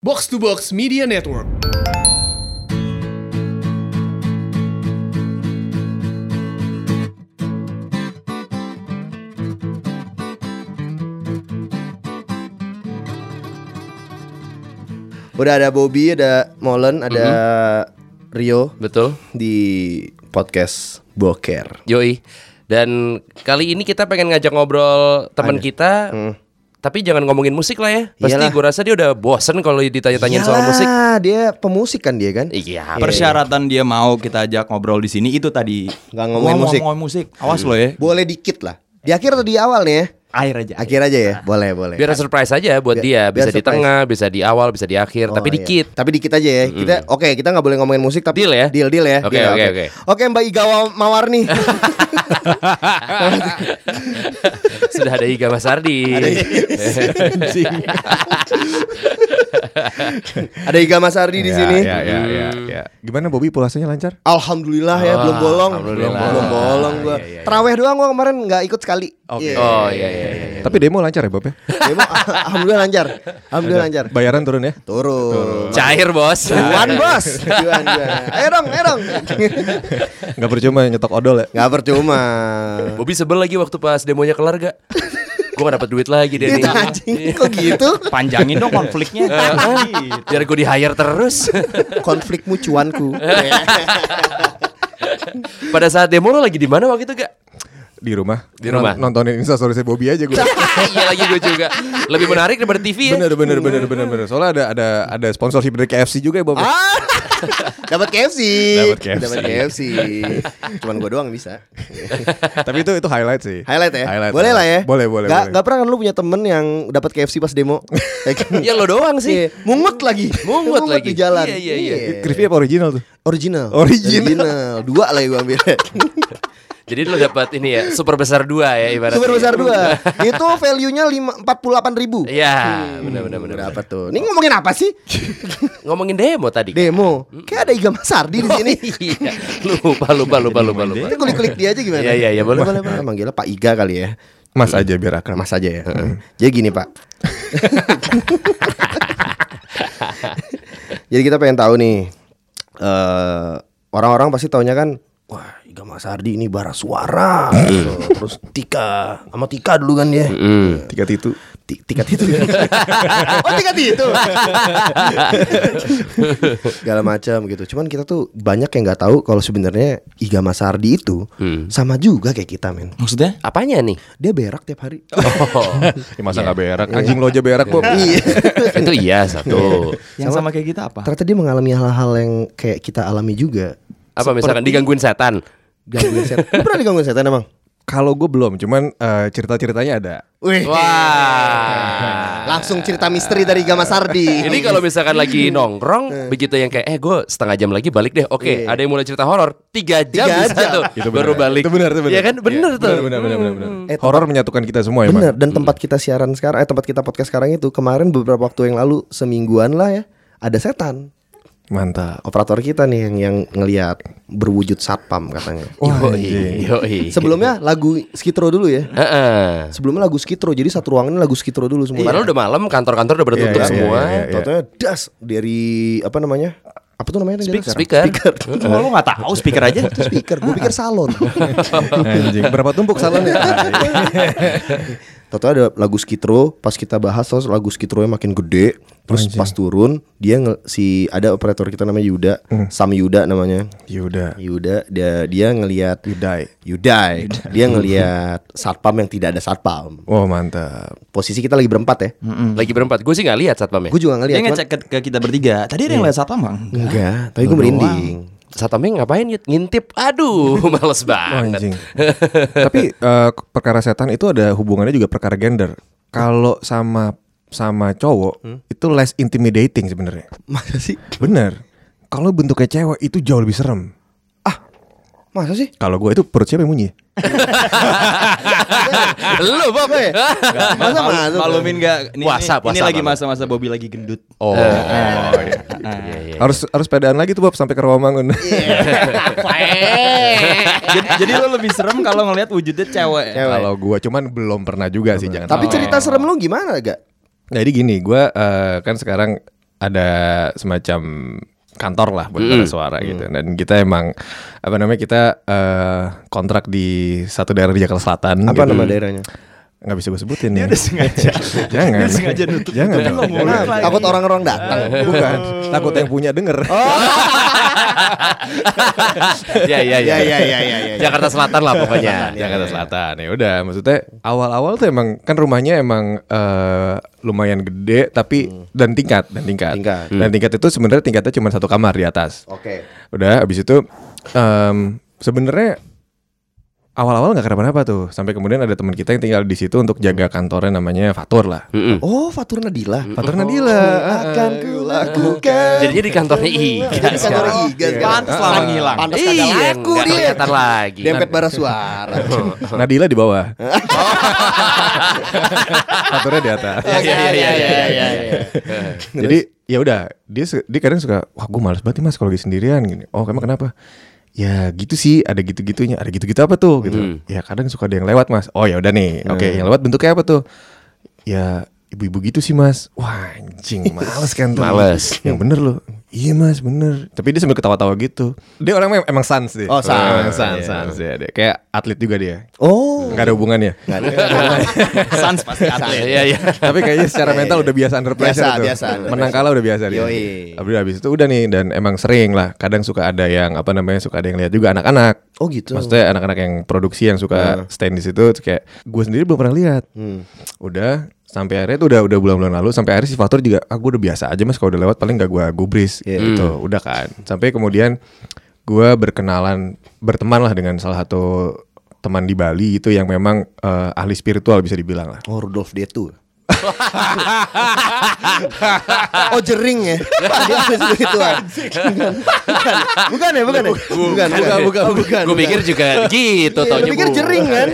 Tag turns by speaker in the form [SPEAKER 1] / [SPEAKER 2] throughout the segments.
[SPEAKER 1] Box to Box Media Network.
[SPEAKER 2] Udah ada Bobby, ada Molen, ada
[SPEAKER 3] Mm-hmm.
[SPEAKER 2] Rio
[SPEAKER 3] Betul.
[SPEAKER 2] di podcast Boker.
[SPEAKER 3] Yoi. Dan kali ini kita pengen ngajak ngobrol teman kita. Tapi jangan ngomongin musik lah ya. Pasti
[SPEAKER 2] Hmm. Iyalah.
[SPEAKER 3] gue rasa dia udah bosen kalau ditanya-tanyain soal musik.
[SPEAKER 2] Yalah, Iya dia pemusik kan dia kan?
[SPEAKER 3] Iya.
[SPEAKER 4] Persyaratan dia mau kita ajak ngobrol di sini itu tadi
[SPEAKER 2] Nggak ngomongin
[SPEAKER 4] Gua mau
[SPEAKER 2] musik.
[SPEAKER 4] ngomongin musik. Awas lo ya.
[SPEAKER 2] Boleh dikit lah. Di akhir atau di awal nih ya?
[SPEAKER 4] Air aja.
[SPEAKER 2] Akhir aja ya? Boleh, boleh.
[SPEAKER 3] Biar surprise aja buat
[SPEAKER 2] Biar-
[SPEAKER 3] dia.
[SPEAKER 2] biar
[SPEAKER 3] Bisa di
[SPEAKER 2] surprise.
[SPEAKER 3] tengah, bisa di awal, bisa di akhir.
[SPEAKER 2] Oh,
[SPEAKER 3] tapi
[SPEAKER 2] iya.
[SPEAKER 3] dikit.
[SPEAKER 2] Tapi dikit aja ya. Kita oke, kita nggak boleh ngomongin musik tapi
[SPEAKER 3] Deal ya?
[SPEAKER 2] Deal deal ya.
[SPEAKER 3] Oke,
[SPEAKER 2] Deal,
[SPEAKER 3] oke,
[SPEAKER 2] Oke, Mbak Igawa Mawarni.
[SPEAKER 3] Sudah ada Iga Mas Ardi.
[SPEAKER 2] ada Iga Mas Ardi di sini.
[SPEAKER 5] Ya, ya, ya, ya. Gimana Bobby pulasanya lancar?
[SPEAKER 2] Alhamdulillah ya belum bolong. Belum
[SPEAKER 3] Ah, alhamdulillah. Ah, iya,
[SPEAKER 2] bolong, bolong gua. Terawih doang gua kemarin nggak ikut sekali. Iya.
[SPEAKER 3] Oh iya iya. iya.
[SPEAKER 5] Tapi demo lancar ya Bob ya?
[SPEAKER 2] Demo, alhamdulillah lancar. Alhamdulillah lancar.
[SPEAKER 5] Bayaran turun ya?
[SPEAKER 2] Turun.
[SPEAKER 3] Cair bos.
[SPEAKER 2] Cuan bos. Cuan, cuan. Ayo dong, ayo dong.
[SPEAKER 5] Nggak percuma nyetok odol ya?
[SPEAKER 2] Gak percuma.
[SPEAKER 3] Bobby sebel lagi waktu pas demonya kelar gak? gue gak dapet duit lagi dia
[SPEAKER 2] Itu
[SPEAKER 3] nih.
[SPEAKER 2] Iya, anjing kok gitu?
[SPEAKER 4] Panjangin dong konfliknya.
[SPEAKER 3] Iya. Biar gue di hire terus.
[SPEAKER 2] Konflikmu cuanku.
[SPEAKER 3] Pada saat demo lo lagi di mana waktu itu gak?
[SPEAKER 5] Di rumah.
[SPEAKER 3] Di rumah.
[SPEAKER 5] Non- Nontonin Insta story Bobby aja gue.
[SPEAKER 3] Iya lagi gue juga. Lebih menarik daripada
[SPEAKER 2] Iya.
[SPEAKER 3] TV ya.
[SPEAKER 5] bener bener bener bener bener. Soalnya ada ada ada sponsorship dari KFC juga ya Bob. ya?
[SPEAKER 2] Ah, Dapat KFC.
[SPEAKER 5] Dapat KFC.
[SPEAKER 2] Dapat KFC. Cuman gue doang yang bisa.
[SPEAKER 5] Tapi itu itu highlight sih.
[SPEAKER 2] Highlight ya.
[SPEAKER 5] Highlight.
[SPEAKER 2] boleh lah ya.
[SPEAKER 5] Boleh boleh.
[SPEAKER 2] Gak,
[SPEAKER 5] boleh.
[SPEAKER 2] gak pernah kan lu punya temen yang dapat KFC pas demo?
[SPEAKER 3] Ya lo doang
[SPEAKER 2] Iya.
[SPEAKER 3] sih.
[SPEAKER 2] Mungut lagi.
[SPEAKER 3] Mungut
[SPEAKER 2] di
[SPEAKER 3] lagi.
[SPEAKER 2] jalan.
[SPEAKER 3] Iya, iya, iya.
[SPEAKER 5] Crispy apa original tuh?
[SPEAKER 2] Original.
[SPEAKER 5] Original.
[SPEAKER 2] Dua lah yang gue ambil.
[SPEAKER 3] Jadi lo dapat ini ya super besar dua ya ibaratnya.
[SPEAKER 2] Super besar dua. Itu value-nya lima- 48 ribu.
[SPEAKER 3] Iya benar benar benar.
[SPEAKER 2] Berapa tuh? Ini ngomongin apa sih?
[SPEAKER 3] Ngomongin demo tadi.
[SPEAKER 2] Demo. Kayak ada Iga Masardi di sini.
[SPEAKER 3] Iya. Lupa lupa lupa lupa lupa.
[SPEAKER 2] Kita kulik-kulik dia aja gimana?
[SPEAKER 3] Iya, iya, iya, boleh,
[SPEAKER 2] boleh, boleh. Manggilnya Pak Iga kali ya.
[SPEAKER 5] Mas aja biar akrab.
[SPEAKER 2] Mas aja ya. Jadi gini Pak. Jadi kita pengen tahu nih. eh, Orang-orang pasti taunya kan Wah Iga Mas Ardi ini bara suara gitu.
[SPEAKER 3] Iya.
[SPEAKER 2] Terus Tika Sama Tika dulu kan dia
[SPEAKER 3] Hmm,
[SPEAKER 5] Tiga titu.
[SPEAKER 2] Ti- Tika itu Oh Tika itu Segala macam gitu Cuman kita tuh banyak yang gak tahu kalau sebenarnya Iga Mas Ardi itu
[SPEAKER 3] Hmm.
[SPEAKER 2] Sama juga kayak kita men
[SPEAKER 4] Maksudnya?
[SPEAKER 3] Apanya nih?
[SPEAKER 2] Dia berak tiap hari
[SPEAKER 3] Oh,
[SPEAKER 5] Ya, masa nggak berak? Anjing lo aja berak Bob.
[SPEAKER 2] Iya
[SPEAKER 3] itu iya satu.
[SPEAKER 4] Yang sama, kayak kita apa?
[SPEAKER 2] Ternyata dia mengalami hal-hal yang kayak kita alami juga.
[SPEAKER 3] Apa misalkan digangguin setan?
[SPEAKER 2] Gangguan setan. Lu pernah digangguin setan emang?
[SPEAKER 5] Kalau gue belum, cuman cerita ceritanya ada.
[SPEAKER 2] Wih.
[SPEAKER 3] Wah.
[SPEAKER 2] Langsung cerita misteri dari Gama Sardi.
[SPEAKER 3] Ini kalau misalkan lagi nongkrong begitu yang kayak eh gue setengah jam lagi balik deh. Oke,
[SPEAKER 2] Iya.
[SPEAKER 3] ada yang mulai cerita horor tiga jam
[SPEAKER 2] Tiga
[SPEAKER 3] bisa
[SPEAKER 2] jam.
[SPEAKER 3] tuh
[SPEAKER 5] Itu
[SPEAKER 3] baru
[SPEAKER 5] benar.
[SPEAKER 3] balik.
[SPEAKER 5] Itu benar, itu benar.
[SPEAKER 3] Iya kan bener
[SPEAKER 5] Iya,
[SPEAKER 3] tuh.
[SPEAKER 5] Benar benar benar benar.
[SPEAKER 2] Eh,
[SPEAKER 5] Horor menyatukan kita semua ya,
[SPEAKER 2] Bener.
[SPEAKER 3] Hmm.
[SPEAKER 2] Dan tempat kita siaran sekarang, eh tempat kita podcast sekarang itu kemarin beberapa waktu yang lalu semingguan lah ya ada setan.
[SPEAKER 5] Mantap.
[SPEAKER 2] Nah, Operator kita nih yang yang ngelihat berwujud satpam katanya. Iya,
[SPEAKER 5] Wah, iya,
[SPEAKER 3] Yoi,
[SPEAKER 5] anjing.
[SPEAKER 3] yoi.
[SPEAKER 2] Sebelumnya lagu Skitro dulu ya.
[SPEAKER 3] Heeh.
[SPEAKER 2] Sebelumnya lagu Skitro, jadi satu ruangan ini lagu Skitro dulu semua.
[SPEAKER 3] Padahal udah malam kantor-kantor udah pada
[SPEAKER 5] Iya,
[SPEAKER 3] tutup
[SPEAKER 5] iya,
[SPEAKER 3] semua.
[SPEAKER 5] iya, iya.
[SPEAKER 2] Tau-taunya das dari apa namanya? Apa tuh namanya? Speaker.
[SPEAKER 3] Speaker.
[SPEAKER 4] Cuma lo gak tahu speaker aja.
[SPEAKER 2] speaker, iya, gue pikir salon.
[SPEAKER 5] Anjing. Berapa tumpuk salonnya?
[SPEAKER 2] Tahu ada lagu skitro, pas kita bahas terus lagu skitronya makin gede, terus
[SPEAKER 5] Anjing.
[SPEAKER 2] pas turun dia nge- si ada operator kita namanya Yuda,
[SPEAKER 5] Hmm.
[SPEAKER 2] Sam Yuda namanya.
[SPEAKER 5] Yuda.
[SPEAKER 2] Yuda dia dia ngelihat
[SPEAKER 5] Yudai.
[SPEAKER 2] Yudai, dia ngelihat satpam yang tidak ada satpam.
[SPEAKER 5] Oh mantap.
[SPEAKER 2] Posisi kita lagi berempat ya.
[SPEAKER 3] Lagi berempat. Gue sih nggak lihat satpamnya.
[SPEAKER 2] Gue juga
[SPEAKER 4] Dia
[SPEAKER 2] ngelihat. cuman-
[SPEAKER 4] ngecek ke, ke kita bertiga. Tadi ada yang lihat satpam bang?
[SPEAKER 2] Enggak, tapi gue merinding.
[SPEAKER 3] Satpamnya ngapain? Yud? Ngintip. Aduh, males banget.
[SPEAKER 5] Anjing. Tapi eh, perkara setan itu ada hubungannya juga perkara gender. Kalau sama sama cowok itu less intimidating sebenarnya.
[SPEAKER 2] Masa sih?
[SPEAKER 5] Bener. Kalau bentuknya cewek itu jauh lebih serem.
[SPEAKER 2] Masa sih?
[SPEAKER 5] Kalau gue itu perut siapa yang bunyi?
[SPEAKER 2] iya.
[SPEAKER 3] Ah, Lu Bob.
[SPEAKER 2] Masa masa?
[SPEAKER 4] Malumin gak? Ini,
[SPEAKER 3] Puasa,
[SPEAKER 4] ini,
[SPEAKER 3] puasa,
[SPEAKER 4] ini lagi
[SPEAKER 3] malu.
[SPEAKER 4] masa-masa Bobby lagi gendut.
[SPEAKER 5] Oh.
[SPEAKER 3] Iya, iya.
[SPEAKER 5] Harus harus pedaan lagi tuh Bob sampai ke Rawamangun.
[SPEAKER 3] Eh.
[SPEAKER 4] jadi, jadi lo lebih serem kalau ngelihat wujudnya cewek.
[SPEAKER 2] Cewek.
[SPEAKER 5] Kalau gue cuman belum pernah juga sih jangan.
[SPEAKER 2] Tapi cerita serem lu gimana gak?
[SPEAKER 5] Nah, Jadi gini, gue eh, kan sekarang ada semacam kantor lah buat para suara gitu
[SPEAKER 4] Mm.
[SPEAKER 5] dan kita emang apa namanya kita eh, kontrak di satu daerah di Jakarta Selatan
[SPEAKER 2] Apa
[SPEAKER 3] Iya.
[SPEAKER 5] gitu.
[SPEAKER 2] nama daerahnya?
[SPEAKER 5] nggak bisa gue sebutin ya
[SPEAKER 4] sengaja. Dia
[SPEAKER 5] jangan
[SPEAKER 4] sengaja nutup.
[SPEAKER 5] jangan
[SPEAKER 4] Dia
[SPEAKER 3] Iya.
[SPEAKER 5] dong.
[SPEAKER 4] ngomong lagi.
[SPEAKER 2] Takut orang-orang datang.
[SPEAKER 5] bukan takut yang punya denger
[SPEAKER 4] Oh.
[SPEAKER 3] Ya ya ya.
[SPEAKER 2] ya ya ya. ya.
[SPEAKER 3] Jakarta Selatan lah pokoknya.
[SPEAKER 5] Nah, Jakarta
[SPEAKER 4] Iya.
[SPEAKER 5] Selatan ya udah maksudnya awal-awal tuh emang kan rumahnya emang eh, lumayan gede tapi
[SPEAKER 4] Hmm.
[SPEAKER 5] dan tingkat dan tingkat,
[SPEAKER 2] Tingkat.
[SPEAKER 5] dan tingkat itu sebenarnya tingkatnya cuma satu kamar di atas
[SPEAKER 2] Oke.
[SPEAKER 5] udah abis itu em, sebenarnya awal-awal nggak kenapa-napa tuh sampai kemudian ada teman kita yang tinggal di situ untuk jaga kantornya namanya Fatur lah
[SPEAKER 3] Mm-mm.
[SPEAKER 2] Oh, Fatur Nadila.
[SPEAKER 5] Fatur Nadila Ah,
[SPEAKER 2] akan kulakukan.
[SPEAKER 3] Iya. Jadinya di kantornya Iga
[SPEAKER 2] Jadi kantor
[SPEAKER 3] sekarang.
[SPEAKER 2] Iga sekarang.
[SPEAKER 4] Pantes lama ngilang.
[SPEAKER 2] Pantes
[SPEAKER 3] Iya,
[SPEAKER 2] kagak laku
[SPEAKER 3] nggak
[SPEAKER 2] dia.
[SPEAKER 3] kelihatan lagi.
[SPEAKER 2] Dempet bara suara.
[SPEAKER 5] Nadila di bawah Faturnya di atas
[SPEAKER 3] Iya, iya, iya, iya, iya, iya.
[SPEAKER 5] Jadi ya udah dia se- dia kadang suka wah gue males banget nih mas kalau lagi sendirian gini. Oh emang kenapa? Ya gitu sih ada gitu-gitunya ada gitu-gitu apa tuh gitu.
[SPEAKER 2] Hmm.
[SPEAKER 5] Ya kadang suka ada yang lewat mas. Oh ya udah nih. Oke yang lewat bentuknya apa tuh? Ya ibu-ibu gitu sih mas. Wah anjing males kan tuh.
[SPEAKER 3] Males.
[SPEAKER 5] Yang bener loh. Iya mas bener. Tapi dia sambil ketawa-tawa gitu. Dia orangnya emang sans deh.
[SPEAKER 2] Oh, sans.
[SPEAKER 5] Emang sans, sans, ya, dia. Kayak atlet juga dia.
[SPEAKER 2] Oh.
[SPEAKER 5] Gak ada hubungannya.
[SPEAKER 2] Nggak ada.
[SPEAKER 4] Sans pasti atlet.
[SPEAKER 3] Iya, iya.
[SPEAKER 5] Tapi kayaknya secara mental udah biasa under pressure
[SPEAKER 2] iya. Biasa,
[SPEAKER 5] tuh.
[SPEAKER 2] biasa, under
[SPEAKER 5] Menang
[SPEAKER 2] pressure.
[SPEAKER 5] kalah udah biasa dia.
[SPEAKER 2] Yoi.
[SPEAKER 5] Habis habis itu udah nih dan emang sering lah. Kadang suka ada yang apa namanya suka ada yang lihat juga anak-anak.
[SPEAKER 2] Oh, gitu.
[SPEAKER 5] Maksudnya anak-anak yang produksi yang suka stand di situ terus kayak gue sendiri belum pernah lihat.
[SPEAKER 2] Hmm.
[SPEAKER 5] Udah sampai akhirnya tuh udah udah bulan-bulan lalu sampai akhirnya si Fatur juga ah gue udah biasa aja mas kalau udah lewat paling gak gue gubris
[SPEAKER 2] Iya.
[SPEAKER 5] gitu
[SPEAKER 2] Hmm.
[SPEAKER 5] udah kan sampai kemudian gue berkenalan berteman lah dengan salah satu teman di Bali itu yang memang eh, ahli spiritual bisa dibilang lah
[SPEAKER 2] Oh, Rudolf Detu. oh jering ya Dia habis begitu, ah. bukan ya bukan ya bukan
[SPEAKER 3] Bukan, bukan, bukan. Gue pikir juga gitu
[SPEAKER 2] Iya,
[SPEAKER 3] tau
[SPEAKER 2] lu pikir jering kan?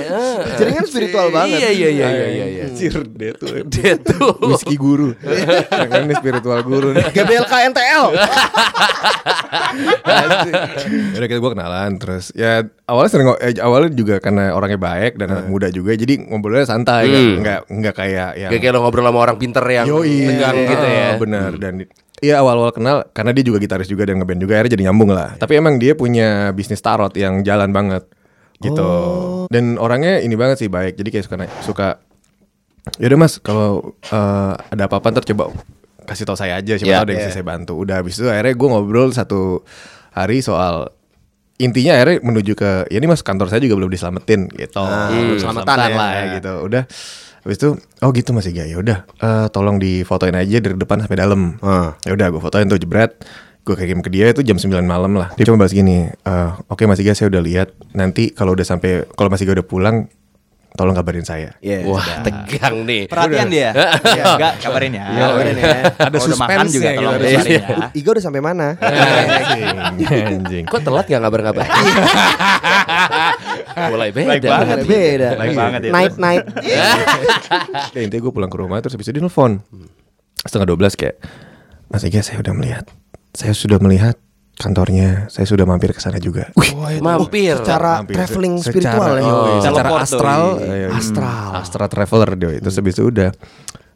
[SPEAKER 2] Jering kan spiritual banget.
[SPEAKER 3] Iya, iya, iya, iya, iya, iya.
[SPEAKER 5] Anjir, dia tuh
[SPEAKER 3] Dia tuh
[SPEAKER 5] Whisky guru Jangan ini spiritual guru nih
[SPEAKER 2] GBLK NTL.
[SPEAKER 5] Udah kita gue kenalan Terus ya awalnya sering ngo- eh, Awalnya juga karena orangnya baik Dan anak muda juga Jadi ngobrolnya santai kan? Nggak, nggak kayak yang
[SPEAKER 3] Gak kayak lo ngobrol sama orang pinter yang
[SPEAKER 5] Yoi
[SPEAKER 3] tegang gitu ya
[SPEAKER 5] Ah, Bener Dan Iya awal-awal kenal Karena dia juga gitaris juga Dan ngeband juga Akhirnya jadi nyambung
[SPEAKER 3] Iya.
[SPEAKER 5] lah Tapi emang dia punya Bisnis tarot Yang jalan banget Gitu
[SPEAKER 3] Oh.
[SPEAKER 5] Dan orangnya ini banget sih Baik Jadi kayak suka na- Suka Yaudah mas Kalau eh, Ada apa-apa Ntar coba Kasih tau saya aja Siapa
[SPEAKER 3] Ya.
[SPEAKER 5] tau ada yang bisa saya bantu Udah habis itu akhirnya Gue ngobrol satu Hari soal Intinya akhirnya menuju ke Ya ini mas kantor saya juga belum diselamatin Gitu
[SPEAKER 3] Oh, iya,
[SPEAKER 5] Belum
[SPEAKER 2] selamatan ya.
[SPEAKER 5] lah ya gitu udah habis itu oh gitu masih gak ya udah eh, tolong difotoin aja dari depan sampai dalam
[SPEAKER 2] Ah.
[SPEAKER 5] ya udah gue fotoin tuh jebret gue kirim ke dia itu jam 9 malam lah dia cuma bahas gini eh, oke Mas Iga saya udah lihat nanti kalau udah sampai kalau Mas Iga udah pulang tolong kabarin saya
[SPEAKER 2] Iya.
[SPEAKER 3] Wah tegang nih
[SPEAKER 4] Perhatian dia. Iya, enggak kabarin ya.
[SPEAKER 5] Iya, kabarin ya. Ada
[SPEAKER 4] Ada suspense juga
[SPEAKER 5] suspense-nya gitu,
[SPEAKER 4] tolong
[SPEAKER 5] ada
[SPEAKER 4] kabarin
[SPEAKER 3] suspense.
[SPEAKER 4] ya.
[SPEAKER 2] Iga Iya. udah sampai mana?
[SPEAKER 5] anjing anjing
[SPEAKER 3] Kok telat gak ngabar-ngabar Mulai ya. beda
[SPEAKER 4] Baik banget.
[SPEAKER 2] Beda. ya. Iya.
[SPEAKER 4] Baik banget itu.
[SPEAKER 2] Night night.
[SPEAKER 5] ya, intinya gue pulang ke rumah terus habis itu dia nelfon setengah 12 kayak Mas Iga saya udah melihat saya sudah melihat kantornya saya sudah mampir ke sana juga
[SPEAKER 3] Mampir
[SPEAKER 2] Secara
[SPEAKER 5] Hampir.
[SPEAKER 2] traveling
[SPEAKER 5] Secara-
[SPEAKER 2] spiritual ya.
[SPEAKER 5] yoi, secara
[SPEAKER 4] Teleport tuh.
[SPEAKER 5] astral,
[SPEAKER 4] Iya.
[SPEAKER 5] eh, astral, astral traveler dia. Terus habis itu udah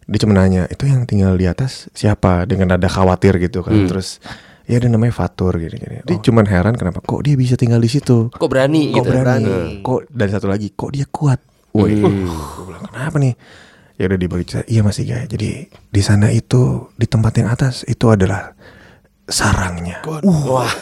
[SPEAKER 5] dia cuma nanya itu yang tinggal di atas siapa dengan nada khawatir gitu kan. Terus ya ada namanya Fatur gini-gini. Dia cuman heran kenapa kok dia bisa tinggal di situ.
[SPEAKER 3] Kok berani
[SPEAKER 5] Kok
[SPEAKER 3] gitu
[SPEAKER 5] berani? Kok dan satu lagi kok dia kuat? Woi, uh, gua bilang kenapa nih? Ya udah diberi cerita. Iya masih guys. Jadi di sana itu di tempat yang atas itu adalah sarangnya. Uh,
[SPEAKER 3] Wah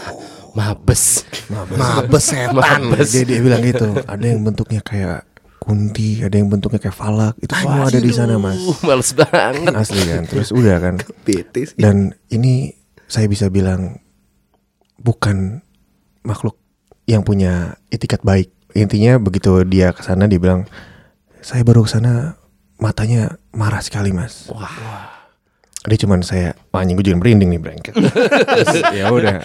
[SPEAKER 3] Mabes
[SPEAKER 2] Mabes setan.
[SPEAKER 3] Mabes
[SPEAKER 5] Dia, dia bilang gitu. Ada yang bentuknya kayak kunti, ada yang bentuknya kayak falak. Itu semua ada di sana, Mas.
[SPEAKER 3] Uh, Males banget
[SPEAKER 5] Asli kan. Terus udah kan.
[SPEAKER 2] Bete sih.
[SPEAKER 5] Dan ini saya bisa bilang bukan makhluk yang punya etikat baik. Intinya begitu dia ke sana dia bilang, "Saya baru ke sana matanya marah sekali, Mas." Wah. Dia cuman saya, "Wah, anjing gue juga merinding nih, brengket." Terus, ya udah,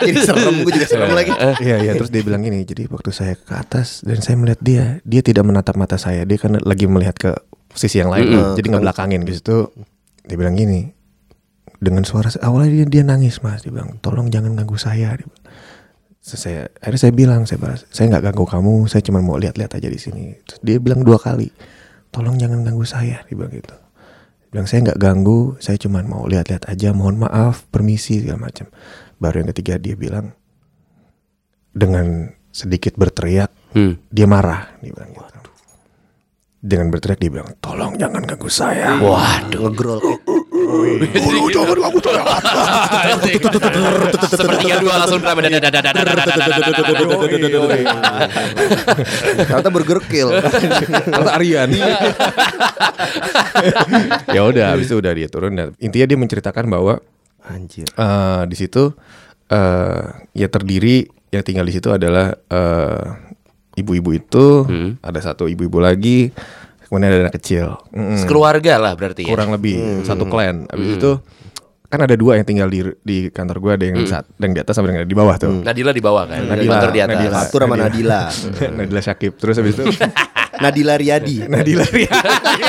[SPEAKER 2] Jadi serem gue juga serem lagi.
[SPEAKER 5] Iya iya terus dia bilang gini jadi waktu saya ke atas dan saya melihat dia dia tidak menatap mata saya dia kan lagi melihat ke sisi yang lain gitu. jadi nggak belakangin di situ dia bilang gini dengan suara awalnya dia, dia nangis mas dia bilang tolong jangan ganggu saya dia bilang. Terus saya akhirnya saya bilang saya bahas, saya nggak ganggu kamu saya cuma mau lihat-lihat aja di sini terus dia bilang dua kali tolong jangan ganggu saya dia bilang gitu bilang saya nggak ganggu saya cuman mau lihat-lihat aja mohon maaf permisi segala macam baru yang ketiga dia bilang dengan sedikit berteriak
[SPEAKER 3] Hmm.
[SPEAKER 5] dia marah dia bilang gitu. dengan berteriak dia bilang tolong jangan ganggu saya
[SPEAKER 2] Iya. Waduh ngegrol.
[SPEAKER 5] Tolong jangan ganggu saya
[SPEAKER 3] Sepertiga dua langsung pertama dan Nah,
[SPEAKER 2] Ternyata burger kill.
[SPEAKER 5] Kata Aryan. ya udah, habis itu udah dia turun. Dan intinya dia menceritakan bahwa
[SPEAKER 2] Anjir.
[SPEAKER 5] eh, di situ eh, ya terdiri yang tinggal di situ adalah eh, ibu-ibu itu, ada satu ibu-ibu lagi, kemudian ada anak kecil. Mm-mm.
[SPEAKER 3] Keluarga lah berarti ya.
[SPEAKER 5] Hmm. Kurang lebih satu clan. Habis
[SPEAKER 3] Hmm.
[SPEAKER 5] itu kan ada dua yang tinggal di di kantor gua ada
[SPEAKER 3] Hmm.
[SPEAKER 5] yang saat yang di atas sama yang di bawah tuh.
[SPEAKER 3] Nadila di bawah kan.
[SPEAKER 5] Nadila,
[SPEAKER 3] Motor di atas.
[SPEAKER 5] Nadila.
[SPEAKER 2] Fatur sama Nadila.
[SPEAKER 5] Nadila Syakib. Terus habis itu
[SPEAKER 2] Nadila Riyadi.
[SPEAKER 5] Nadila
[SPEAKER 3] Iya.
[SPEAKER 5] Riyadi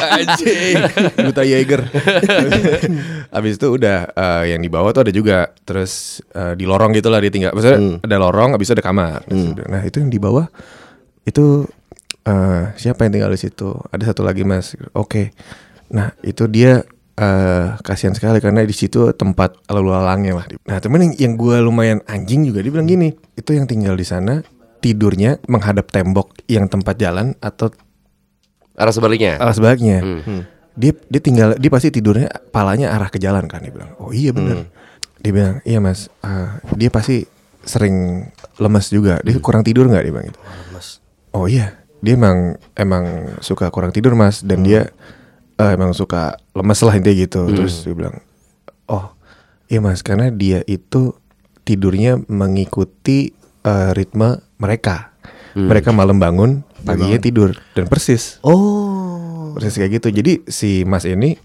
[SPEAKER 5] Anjing Duta Jaeger Abis itu udah eh, Yang di bawah tuh ada juga Terus eh, di lorong gitu lah ditinggal Maksudnya ada lorong Abis itu ada kamar Nah itu yang di bawah Itu eh, Siapa yang tinggal di situ Ada satu lagi mas Oke Nah itu dia eh kasihan sekali karena di situ tempat lalu lalangnya lah. Nah temen yang, yang gue lumayan anjing juga dia bilang gini, itu yang tinggal di sana tidurnya menghadap tembok yang tempat jalan atau
[SPEAKER 3] Arah sebaliknya.
[SPEAKER 5] arah sebaliknya. Dia dia tinggal dia pasti tidurnya palanya arah ke jalan kan dia bilang. Oh iya benar. Dia bilang, "Iya Mas, ah, dia pasti sering lemes juga. Dia Hmm. kurang tidur nggak dia bilang gitu." Oh iya, dia emang emang suka kurang tidur Mas dan dia eh, emang suka lemes lah intinya gitu. Terus dia bilang, "Oh, iya Mas, karena dia itu tidurnya mengikuti eh, ritme mereka." Mereka malam Hmm. bangun, paginya tidur dan persis
[SPEAKER 2] Oh.
[SPEAKER 5] persis kayak gitu jadi si mas ini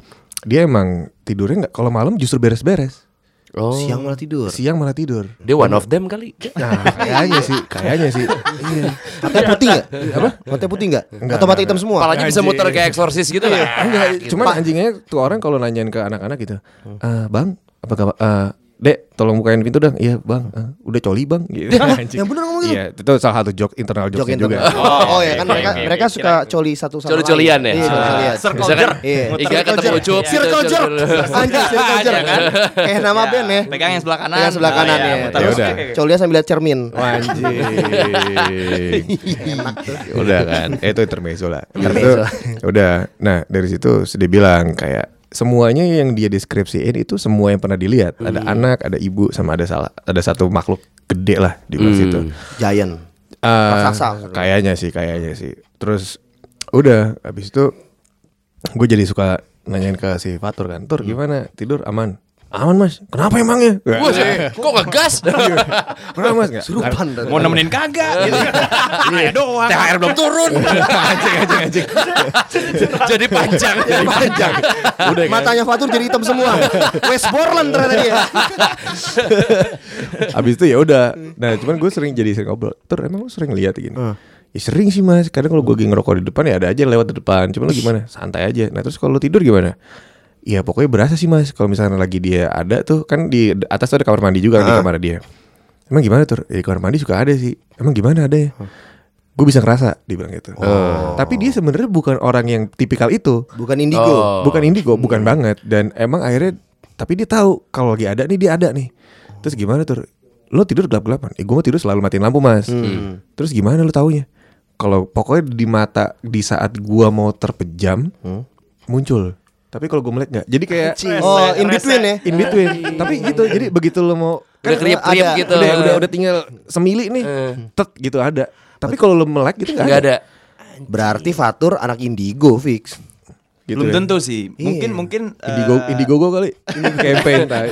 [SPEAKER 5] dia emang tidurnya nggak kalau malam justru beres-beres
[SPEAKER 3] Oh.
[SPEAKER 2] Siang malah tidur.
[SPEAKER 5] siang malah tidur
[SPEAKER 3] Dia one of them kali.
[SPEAKER 5] nah kayaknya sih kayaknya sih iya
[SPEAKER 2] Matanya putih enggak? Apa? Matanya putih enggak? Atau mata hitam semua?
[SPEAKER 3] Kepalanya bisa muter kayak eksorsis gitu ya.
[SPEAKER 5] Enggak, cuman anjingnya tuh orang kalau nanyain ke anak-anak gitu "Ah, bang apa kabar Ah, dek tolong bukain pintu dong iya bang Ah, udah coli bang gitu anjing
[SPEAKER 2] yang bener ngomong gitu?
[SPEAKER 5] iya itu salah satu joke internal
[SPEAKER 2] Jok
[SPEAKER 5] jokesnya
[SPEAKER 2] yang
[SPEAKER 5] juga
[SPEAKER 2] terbang. Oh, oh ya kan
[SPEAKER 4] oke,
[SPEAKER 2] mereka
[SPEAKER 4] oke,
[SPEAKER 2] mereka
[SPEAKER 4] oke.
[SPEAKER 2] suka coli satu sama
[SPEAKER 3] Coli-colian ya?
[SPEAKER 2] lain. Iya,
[SPEAKER 3] Ah.
[SPEAKER 2] colian.
[SPEAKER 4] Circle
[SPEAKER 3] Bisa kan?
[SPEAKER 4] jerk. Iya,
[SPEAKER 2] Iya.
[SPEAKER 3] Muter Iya, ketemu
[SPEAKER 2] Circle jerk.
[SPEAKER 3] cup,
[SPEAKER 2] Circle
[SPEAKER 3] gitu,
[SPEAKER 2] jerk.
[SPEAKER 3] circle jerk.
[SPEAKER 2] Anjir, circle jerk
[SPEAKER 3] Ada kan?
[SPEAKER 2] Kayak nama
[SPEAKER 4] Ya,
[SPEAKER 2] band ya.
[SPEAKER 4] pegang yang sebelah kanan.
[SPEAKER 2] Yang sebelah
[SPEAKER 4] Nah,
[SPEAKER 2] kanan
[SPEAKER 4] ya,
[SPEAKER 2] ya.
[SPEAKER 4] muter.
[SPEAKER 5] Ya
[SPEAKER 2] Terus
[SPEAKER 5] udah.
[SPEAKER 2] Colinya sambil lihat cermin.
[SPEAKER 5] Anjing.
[SPEAKER 2] Enak tuh.
[SPEAKER 5] udah kan Eh, itu intermezzo lah Habis itu, udah nah dari situ dia bilang kayak semuanya yang dia deskripsiin itu semua yang pernah dilihat ada anak ada ibu sama ada salah ada satu makhluk gede lah di luar situ
[SPEAKER 2] Giant.
[SPEAKER 5] Eh,
[SPEAKER 2] Raksasa.
[SPEAKER 5] kayaknya sih kayaknya sih terus udah habis itu gue jadi suka nanyain ke si Fatur kan Tur gimana tidur aman aman mas kenapa emangnya
[SPEAKER 3] Wah, kok ngegas?
[SPEAKER 5] Iya. kenapa mas Nggak.
[SPEAKER 2] Surupan.
[SPEAKER 4] Mau nemenin kagak? Gitu. Iya doang.
[SPEAKER 3] THR belum turun.
[SPEAKER 5] anjing anjing anjing
[SPEAKER 3] Jadi panjang.
[SPEAKER 5] Iya.
[SPEAKER 2] panjang. Matanya Fatur jadi hitam semua. West Borland ternyata dia.
[SPEAKER 5] Abis itu ya udah. Nah, cuman gue sering jadi sering ngobrol. Tur emang lu sering lihat gini. Ya sering sih mas. Kadang kalau gue lagi ngerokok di depan ya ada aja lewat di depan. Cuman lu gimana? Santai aja. Nah terus kalau lu tidur gimana? Ya pokoknya berasa sih mas. Kalau misalnya lagi dia ada tuh kan di atas tuh ada kamar mandi juga kan, di kamar dia. Emang gimana tur? Ya, di kamar mandi suka ada sih. Emang gimana ada ya? Gue bisa ngerasa dibilang gitu. Tapi dia sebenarnya bukan orang yang tipikal itu.
[SPEAKER 2] Bukan Indigo.
[SPEAKER 5] Bukan indigo, bukan banget. Dan emang akhirnya, tapi dia tahu kalau lagi ada nih dia ada nih. Terus gimana tuh? Lo tidur gelap-gelapan? Eh, gue tidur selalu matiin lampu mas. Terus gimana lo taunya? Kalau pokoknya di mata di saat gua mau terpejam muncul. Tapi kalau gue melek nggak. Jadi kayak
[SPEAKER 2] Oh, in between ya.
[SPEAKER 5] in between. tapi gitu. Jadi begitu lo mau Kan
[SPEAKER 3] Udah kriep-kriep
[SPEAKER 2] ada-
[SPEAKER 3] gitu.
[SPEAKER 5] udah udah udah tinggal semili nih, tet gitu ada. Tapi kalau lo melek gitu nggak
[SPEAKER 3] Enggak
[SPEAKER 5] ada.
[SPEAKER 3] ada.
[SPEAKER 2] Berarti Fatur anak Indigo fix.
[SPEAKER 5] Gitu
[SPEAKER 4] Belum
[SPEAKER 5] ya.
[SPEAKER 4] tentu sih. Mungkin mungkin
[SPEAKER 5] Indigo,
[SPEAKER 4] eh,
[SPEAKER 5] Indigo gue kali. Campaign tai.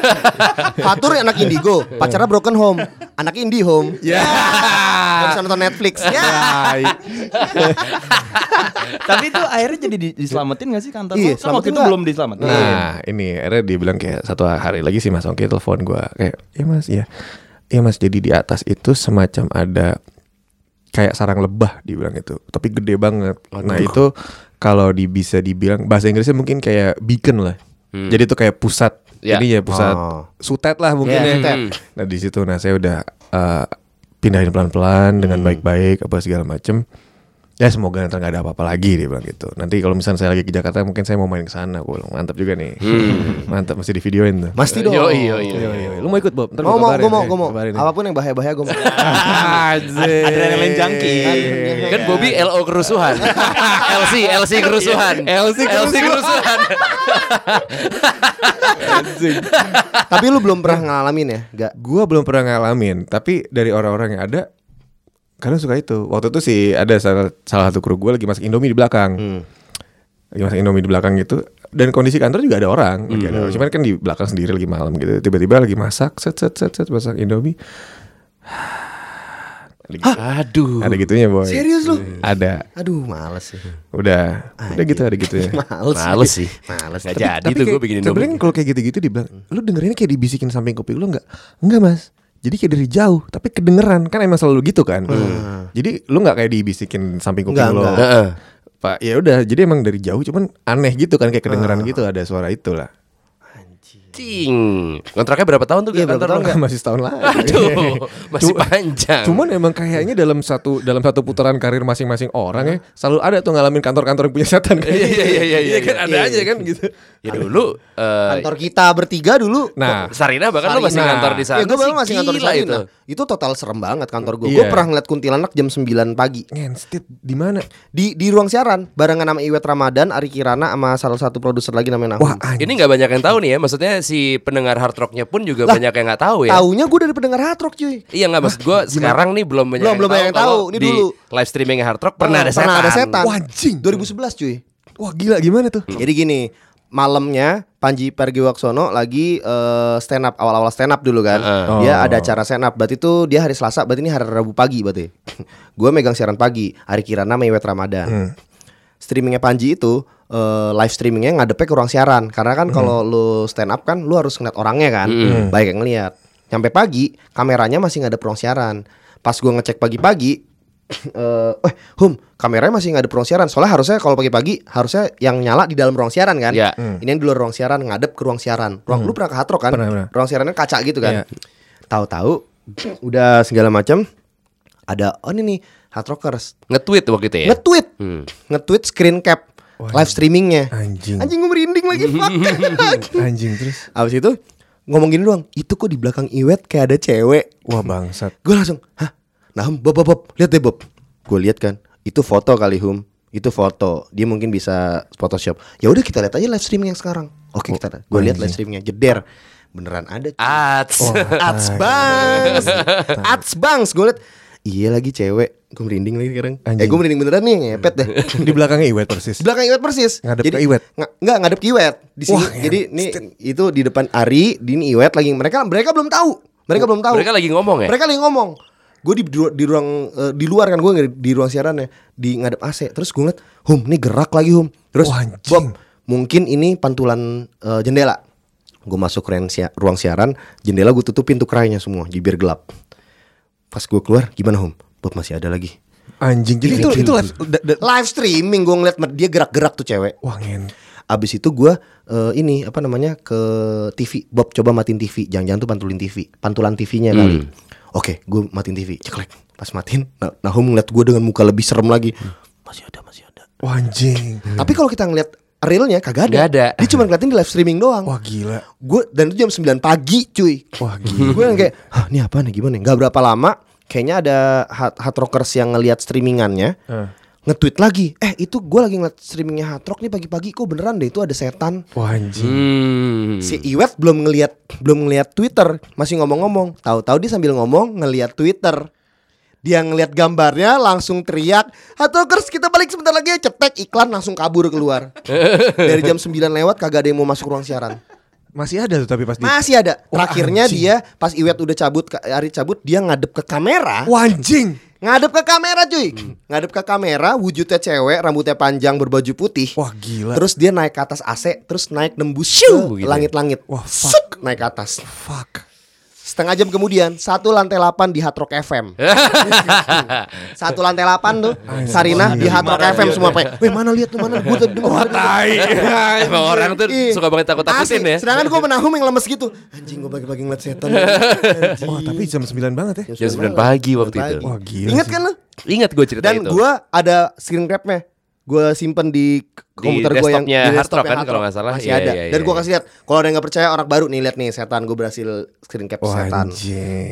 [SPEAKER 2] Fatur anak Indigo, pacarnya Broken Home, anak Indie Home. Ya. Bisa nonton Netflix. Ya.
[SPEAKER 5] Tai.
[SPEAKER 4] Tapi itu akhirnya jadi di- diselamatin gak sih kantor?
[SPEAKER 2] Iya,
[SPEAKER 4] Iya, kan waktu
[SPEAKER 2] selamatin
[SPEAKER 4] itu
[SPEAKER 2] nggak?
[SPEAKER 4] belum diselamatin.
[SPEAKER 5] Nah ini akhirnya dia bilang kayak satu hari lagi si Mas Ongki telepon gua kayak ya Mas ya ya Mas jadi di atas itu semacam ada kayak sarang lebah dibilang itu tapi gede banget nah itu kalau di bisa dibilang bahasa Inggrisnya mungkin kayak beacon lah jadi itu kayak pusat
[SPEAKER 3] Ya.
[SPEAKER 5] ini ya pusat
[SPEAKER 2] Hmm. Oh.
[SPEAKER 5] sutet lah mungkin
[SPEAKER 2] Ya,
[SPEAKER 5] ya
[SPEAKER 2] sutet.
[SPEAKER 5] nah di situ nah saya udah eh, pindahin pelan-pelan dengan baik-baik apa segala macem ya semoga nanti nggak ada apa-apa lagi dia bilang gitu nanti kalau misalnya saya lagi ke Jakarta mungkin saya mau main ke sana gue bilang mantap juga nih mantap mesti di videoin tuh Oh,
[SPEAKER 2] Pasti dong.
[SPEAKER 3] Yo yo yo.
[SPEAKER 5] Yoi, yoi. iya. lu mau ikut Bob
[SPEAKER 2] Gue mau, gue mau, gue mau.
[SPEAKER 5] apa
[SPEAKER 2] Apapun yang bahaya-bahaya gue mau.
[SPEAKER 5] Iya.
[SPEAKER 4] Adrenalin junkie.
[SPEAKER 3] Kan Bobby LO kerusuhan. LC LC kerusuhan.
[SPEAKER 5] Iya.
[SPEAKER 3] LC kerusuhan.
[SPEAKER 2] Tapi lu belum pernah ngalamin ya? Gak.
[SPEAKER 5] Gua belum pernah ngalamin, tapi dari orang-orang yang ada kadang suka itu. Waktu itu sih ada salah, salah satu kru gue lagi masak Indomie di belakang.
[SPEAKER 2] Hmm.
[SPEAKER 5] Lagi masak Indomie di belakang gitu. Dan kondisi kantor juga ada orang, lagi ada orang.
[SPEAKER 2] Hmm.
[SPEAKER 5] Cuman kan di belakang sendiri lagi malam gitu. Tiba-tiba lagi masak, set set set set masak Indomie. Ada gitu-
[SPEAKER 3] Aduh.
[SPEAKER 5] Ada gitunya, boy.
[SPEAKER 2] Serius lu?
[SPEAKER 5] Ada.
[SPEAKER 2] Aduh, males sih.
[SPEAKER 5] Udah. Udah gitu ada gitu ya.
[SPEAKER 2] Males.
[SPEAKER 3] Males sih.
[SPEAKER 2] Males.
[SPEAKER 3] Nggak jadi tuh
[SPEAKER 5] Tapi
[SPEAKER 3] gue
[SPEAKER 5] kayak-
[SPEAKER 3] bikin
[SPEAKER 5] sebenarnya
[SPEAKER 3] Indomie.
[SPEAKER 5] kalau kayak gitu-gitu dibilang, lu dengerinnya kayak dibisikin samping kuping lu nggak? Enggak mas. Jadi kayak dari jauh, tapi kedengeran kan emang selalu gitu kan.
[SPEAKER 3] Hmm.
[SPEAKER 5] Jadi lu nggak kayak dibisikin samping kuping
[SPEAKER 2] Nggak,
[SPEAKER 5] lu.
[SPEAKER 2] nggak.
[SPEAKER 3] Heeh.
[SPEAKER 5] Pak, ya udah. Jadi emang dari jauh, cuman aneh gitu kan kayak
[SPEAKER 3] Ah.
[SPEAKER 5] kedengeran gitu ada suara itu lah.
[SPEAKER 3] Cing. Kontraknya berapa tahun tuh
[SPEAKER 2] Iya,
[SPEAKER 3] ke
[SPEAKER 2] berapa
[SPEAKER 3] kantor
[SPEAKER 2] tahun
[SPEAKER 3] lu?
[SPEAKER 5] Enggak masih setahun lagi.
[SPEAKER 3] Aduh, masih
[SPEAKER 5] Iya. Cuma-
[SPEAKER 3] panjang.
[SPEAKER 5] Cuman emang kayaknya dalam satu dalam satu putaran karir masing-masing orang ya selalu ada tuh ngalamin kantor-kantor yang punya setan kayak
[SPEAKER 3] Iya,
[SPEAKER 5] gitu.
[SPEAKER 3] iya, iya, iya,
[SPEAKER 5] Iya kan ada
[SPEAKER 3] iya.
[SPEAKER 5] aja kan gitu.
[SPEAKER 3] ya dulu eh
[SPEAKER 2] Kantor kita bertiga dulu.
[SPEAKER 5] Nah,
[SPEAKER 3] Sarina bahkan lu masih
[SPEAKER 5] Sarina.
[SPEAKER 3] kantor di sana.
[SPEAKER 2] ya gue
[SPEAKER 3] sih,
[SPEAKER 2] baru masih kantor di
[SPEAKER 3] gila
[SPEAKER 2] sana
[SPEAKER 3] itu.
[SPEAKER 2] itu. Itu total serem banget kantor gue. Gue
[SPEAKER 5] Iya.
[SPEAKER 2] pernah ngeliat kuntilanak jam 9 pagi
[SPEAKER 5] ngenstit di mana?
[SPEAKER 2] di di ruang siaran barengan sama Iwet Ramadan, Ari Kirana sama salah satu produser lagi namanya Nahum.
[SPEAKER 5] Wah, anjing.
[SPEAKER 3] Ini nggak banyak yang tahu nih ya, maksudnya si pendengar hard rocknya pun juga
[SPEAKER 2] Lah,
[SPEAKER 3] banyak yang nggak tahu ya.
[SPEAKER 2] Taunya gue dari pendengar hard rock cuy.
[SPEAKER 3] Iya nggak maksud gue sekarang nih belum banyak
[SPEAKER 2] Belum, belum banyak yang tahu.
[SPEAKER 3] kalau
[SPEAKER 2] Ini
[SPEAKER 3] di
[SPEAKER 2] dulu.
[SPEAKER 3] live streaming hard rock pernah, ada setan.
[SPEAKER 2] Pernah ada setan.
[SPEAKER 5] Wah, anjing.
[SPEAKER 2] 2011 cuy.
[SPEAKER 5] Wah gila gimana tuh?
[SPEAKER 2] Hmm. Jadi gini, malamnya Panji Pergiwaksono lagi eh, stand up awal-awal stand up dulu kan. Dia ada acara stand up. Berarti itu dia hari Selasa, berarti ini hari Rabu pagi berarti. gue megang siaran pagi, hari Kirana sama Iwet Ramadan. Streamingnya Panji itu eh, live streamingnya ngadepnya ke ruang siaran karena
[SPEAKER 5] Hmm.
[SPEAKER 2] kan kalau lu stand up kan lu harus ngeliat orangnya kan, baik yang ngeliat. Sampai pagi kameranya masih ngadep ruang siaran. Pas gue ngecek pagi-pagi eh eh Hum, kameranya masih ngadep ruang siaran. Soalnya harusnya kalau pagi-pagi harusnya yang nyala di dalam ruang siaran kan.
[SPEAKER 3] Iya.
[SPEAKER 2] Ini yang di luar ruang siaran ngadep ke ruang siaran. Ruang lu pernah ke Hard Rock kan?
[SPEAKER 5] Hmm. Pernah, pernah.
[SPEAKER 2] Ruang siarannya kaca gitu kan.
[SPEAKER 5] Iya.
[SPEAKER 2] Tahu-tahu udah segala macam ada oh ini nih Hard Rockers
[SPEAKER 3] Nge-tweet waktu itu ya.
[SPEAKER 2] nge-tweet. Nge-tweet screen cap live streamingnya.
[SPEAKER 5] Anjing.
[SPEAKER 2] Anjing gue merinding lagi fuck.
[SPEAKER 5] Anjing terus.
[SPEAKER 2] Abis itu ngomong gini doang, itu kok di belakang Iwet kayak ada cewek.
[SPEAKER 5] Wah bangsat.
[SPEAKER 2] Gue langsung, hah? Nah, Hum, Bob, Bob, Bob, lihat deh Bob. Gue lihat kan, itu foto kali Hum, itu foto. Dia mungkin bisa Photoshop. Ya udah kita lihat aja live streaming yang sekarang. Oke kita, gue lihat live streamingnya, jeder. Beneran ada.
[SPEAKER 3] Ats.
[SPEAKER 5] Oh,
[SPEAKER 2] Ats bangs, Ats bangs. Gue liat, iya lagi cewek. Gue merinding lagi sekarang. Eh
[SPEAKER 5] Anjing.
[SPEAKER 2] gue merinding beneran nih, ngepet deh.
[SPEAKER 5] Di belakangnya Iwet
[SPEAKER 2] Di
[SPEAKER 5] persis.
[SPEAKER 2] belakang Iwet persis.
[SPEAKER 5] Ngadep ke Iwet.
[SPEAKER 2] Nga, enggak ngadep ke Iwet. Di sini.
[SPEAKER 5] Wah,
[SPEAKER 2] jadi nih itu di depan Ari, di ini Iwet lagi mereka mereka belum tahu. Mereka belum tahu.
[SPEAKER 3] Mereka lagi ngomong ya.
[SPEAKER 2] Mereka lagi ngomong. Gue di, du- di ruang eh, di luar kan gue di, di ruang siarannya di ngadep AC. Terus gue ngeliat, "Hum, ini gerak lagi, Hum." Terus
[SPEAKER 5] Wah, anjing.
[SPEAKER 2] Bob, mungkin ini pantulan eh, jendela. Gue masuk ruang, sia- ruang siaran, jendela gue tutupin tuh kerainya semua, jadi biar gelap. Pas gue keluar, gimana Hum? Bob masih ada lagi.
[SPEAKER 5] Anjing jadi itu itu live. da- da-
[SPEAKER 2] Live streaming gue ngeliat mer- dia gerak-gerak tuh cewek.
[SPEAKER 5] Wah ngen.
[SPEAKER 2] Abis itu gua eh, ini apa namanya ke TV. Bob coba matiin TV. Jangan-jangan tuh pantulin TV. Pantulan
[SPEAKER 5] Hmm.
[SPEAKER 2] TV-nya kali. Oke, gua matiin TV. Ceklek. Pas matiin, nah, Nahum ngeliat gua dengan muka lebih serem lagi.
[SPEAKER 5] Hmm.
[SPEAKER 2] Masih ada, masih ada.
[SPEAKER 5] Wah anjing.
[SPEAKER 2] Tapi kalau kita ngeliat realnya kagak ada.
[SPEAKER 3] Nggak ada.
[SPEAKER 2] Dia cuma ngeliatin di live streaming doang.
[SPEAKER 5] Wah gila.
[SPEAKER 2] Gue dan itu jam 9 pagi, cuy.
[SPEAKER 5] Wah gila.
[SPEAKER 2] gue yang kayak, "Hah, ini apa nih gimana? Gak berapa lama, kayaknya ada hard, hard rockers yang ngelihat streamingannya.
[SPEAKER 5] Eh.
[SPEAKER 2] Nge-tweet lagi, eh itu gue lagi ngeliat streamingnya hard rock nih pagi-pagi, kok beneran deh itu ada setan.
[SPEAKER 5] Wah anjing.
[SPEAKER 3] Hmm.
[SPEAKER 2] Si Iwet belum ngelihat belum ngelihat Twitter, masih ngomong-ngomong. Tahu-tahu dia sambil ngomong ngelihat Twitter. Dia ngelihat gambarnya langsung teriak, "Hatokers, kita balik sebentar lagi ya." Cetek iklan langsung kabur keluar. Dari jam 9 lewat kagak ada yang mau masuk ruang siaran.
[SPEAKER 5] Masih ada tuh tapi pas di.
[SPEAKER 2] Masih ada.
[SPEAKER 5] Gitu. Wah,
[SPEAKER 2] Terakhirnya
[SPEAKER 5] anjing.
[SPEAKER 2] dia pas Iwet udah cabut Ka- Ari cabut, dia ngadep ke kamera.
[SPEAKER 5] Wah Hmm. anjing.
[SPEAKER 2] Ngadep ke kamera cuy. Ngadep ke kamera, wujudnya cewek, rambutnya panjang, berbaju putih.
[SPEAKER 5] Wah gila.
[SPEAKER 2] Terus dia naik ke atas AC, terus naik nembus
[SPEAKER 3] Shoo,
[SPEAKER 2] ke
[SPEAKER 3] gitu.
[SPEAKER 2] langit-langit.
[SPEAKER 5] Wah, fuck.
[SPEAKER 2] Suk, naik ke atas.
[SPEAKER 5] fuck.
[SPEAKER 2] Setengah jam kemudian satu lantai 8 di Hard Rock FM. satu lantai 8 tuh Sarinah di Hard Rock FM semua pakai. Weh mana lihat tuh mana gua tadi denger.
[SPEAKER 3] Emang orang tuh suka banget takut-takutin
[SPEAKER 2] Asli,
[SPEAKER 3] ya.
[SPEAKER 2] Sedangkan gua menahum yang lemes gitu. Anjing gua bagi-bagi ngeliat setan.
[SPEAKER 5] Wah tapi jam 9 banget ya.
[SPEAKER 3] Jam 9 pagi waktu itu.
[SPEAKER 5] Wah gila
[SPEAKER 2] Ingat
[SPEAKER 5] sih.
[SPEAKER 2] kan lu?
[SPEAKER 3] Ingat gue cerita
[SPEAKER 2] Dan
[SPEAKER 3] itu.
[SPEAKER 2] gua ada screen capnya Gua simpen di k-
[SPEAKER 3] Di
[SPEAKER 2] komputer gua yang
[SPEAKER 3] desktopnya
[SPEAKER 2] di
[SPEAKER 3] Hard
[SPEAKER 2] desktopnya
[SPEAKER 3] Rock kan
[SPEAKER 2] Hard
[SPEAKER 3] kalau
[SPEAKER 2] Rock.
[SPEAKER 3] nggak salah.
[SPEAKER 2] masih
[SPEAKER 3] Iya,
[SPEAKER 2] ada.
[SPEAKER 3] iya,
[SPEAKER 2] Dan
[SPEAKER 3] iya,
[SPEAKER 2] gua
[SPEAKER 3] iya.
[SPEAKER 2] kasih lihat kalau ada yang nggak percaya orang baru nih lihat nih setan gua berhasil screen cap
[SPEAKER 5] Wah
[SPEAKER 2] setan.
[SPEAKER 5] anjing.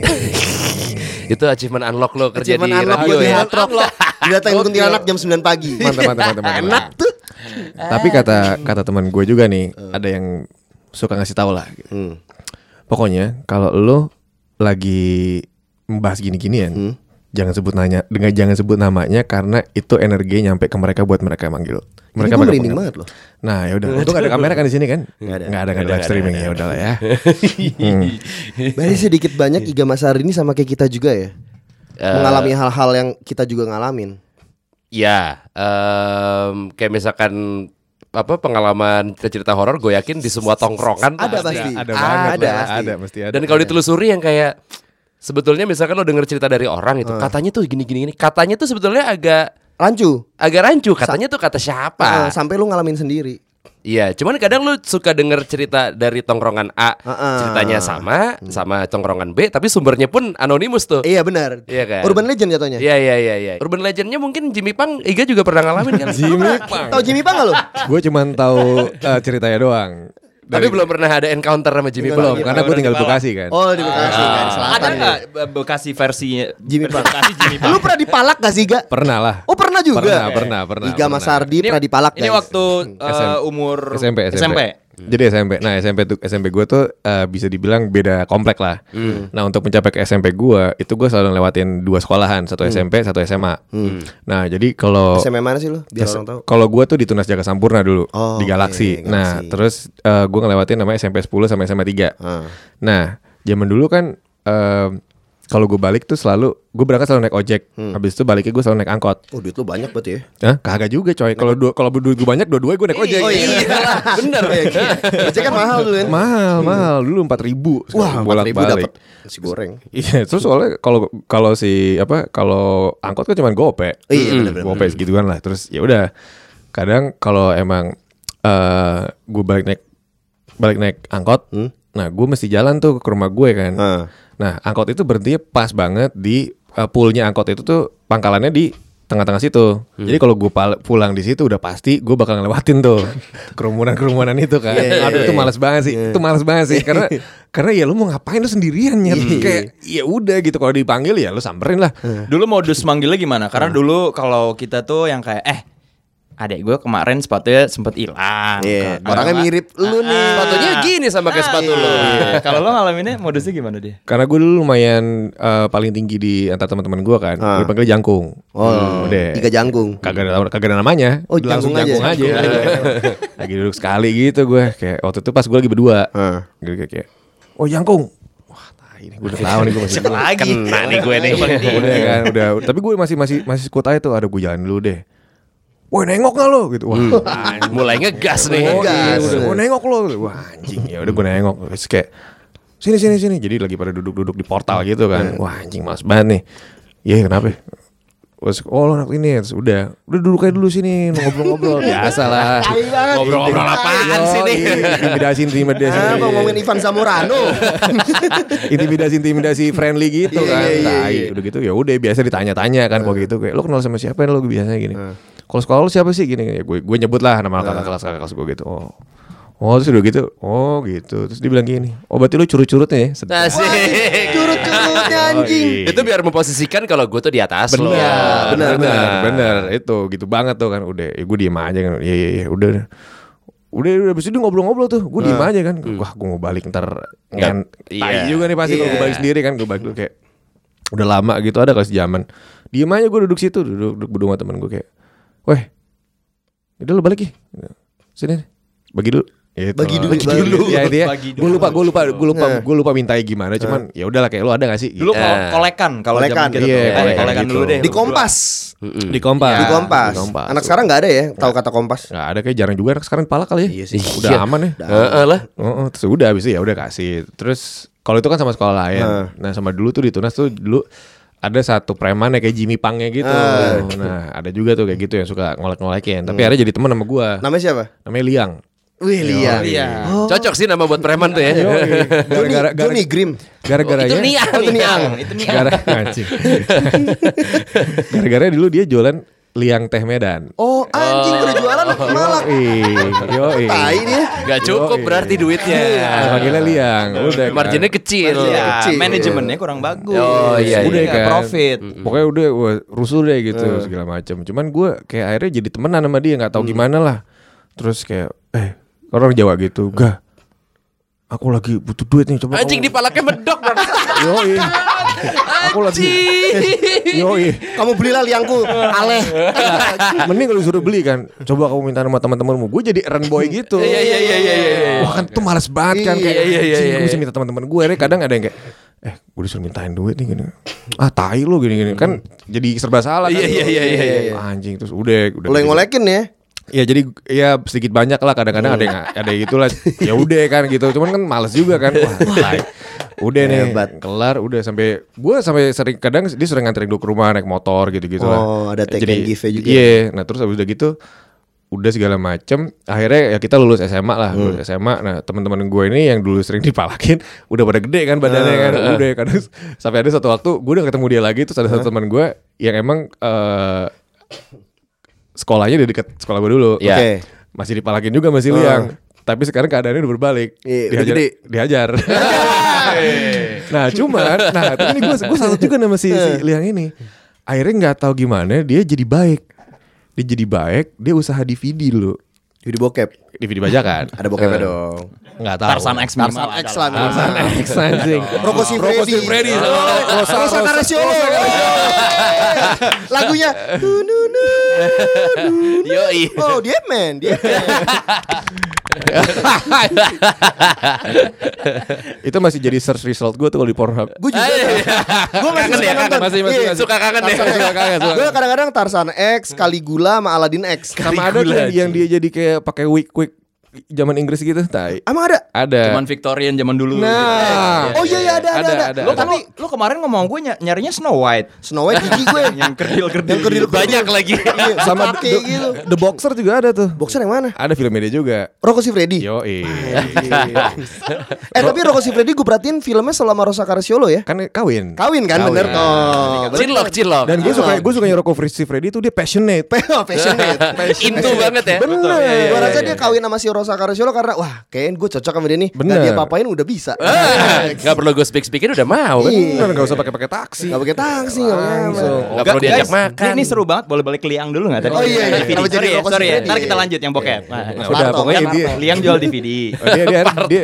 [SPEAKER 3] Itu achievement unlock lo kerja
[SPEAKER 2] Cuman
[SPEAKER 3] di
[SPEAKER 2] anak
[SPEAKER 3] radio
[SPEAKER 2] gua di
[SPEAKER 3] ya.
[SPEAKER 2] Hard Rock. Didatengin kuntilanak jam 9 pagi.
[SPEAKER 5] Mantap mantap mantap mantap.
[SPEAKER 2] Enak tuh.
[SPEAKER 5] Tapi kata kata teman gue juga nih, ada yang suka ngasih tahu lah. Pokoknya kalau lo lagi membahas gini-ginian, jangan sebut nanya, dengan jangan sebut namanya karena itu energi nyampe ke mereka buat mereka manggil. Mereka
[SPEAKER 2] gua
[SPEAKER 5] bakal
[SPEAKER 2] merinding
[SPEAKER 5] menganggap.
[SPEAKER 2] banget loh.
[SPEAKER 5] Nah, ya udah. Untung ada kamera kan di sini kan? Enggak
[SPEAKER 2] ada.
[SPEAKER 5] Enggak ada, nggak ada live streaming ya udahlah ya. Hmm.
[SPEAKER 2] Berarti sedikit banyak Iga Mas Hari ini sama kayak kita juga ya.
[SPEAKER 3] Eh,
[SPEAKER 2] Mengalami hal-hal yang kita juga ngalamin.
[SPEAKER 3] Ya, em, kayak misalkan apa pengalaman cerita-cerita horor gue yakin di semua tongkrongan tuh
[SPEAKER 2] Ada pasti.
[SPEAKER 5] Ada banget.
[SPEAKER 2] Ada
[SPEAKER 5] lah,
[SPEAKER 2] pasti.
[SPEAKER 5] ada mesti ada.
[SPEAKER 3] Dan kalau ditelusuri yang kayak sebetulnya misalkan lo denger cerita dari orang itu katanya tuh gini-gini gini. Katanya tuh sebetulnya agak
[SPEAKER 2] Rancu.
[SPEAKER 3] agak rancu, katanya tuh kata
[SPEAKER 2] Ah,
[SPEAKER 3] siapa.
[SPEAKER 2] sampai lu ngalamin sendiri.
[SPEAKER 3] Iya, cuman kadang lu suka denger cerita dari tongkrongan A,
[SPEAKER 2] Heeh. Hmm.
[SPEAKER 3] ceritanya sama sama tongkrongan B, tapi sumbernya pun anonimus tuh.
[SPEAKER 2] Iya benar.
[SPEAKER 3] Iya kan?
[SPEAKER 2] Urban legend jatuhnya.
[SPEAKER 3] Iya iya iya iya. Urban legendnya mungkin Jimmy Pang Iga juga pernah ngalamin kan? Jimmy Pang.
[SPEAKER 2] Tahu Jimmy Pang nggak lu?
[SPEAKER 5] gue cuman tahu eh, ceritanya doang.
[SPEAKER 3] Tapi iya, belum pernah ada encounter sama Jimmy Pang.
[SPEAKER 5] belum karena gue tinggal di Bekasi kan.
[SPEAKER 2] Oh di Bekasi kan, di
[SPEAKER 4] Ada
[SPEAKER 2] selatan.
[SPEAKER 4] nggak eh, Be- Bekasi versinya
[SPEAKER 2] Jimmy Pang.
[SPEAKER 4] Bekasi Jimmy Pang?
[SPEAKER 2] Lu pernah dipalak gak sih, Ga?
[SPEAKER 5] Pernah lah.
[SPEAKER 2] Oh pernah juga.
[SPEAKER 5] Pernah, pernah, pernah,
[SPEAKER 2] Iga Mas
[SPEAKER 5] pernah.
[SPEAKER 2] Ardi pernah dipalak
[SPEAKER 4] Ini
[SPEAKER 2] guys.
[SPEAKER 4] waktu eh,
[SPEAKER 5] SM.
[SPEAKER 4] umur
[SPEAKER 5] SMP SMP. Jadi SMP. Nah, SMP tuh SMP gua tuh eh, bisa dibilang beda komplek lah. Nah, untuk mencapai ke SMP gua itu gua selalu lewatin dua sekolahan, satu SMP, satu SMA. Nah, jadi kalau
[SPEAKER 2] SMA mana sih lu? Biar orang tahu.
[SPEAKER 5] kalau gua tuh di Tunas Jaga Sampurna dulu
[SPEAKER 2] Oh,
[SPEAKER 5] di Galaksi.
[SPEAKER 2] oke, Galaksi.
[SPEAKER 5] Nah, terus eh, gua ngelewatin namanya SMP 10 sama SMA 3.
[SPEAKER 2] Ah.
[SPEAKER 5] Nah, zaman dulu kan em, kalau gue balik tuh selalu gue berangkat selalu naik ojek.
[SPEAKER 2] Hmm.
[SPEAKER 5] Habis itu baliknya gue selalu naik angkot.
[SPEAKER 2] Oh duit lu banyak banget ya.
[SPEAKER 5] Hah? Kagak juga coy. Kalau dua kalau duit gue banyak dua-duanya gue naik ojek.
[SPEAKER 2] Oh iya.
[SPEAKER 3] Bener. ya.
[SPEAKER 2] Ojek kan mahal dulu kan.
[SPEAKER 5] Mahal, mahal. Dulu 4000.
[SPEAKER 2] Wah, empat ribu dapat si goreng.
[SPEAKER 5] Iya, terus soalnya kalau kalau si apa kalau angkot kan cuman
[SPEAKER 2] Oh,
[SPEAKER 5] gope.
[SPEAKER 2] iya, bener-bener.
[SPEAKER 5] Gope segitu kan lah. Terus ya udah. Kadang kalau emang eh gue balik naik balik naik angkot, nah gue mesti jalan tuh ke rumah gue kan.
[SPEAKER 2] Hmm? Ah.
[SPEAKER 5] Nah, angkot itu berhenti pas banget di eh, poolnya angkot itu tuh pangkalannya di tengah-tengah situ.
[SPEAKER 2] Hmm.
[SPEAKER 5] Jadi kalau gue pulang di situ udah pasti gue bakal ngelewatin tuh kerumunan-kerumunan itu kan.
[SPEAKER 2] Iya,
[SPEAKER 5] Aduh itu males banget sih. Itu males banget sih karena karena ya lu mau ngapain lu sendirian nyet.
[SPEAKER 2] Iya.
[SPEAKER 5] kayak ya udah gitu kalau dipanggil ya lu samperin lah.
[SPEAKER 4] Dulu modus manggilnya gimana? Karena dulu kalau kita tuh yang kayak eh adek gue kemarin sepatunya sempet hilang.
[SPEAKER 2] Iya,
[SPEAKER 4] Kagak
[SPEAKER 2] orangnya
[SPEAKER 4] lah.
[SPEAKER 2] mirip lu nih.
[SPEAKER 3] Sepatunya gini sama kayak sepatu lo.
[SPEAKER 4] Iya. Kalau lo ngalaminnya modusnya gimana dia?
[SPEAKER 5] Karena gue dulu lumayan eh, paling tinggi di antara teman-teman gue kan. Gue panggil jangkung.
[SPEAKER 2] Ah.
[SPEAKER 5] Hmm,
[SPEAKER 2] Oh,
[SPEAKER 5] Udah.
[SPEAKER 2] Iga jangkung.
[SPEAKER 5] kagak ada kagak ada namanya
[SPEAKER 2] Oh,
[SPEAKER 5] langsung
[SPEAKER 2] jangkung aja.
[SPEAKER 5] jangkung
[SPEAKER 2] ya?
[SPEAKER 5] aja, lagi duduk sekali gitu gue kayak waktu itu pas gue lagi berdua
[SPEAKER 2] Heeh.
[SPEAKER 5] gitu kayak, kayak oh jangkung wah tai nih gue udah tahu nih gue masih dulu
[SPEAKER 4] Lagi.
[SPEAKER 3] Kena nih gue nih.
[SPEAKER 5] udah kan udah tapi gue masih masih masih kuat aja tuh ada gue jalan dulu deh Woi nengok gak lo gitu Wah
[SPEAKER 3] Mulai ngegas nih.
[SPEAKER 5] Oh, iya,
[SPEAKER 2] Gas.
[SPEAKER 5] udah, Gua nengok lo Wah anjing ya udah gue nengok Terus kayak Sini sini sini Jadi lagi pada duduk-duduk di portal gitu kan Wah anjing males banget nih Iya kenapa ya? Terus, oh lo anak ini Terus udah Udah duduk aja dulu sini Ngobrol-ngobrol Biasa lah
[SPEAKER 3] Ngobrol-ngobrol apaan sih nih?
[SPEAKER 5] Intimidasi intimidasi
[SPEAKER 2] Ah, mau ngomongin Ivan Zamorano.
[SPEAKER 5] Iya. Intimidasi intimidasi friendly gitu
[SPEAKER 2] Iya,
[SPEAKER 5] kan
[SPEAKER 2] iya, iya,
[SPEAKER 5] Tai Udah gitu ya udah biasa ditanya-tanya kan Kalau gitu kayak Lo kenal sama siapa ya lo biasanya gini Kalau sekolah lo siapa sih gini ya, Gue gue nyebut lah nama kakak kelas kakak kelas gue gitu Oh Oh terus udah gitu Oh gitu Terus dia bilang gini Oh berarti lo curut-curutnya ya Oh, iya. Sedap.
[SPEAKER 3] Asik.
[SPEAKER 2] Curut-curutnya anjing.
[SPEAKER 3] Itu biar memposisikan kalau gue tuh di atas Iya, lo.
[SPEAKER 2] Iya,
[SPEAKER 5] Benar, benar, benar,
[SPEAKER 3] Nah.
[SPEAKER 5] benar. Itu gitu banget tuh kan. Udah, ya gue diem aja kan. Iya, iya, iya, udah. Udah, udah, abis itu dia ngobrol-ngobrol tuh. Gue diem aja kan.
[SPEAKER 2] Hmm.
[SPEAKER 5] Wah, gue mau balik ntar. Kan,
[SPEAKER 3] Iya.
[SPEAKER 5] tai juga nih pasti kalau gue
[SPEAKER 2] Iya.
[SPEAKER 5] balik sendiri kan. Gue balik dulu kayak, udah lama gitu ada kali sejaman. Diem aja gue duduk situ, duduk, duduk berdua sama temen gue kayak, weh, udah lu balik ya. Sini, bagi dulu. Gitu
[SPEAKER 2] Bagi
[SPEAKER 5] lah.
[SPEAKER 2] dulu, bagi dulu.
[SPEAKER 5] Ya, intinya,
[SPEAKER 4] Bagi dulu.
[SPEAKER 5] gue lupa, gue lupa, gue lupa,
[SPEAKER 2] Nah.
[SPEAKER 5] gue lupa mintai gimana. Cuman ya udahlah kayak lo ada gak sih?
[SPEAKER 4] Dulu
[SPEAKER 5] Gitu.
[SPEAKER 4] kol- kolekan kalau
[SPEAKER 2] Kolekan,
[SPEAKER 4] zaman kita
[SPEAKER 5] iya,
[SPEAKER 4] tuh. Eh,
[SPEAKER 5] kolekan
[SPEAKER 4] kolekan
[SPEAKER 5] gitu.
[SPEAKER 4] dulu deh.
[SPEAKER 2] Di
[SPEAKER 4] lu
[SPEAKER 2] Kompas.
[SPEAKER 5] di kompas.
[SPEAKER 2] Di Kompas. Anak sekarang nggak ada ya tahu kata Kompas.
[SPEAKER 5] Gak ada kayak jarang juga anak sekarang kepala kali ya.
[SPEAKER 2] Iya sih.
[SPEAKER 5] Udah
[SPEAKER 3] Iya.
[SPEAKER 5] aman ya.
[SPEAKER 3] Heeh lah.
[SPEAKER 5] Oh, oh, terus udah habis itu ya udah kasih. Terus kalau itu kan sama sekolah lain.
[SPEAKER 2] Heeh.
[SPEAKER 5] Nah, sama dulu tuh di Tunas tuh dulu ada satu preman ya kayak Jimmy Pangnya gitu.
[SPEAKER 2] Ah. Hmm.
[SPEAKER 5] Nah, ada juga tuh kayak gitu yang suka ngolek-ngolekin. Tapi akhirnya jadi teman sama gua.
[SPEAKER 2] Namanya siapa?
[SPEAKER 5] Namanya Liang.
[SPEAKER 2] Wih, Lia.
[SPEAKER 4] Iya.
[SPEAKER 3] Cocok sih nama buat preman tuh ya.
[SPEAKER 2] Johnny, Johnny Grimm.
[SPEAKER 5] gara-gara
[SPEAKER 3] itu
[SPEAKER 5] ya-
[SPEAKER 3] niang.
[SPEAKER 2] Oh,
[SPEAKER 4] Itu niang, itu niang.
[SPEAKER 5] gara anjing. gara-gara dulu dia jualan Liang Teh Medan.
[SPEAKER 2] Oh, anjing udah jualan Oh,
[SPEAKER 5] Oh,
[SPEAKER 2] malah.
[SPEAKER 5] iya. Yoi.
[SPEAKER 2] Tai dia.
[SPEAKER 3] Gak cukup
[SPEAKER 5] Yoi.
[SPEAKER 3] berarti duitnya.
[SPEAKER 5] Nah, Panggilnya Liang. Udah. kan.
[SPEAKER 3] Marginnya kecil.
[SPEAKER 2] Marginnya
[SPEAKER 4] Iya,
[SPEAKER 2] Kecil.
[SPEAKER 4] manajemennya kurang bagus.
[SPEAKER 3] Oh, iya,
[SPEAKER 4] Udah
[SPEAKER 5] udah
[SPEAKER 4] nggak
[SPEAKER 5] kan
[SPEAKER 4] profit.
[SPEAKER 5] pokoknya udah wah, rusuh deh gitu segala macam cuman gue kayak akhirnya jadi temenan sama dia nggak tahu gimana lah terus kayak eh orang Jawa gitu gak aku lagi butuh duit nih coba
[SPEAKER 3] Anjing di palaknya medok bro.
[SPEAKER 5] yo aku lagi Eh, yo
[SPEAKER 2] Kamu belilah liangku, aleh.
[SPEAKER 5] mending kalau disuruh beli kan coba kamu minta nama teman-temanmu gue jadi eren boy gitu
[SPEAKER 3] Iya iya iya iya iya.
[SPEAKER 5] Wah kan tuh males banget kan kayak
[SPEAKER 3] Iya, iya, iya,
[SPEAKER 5] "Anjing,
[SPEAKER 3] iya,
[SPEAKER 5] gue bisa
[SPEAKER 3] iya."
[SPEAKER 5] minta teman-teman gue Akhirnya kadang ada yang kayak eh gue disuruh mintain duit nih gini ah tai lo gini gini kan jadi serba salah kan
[SPEAKER 3] Iya, iya, iya, iya, iya.
[SPEAKER 5] anjing terus udah udah gitu.
[SPEAKER 2] Lo yang ngolekin ya.
[SPEAKER 5] ya jadi ya sedikit banyak lah kadang-kadang ada yang
[SPEAKER 2] Iya.
[SPEAKER 5] ada yang gitu lah ya udah kan gitu cuman kan males juga kan Wah, tai. udah nih
[SPEAKER 2] Hebat.
[SPEAKER 5] kelar udah sampai gue sampai sering kadang dia sering nganterin gue ke rumah naik motor gitu-gitu
[SPEAKER 2] Oh,
[SPEAKER 5] lah
[SPEAKER 2] ada take and give-nya juga. ya?
[SPEAKER 5] iya nah terus habis udah gitu udah segala macem akhirnya ya kita lulus SMA lah lulus SMA nah teman-teman gue ini yang dulu sering dipalakin udah pada gede kan badannya kan udah kadang sampai ada satu waktu gue udah ketemu dia lagi terus ada satu teman gue yang emang eh, sekolahnya di dekat sekolah gue dulu
[SPEAKER 3] Iya.
[SPEAKER 2] Oke.
[SPEAKER 5] masih dipalakin juga masih liang tapi sekarang keadaannya udah berbalik
[SPEAKER 2] Iya, udah
[SPEAKER 5] dihajar
[SPEAKER 2] gede.
[SPEAKER 5] dihajar nah cuman nah tapi ini gue gue salut juga sama si, si liang ini akhirnya nggak tahu gimana dia jadi baik dia jadi baik dia usaha DVD dulu
[SPEAKER 2] Jadi bokep.
[SPEAKER 5] DVD bajakan
[SPEAKER 2] Ada bokepnya
[SPEAKER 5] Eh.
[SPEAKER 2] dong.
[SPEAKER 5] nggak tahu
[SPEAKER 4] Tarsan X minimal.
[SPEAKER 2] Tarsan X lah.
[SPEAKER 5] Tarsan X anjing
[SPEAKER 2] Rocco si Freddy.
[SPEAKER 5] si Freddy.
[SPEAKER 2] Rosa Rosa Karasiolo. Lagunya nu nu nu.
[SPEAKER 3] Yo
[SPEAKER 2] Oh, dia man, dia
[SPEAKER 5] itu masih jadi search result gue tuh kalau di Pornhub
[SPEAKER 2] Gue juga. Gue masih
[SPEAKER 3] Kangen
[SPEAKER 2] suka
[SPEAKER 3] ya, kangen.
[SPEAKER 2] nonton.
[SPEAKER 5] Masih- masih-
[SPEAKER 2] Iya.
[SPEAKER 5] masih.
[SPEAKER 3] Suka kangen deh.
[SPEAKER 5] Tarsan, suka kangen, suka
[SPEAKER 2] Gue kadang-kadang Tarsan X, Caligula sama Aladdin X.
[SPEAKER 5] sama ada tuh yang, yang dia jadi kayak pakai wig wig zaman Inggris gitu tai
[SPEAKER 2] Emang ada?
[SPEAKER 5] ada
[SPEAKER 4] Cuman Victorian zaman dulu.
[SPEAKER 3] gitu.
[SPEAKER 5] Nah.
[SPEAKER 2] Oh iya iya ada ada
[SPEAKER 5] Ada,
[SPEAKER 2] ada.
[SPEAKER 5] ada,
[SPEAKER 2] Lo
[SPEAKER 4] Lo kan
[SPEAKER 2] tapi
[SPEAKER 4] lu- lu kemarin ngomong gue ny- nyarinya Snow White.
[SPEAKER 2] Snow White gigi gue.
[SPEAKER 4] Yang kerdil-kerdil.
[SPEAKER 2] Yang kerdil
[SPEAKER 3] Banyak lagi.
[SPEAKER 2] Iya,
[SPEAKER 5] sama
[SPEAKER 2] kaki
[SPEAKER 5] the,
[SPEAKER 2] gitu.
[SPEAKER 5] The Boxer juga ada tuh.
[SPEAKER 2] Boxer yang mana?
[SPEAKER 5] Ada filmnya dia juga.
[SPEAKER 2] Rocco si Freddy.
[SPEAKER 5] Yo,
[SPEAKER 2] Eh tapi Rocco si Freddy gue perhatiin filmnya selama Rosa Carciolo ya.
[SPEAKER 5] kan kawin.
[SPEAKER 2] Kawin kan bener Oh, bener.
[SPEAKER 3] Cilok cilok.
[SPEAKER 5] Dan gue suka gue suka Rocco Fritzi Freddy tuh dia passionate.
[SPEAKER 2] Oh, passionate.
[SPEAKER 3] Intu banget ya.
[SPEAKER 5] Bener.
[SPEAKER 2] Gua
[SPEAKER 5] iya.
[SPEAKER 2] rasa dia kawin sama si Rosa Carciolo karena wah kayaknya gue cocok sama dia nih.
[SPEAKER 5] Bener.
[SPEAKER 2] Nah, dia papain udah bisa.
[SPEAKER 3] Ah, Gak perlu gue speak speakin udah mau.
[SPEAKER 5] Bener kan? nggak usah pakai pakai taksi.
[SPEAKER 2] Gak pakai taksi gak
[SPEAKER 5] Langsung.
[SPEAKER 3] Gak perlu diajak makan.
[SPEAKER 4] Ini seru banget, boleh balik ke Liang dulu gak tadi?
[SPEAKER 2] Oh, iya, iya.
[SPEAKER 4] DVD.
[SPEAKER 2] Kenapa jadi
[SPEAKER 4] Sorry ya,
[SPEAKER 2] Rocco
[SPEAKER 4] sorry ya.
[SPEAKER 2] Siffredi?
[SPEAKER 4] Ntar kita lanjut yang
[SPEAKER 2] Iya,
[SPEAKER 4] bokep. Nah,
[SPEAKER 5] Nah, udah
[SPEAKER 2] Parto,
[SPEAKER 5] pokoknya
[SPEAKER 2] kan
[SPEAKER 5] dia
[SPEAKER 2] Parto.
[SPEAKER 4] Liang jual DVD.
[SPEAKER 5] Oh, dia dia dia
[SPEAKER 2] Iya,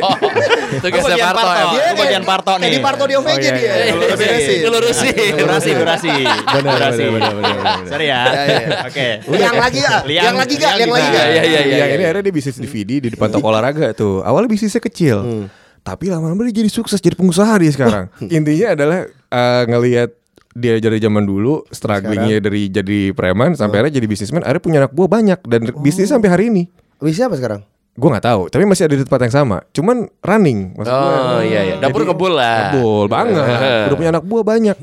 [SPEAKER 3] Tugasnya
[SPEAKER 4] Bagian
[SPEAKER 3] Parto ya.
[SPEAKER 4] Parto. Dia- Gua bagian Parto nih.
[SPEAKER 2] Jadi Parto di OVJ
[SPEAKER 5] Oh, iya,
[SPEAKER 2] dia.
[SPEAKER 5] iya.
[SPEAKER 2] Lu beresin.
[SPEAKER 3] Ngelurusin.
[SPEAKER 4] Durasi, durasi.
[SPEAKER 5] Benar,
[SPEAKER 4] Durasi.
[SPEAKER 5] benar, benar, benar, benar.
[SPEAKER 4] Sorry ya.
[SPEAKER 2] iya.
[SPEAKER 4] Oke.
[SPEAKER 2] Liang lagi ya?
[SPEAKER 4] Liang-
[SPEAKER 2] Liang lagi gak?
[SPEAKER 4] Liang
[SPEAKER 2] Liang lagi
[SPEAKER 4] juga.
[SPEAKER 2] gak?
[SPEAKER 3] Iya, iya, iya,
[SPEAKER 5] Yang
[SPEAKER 3] iya.
[SPEAKER 5] ini akhirnya dia bisnis DVD di depan toko olahraga tuh. Awalnya bisnisnya kecil.
[SPEAKER 3] Hmm.
[SPEAKER 5] Tapi lama-lama dia jadi sukses jadi pengusaha dia sekarang. Intinya adalah eh, ngelihat dia dari zaman dulu strugglingnya dari jadi preman
[SPEAKER 3] Hmm.
[SPEAKER 5] sampai akhirnya jadi bisnismen akhirnya punya anak buah banyak dan
[SPEAKER 3] Oh.
[SPEAKER 5] bisnis sampai hari ini
[SPEAKER 2] Bisa apa sekarang?
[SPEAKER 5] gue nggak tahu tapi masih ada di tempat yang sama cuman running maksud gua.
[SPEAKER 3] Oh iya iya. Dapur
[SPEAKER 5] Jadi-
[SPEAKER 3] ngebul lah.
[SPEAKER 5] Ngebul banget udah punya anak buah banyak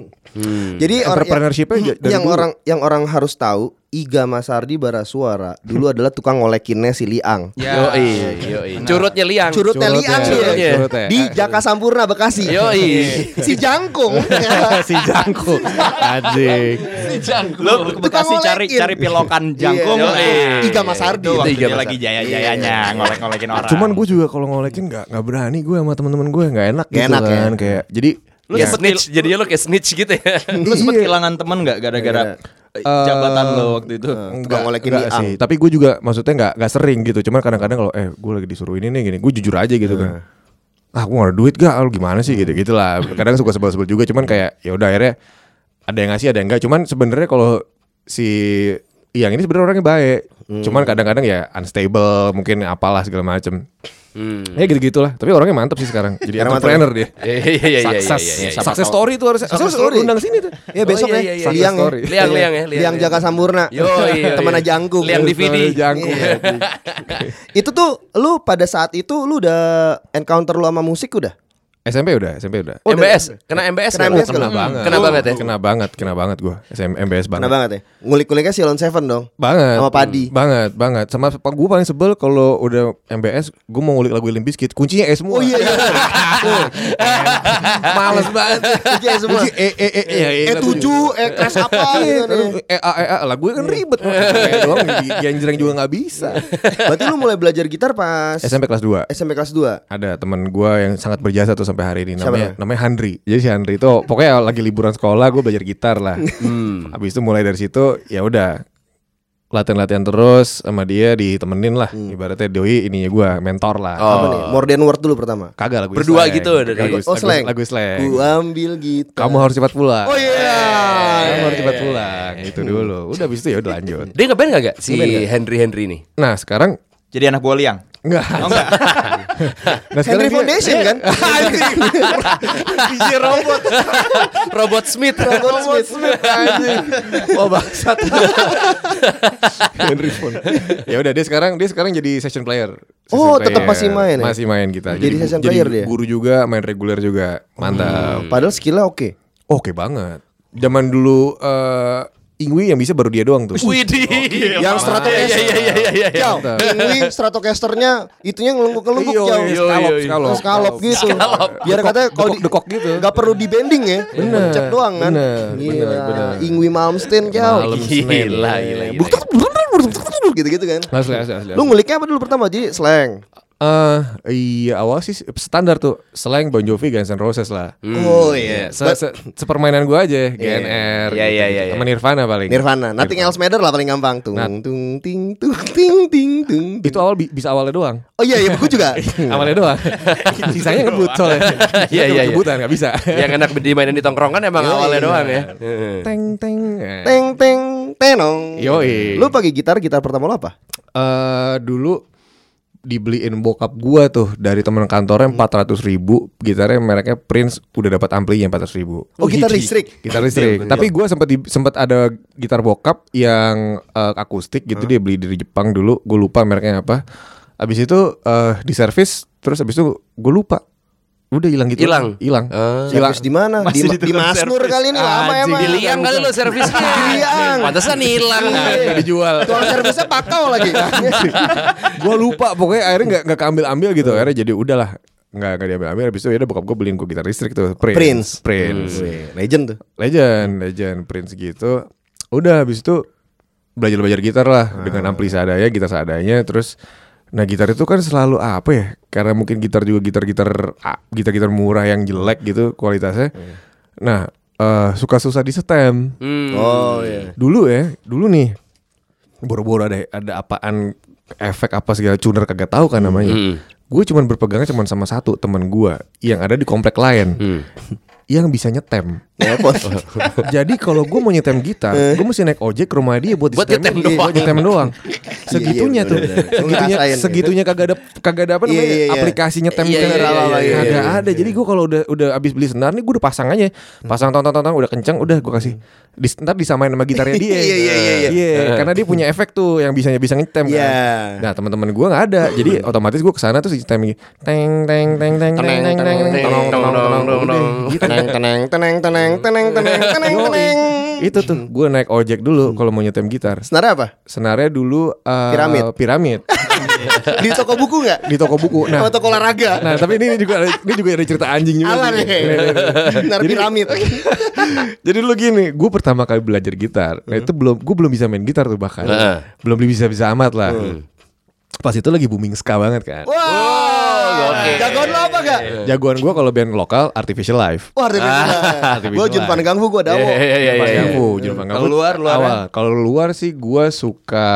[SPEAKER 2] Jadi orang yang,
[SPEAKER 5] entrepreneurship-nya ja- dari
[SPEAKER 2] yang
[SPEAKER 5] dulu.
[SPEAKER 2] orang yang orang harus tahu Iga Masardi Barasuara dulu adalah tukang ngolekinnya si Liang.
[SPEAKER 3] Yoi, yoi. Iya, Curutnya liang.
[SPEAKER 2] Curutnya
[SPEAKER 5] Curutnya,
[SPEAKER 2] Liang dia.
[SPEAKER 5] curutnya. Curutnya.
[SPEAKER 2] di Jaka Sampurna Bekasi.
[SPEAKER 3] Iya. Yoi.
[SPEAKER 2] si Jangkung.
[SPEAKER 5] si jangkung anjing
[SPEAKER 4] Lu ke
[SPEAKER 2] kan? Tukang
[SPEAKER 4] Bekasi cari
[SPEAKER 2] ngolekin.
[SPEAKER 4] cari pilokan jangkung.
[SPEAKER 2] Iya.
[SPEAKER 4] nah.
[SPEAKER 2] Iga Masardi. Iya,
[SPEAKER 4] Itu waktu
[SPEAKER 3] Itu Iga
[SPEAKER 4] dia
[SPEAKER 3] Masardi.
[SPEAKER 4] lagi jaya-jayanya ngolek-ngolekin orang.
[SPEAKER 5] cuman gue juga kalau ngolekin nggak nggak berani gue sama teman-teman gue nggak enak
[SPEAKER 2] Nggak
[SPEAKER 5] gitu
[SPEAKER 2] enak ya.
[SPEAKER 5] kan kayak jadi
[SPEAKER 4] Lu
[SPEAKER 3] Kayak
[SPEAKER 4] sempet
[SPEAKER 3] snitch. Jadinya lo kayak snitch gitu ya.
[SPEAKER 4] lu sempet
[SPEAKER 5] Iya.
[SPEAKER 4] kehilangan teman nggak gara-gara
[SPEAKER 2] Iya.
[SPEAKER 4] eh, jabatan lo waktu
[SPEAKER 3] eh,
[SPEAKER 4] itu?
[SPEAKER 2] Tukang ngolekin
[SPEAKER 5] enggak
[SPEAKER 2] liang.
[SPEAKER 5] sih. Tapi gue juga maksudnya nggak nggak sering gitu. Cuman kadang-kadang kalau eh gue lagi disuruh ini nih gini, gue jujur aja gitu kan.
[SPEAKER 3] Eh.
[SPEAKER 5] Ah, gue gak ada duit gak? Lu gimana sih gitu gitulah. Kadang suka sebel-sebel juga. Cuman kayak ya udah akhirnya ada yang ngasih ada yang enggak. Cuman sebenarnya kalau si yang ini sebenarnya orangnya baik
[SPEAKER 3] Hmm.
[SPEAKER 5] cuman kadang-kadang ya unstable mungkin apalah segala macem
[SPEAKER 3] Hmm.
[SPEAKER 5] ya gitu gitulah tapi orangnya mantep sih sekarang jadi
[SPEAKER 2] Karena mantep.
[SPEAKER 5] entrepreneur dia
[SPEAKER 3] Iya, iya, iya, iya,
[SPEAKER 5] Sukses,
[SPEAKER 3] iya, iya.
[SPEAKER 5] success story tuh harusnya. Harusnya
[SPEAKER 2] Success story.
[SPEAKER 5] lu undang sini tuh.
[SPEAKER 2] Ya besok
[SPEAKER 3] iya,
[SPEAKER 2] ya,
[SPEAKER 3] iya, iya.
[SPEAKER 2] liang,
[SPEAKER 5] Story.
[SPEAKER 2] ya.
[SPEAKER 3] Liang, liang ya, liang,
[SPEAKER 2] liang,
[SPEAKER 3] liang.
[SPEAKER 2] Jaka Sampurna,
[SPEAKER 3] Yo, iya, iya.
[SPEAKER 2] teman Jangkung.
[SPEAKER 3] Liang DVD.
[SPEAKER 5] Jangkung.
[SPEAKER 2] itu tuh lu pada saat itu lu udah encounter lu sama musik udah?
[SPEAKER 5] SMP udah, SMP udah.
[SPEAKER 2] Oh,
[SPEAKER 3] MBS, kena MBS
[SPEAKER 2] Kena MBS
[SPEAKER 3] nggak lu?
[SPEAKER 2] kena
[SPEAKER 3] Hmm.
[SPEAKER 2] banget.
[SPEAKER 3] Kena banget ya.
[SPEAKER 5] Kena banget, kena banget gua. SM MBS banget.
[SPEAKER 2] Kena banget ya. Ngulik-nguliknya Silon Seven dong.
[SPEAKER 5] banget
[SPEAKER 2] Sama Padi.
[SPEAKER 5] Hmm, banget banget sama gue paling sebel kalau udah MBS gue mau ngulik lagu Limp Bizkit kuncinya E semua
[SPEAKER 2] Oh iya iya.
[SPEAKER 5] males banget
[SPEAKER 2] Kunci E semua.
[SPEAKER 5] Kunci E E E E E
[SPEAKER 2] E7, E kelas apa
[SPEAKER 5] Iya,
[SPEAKER 2] gitu nih.
[SPEAKER 5] aduh, E A E A lagu kan ribet E doang di- genjreng juga nggak bisa
[SPEAKER 2] Berarti lu mulai belajar gitar pas
[SPEAKER 5] SMP kelas 2
[SPEAKER 2] SMP kelas 2.
[SPEAKER 5] ada teman gue yang sangat berjasa tuh sampai hari ini
[SPEAKER 2] Siapa
[SPEAKER 5] namanya namanya Handri jadi si Handri itu pokoknya lagi liburan sekolah gue belajar gitar lah
[SPEAKER 2] Hmm.
[SPEAKER 5] habis itu mulai dari situ ya udah latihan-latihan terus sama dia ditemenin lah
[SPEAKER 2] Hmm.
[SPEAKER 5] ibaratnya doi ininya gue mentor lah
[SPEAKER 2] Apa nih? More than word dulu pertama.
[SPEAKER 5] kagak lagu
[SPEAKER 3] Berdua gitu dari-
[SPEAKER 5] Oh. lagu,
[SPEAKER 2] Oh,
[SPEAKER 5] lagu-
[SPEAKER 2] slang.
[SPEAKER 5] lagu slang
[SPEAKER 2] Ku ambil gitar.
[SPEAKER 5] kamu harus cepat pulang
[SPEAKER 2] Oh iya.
[SPEAKER 5] kamu harus cepat pulang itu dulu udah habis itu ya udah lanjut
[SPEAKER 3] Dia ngeband kagak si Henry Henry ini?
[SPEAKER 5] nah sekarang
[SPEAKER 4] Jadi anak gua liang.
[SPEAKER 5] Enggak. nah,
[SPEAKER 2] Oh, Henry
[SPEAKER 5] sekarang dia-
[SPEAKER 2] Foundation kan?
[SPEAKER 3] DJ robot. robot Smith.
[SPEAKER 2] Robot Smith.
[SPEAKER 3] Oh,
[SPEAKER 5] Wah bangsat. Henry Fon. Ya udah dia sekarang dia sekarang jadi session player. Session
[SPEAKER 2] Oh, tetap masih main ya?
[SPEAKER 5] Masih main kita.
[SPEAKER 2] Jadi session player dia? Hmm.
[SPEAKER 5] Guru juga, main reguler juga. Mantap.
[SPEAKER 2] Padahal skillnya oke.
[SPEAKER 5] Oke banget. Zaman dulu eh Ingwi yang bisa baru dia doang tuh.
[SPEAKER 3] Widih.
[SPEAKER 2] Yang Stratocaster.
[SPEAKER 3] Iya iya iya iya. iya.
[SPEAKER 2] Jauh. Ini Stratocasternya itunya ngelungkup-ngelungkup
[SPEAKER 5] Iyo,
[SPEAKER 2] jauh.
[SPEAKER 5] iyo, skalop,
[SPEAKER 3] Iyo, iyo.
[SPEAKER 5] skalop,
[SPEAKER 2] Skalop gitu. Biar katanya kalau di-
[SPEAKER 5] iya, dekok gitu.
[SPEAKER 2] Gak perlu di bending ya
[SPEAKER 5] Bener,
[SPEAKER 2] Pencet doang kan
[SPEAKER 5] bener,
[SPEAKER 2] Gila.
[SPEAKER 5] bener, bener.
[SPEAKER 2] Ingwi Malmsteen jauh
[SPEAKER 5] Malm.
[SPEAKER 3] Gila gila. gila.
[SPEAKER 2] Gitu-gitu kan
[SPEAKER 5] Asli, asli, asli.
[SPEAKER 2] Lu nguliknya apa dulu pertama? Jadi slang
[SPEAKER 5] Eh, iya awal sih standar tuh slang Bon Jovi Guns N' Roses lah.
[SPEAKER 2] Oh iya
[SPEAKER 5] Se -se Sepermainan gua aja GNR.
[SPEAKER 3] Iya, iya, iya, iya.
[SPEAKER 5] Sama Nirvana paling.
[SPEAKER 2] Nirvana Nothing else matter lah paling gampang Tung
[SPEAKER 5] Nah.
[SPEAKER 2] tung ting tung ting ting tung ting.
[SPEAKER 5] Gitu. Itu awal bi- bisa awalnya doang.
[SPEAKER 2] Oh iya iya aku juga
[SPEAKER 5] Awalnya doang. Sisanya ngebut soalnya.
[SPEAKER 3] Iya, iya, iya.
[SPEAKER 5] Ngebutan enggak bisa.
[SPEAKER 3] Yang enak dimainin di tongkrongan emang awalnya doang ya. Heeh.
[SPEAKER 5] Teng teng. Eh
[SPEAKER 2] Teng teng tenong
[SPEAKER 5] Yoi.
[SPEAKER 2] Lu pakai gitar Gitar pertama lu apa?
[SPEAKER 5] Eh, dulu dibeliin bokap gua tuh dari temen kantornya
[SPEAKER 2] Hmm.
[SPEAKER 5] 400 ribu gitarnya mereknya Prince udah dapat amplinya 400 ribu Iya.
[SPEAKER 2] Oh, gitar listrik.
[SPEAKER 5] gitar
[SPEAKER 3] Iya,
[SPEAKER 5] listrik tapi gua sempet di- sempet ada gitar bokap yang eh, akustik
[SPEAKER 3] Hmm.
[SPEAKER 5] gitu dia beli dari Jepang dulu gue lupa mereknya apa abis itu eh di servis terus abis itu gue lupa udah hilang gitu
[SPEAKER 3] Hilang?
[SPEAKER 5] hilang
[SPEAKER 3] Ah.
[SPEAKER 5] hilang
[SPEAKER 2] Servis di mana? Di, di
[SPEAKER 4] Masih ditukang
[SPEAKER 2] Masmur
[SPEAKER 4] servis.
[SPEAKER 2] kali ini lama ya,
[SPEAKER 5] Anjing,
[SPEAKER 2] emang
[SPEAKER 3] Di liang kali lo servisnya.
[SPEAKER 2] Liang.
[SPEAKER 3] Pantesan hilang.
[SPEAKER 5] Nggak dijual
[SPEAKER 2] Tukang servisnya pakau lagi
[SPEAKER 5] gue lupa pokoknya akhirnya nggak nggak keambil ambil gitu akhirnya jadi udahlah nggak nggak diambil ambil habis itu ya udah bokap gue beliin gue gitar listrik tuh Prince
[SPEAKER 2] Prince.
[SPEAKER 5] Prince.
[SPEAKER 2] Wih, Legend tuh
[SPEAKER 5] legend legend Prince gitu udah habis itu belajar belajar gitar lah
[SPEAKER 2] Ah.
[SPEAKER 5] dengan ampli seadanya gitar seadanya terus nah gitar itu kan selalu apa ya karena mungkin gitar juga gitar gitar gitar gitar murah yang jelek gitu kualitasnya
[SPEAKER 2] Iya.
[SPEAKER 5] nah eh, suka susah di setem
[SPEAKER 3] Hmm.
[SPEAKER 2] Oh iya
[SPEAKER 5] Dulu ya, dulu nih boro-boro ada ada apaan efek apa segala tuner kagak tahu kan namanya. Gue cuman berpegangnya cuman sama satu teman gua yang ada di komplek lain yang bisa nyetem.
[SPEAKER 2] Telepon
[SPEAKER 5] Jadi kalau gue mau nyetem gitar, gue mesti naik ojek ke rumah dia buat,
[SPEAKER 3] Buat nyetem
[SPEAKER 5] disetemin. Iya, buat
[SPEAKER 3] doang.
[SPEAKER 5] nyetem doang. Segitunya
[SPEAKER 2] iya,
[SPEAKER 5] tuh,
[SPEAKER 2] bener, bener.
[SPEAKER 5] segitunya,
[SPEAKER 2] Ngerasain.
[SPEAKER 5] segitunya kagak ada kagak ada apa namanya
[SPEAKER 2] Iya, iya, iya.
[SPEAKER 5] aplikasi nyetem
[SPEAKER 3] Iya, iya,
[SPEAKER 5] gitar.
[SPEAKER 3] iya, iya, iya,
[SPEAKER 5] kagak
[SPEAKER 2] iya,
[SPEAKER 5] ada. Jadi gue kalau udah udah abis beli senar nih, gue udah pasang aja, pasang tong tong tong, tong, udah kenceng, udah gue kasih. Di, ntar disamain sama gitarnya dia.
[SPEAKER 2] Iya, iya, iya, iya.
[SPEAKER 5] karena dia punya efek tuh yang bisanya bisa nyetem. kan.
[SPEAKER 2] Iya.
[SPEAKER 5] Nah teman-teman gue nggak ada, jadi otomatis gue kesana terus nyetem teng teng teng teng teng teng teng teng teng teng teng teng
[SPEAKER 2] Teneng teneng Gitu. teneng teneng teneng teneng teneng teneng
[SPEAKER 5] itu tuh gue naik ojek dulu
[SPEAKER 2] Hmm.
[SPEAKER 5] kalau mau nyetem gitar
[SPEAKER 2] Senarnya apa?
[SPEAKER 5] senarnya dulu eh,
[SPEAKER 2] Piramid.
[SPEAKER 5] piramid
[SPEAKER 2] Di toko buku nggak?
[SPEAKER 5] di toko buku nah
[SPEAKER 2] Sama toko olahraga?
[SPEAKER 5] nah tapi ini juga ini juga ada cerita anjing juga
[SPEAKER 2] Apa
[SPEAKER 5] nih.
[SPEAKER 2] nih? Senar piramid
[SPEAKER 5] jadi dulu gini gue pertama kali belajar gitar
[SPEAKER 2] Hmm.
[SPEAKER 5] nah itu belum gue belum bisa main gitar tuh bahkan
[SPEAKER 3] Heeh.
[SPEAKER 5] belum bisa bisa amat lah
[SPEAKER 2] Hmm.
[SPEAKER 5] pas itu lagi booming ska banget kan
[SPEAKER 2] Wah
[SPEAKER 3] oke.
[SPEAKER 2] Jagoan lo apa gak?
[SPEAKER 5] jagoan gue kalau band lokal artificial life
[SPEAKER 2] Wah dari Gue Jun Pangangfu gue dawo
[SPEAKER 3] Iya, iya, iya,
[SPEAKER 5] Jepang
[SPEAKER 3] iya.
[SPEAKER 5] Yahoo, Jepang Yahoo.
[SPEAKER 4] Kalau luar, luar
[SPEAKER 3] ya?
[SPEAKER 5] awal. Kalau luar sih gua suka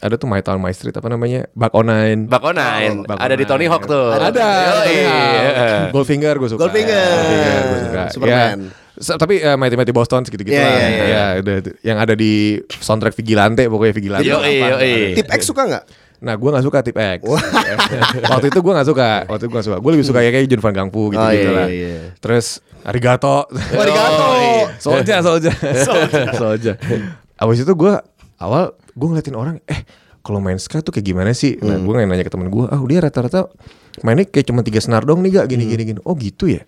[SPEAKER 5] ada tuh My Town My Street apa namanya? Back Online.
[SPEAKER 3] Bak Onain.
[SPEAKER 5] Bak
[SPEAKER 3] Ada di
[SPEAKER 5] Onain.
[SPEAKER 3] Tony Hawk tuh.
[SPEAKER 5] Ada. Iya.
[SPEAKER 3] Yoi.
[SPEAKER 5] Goldfinger gue suka.
[SPEAKER 2] Goldfinger.
[SPEAKER 5] Goldfinger gua suka.
[SPEAKER 2] Superman.
[SPEAKER 5] Ya, Se- tapi eh, Mighty Mighty Boston segitu gitu
[SPEAKER 2] Iya,
[SPEAKER 5] lah.
[SPEAKER 2] iya, iya.
[SPEAKER 5] Ya, udah itu. yang ada di soundtrack Vigilante pokoknya Vigilante.
[SPEAKER 3] Yoi,
[SPEAKER 5] apa.
[SPEAKER 3] yoi.
[SPEAKER 2] Tip X suka nggak?
[SPEAKER 5] Nah, gue gak suka tip X. waktu itu gue gak suka. Waktu itu gue suka. Gue lebih suka ya kayak Jun Van Gangfu gitu
[SPEAKER 2] Oh,
[SPEAKER 5] gitu
[SPEAKER 2] iya,
[SPEAKER 5] lah.
[SPEAKER 2] iya, iya.
[SPEAKER 5] Terus Arigato.
[SPEAKER 2] Arigato.
[SPEAKER 5] Soja, soja. soja. Abis itu gue awal gue ngeliatin orang, eh kalau main ska tuh kayak gimana sih? Nah, gue nanya ke temen gue, ah dia rata-rata mainnya kayak cuma tiga senar doang nih gak gini gini gini. Oh gitu ya.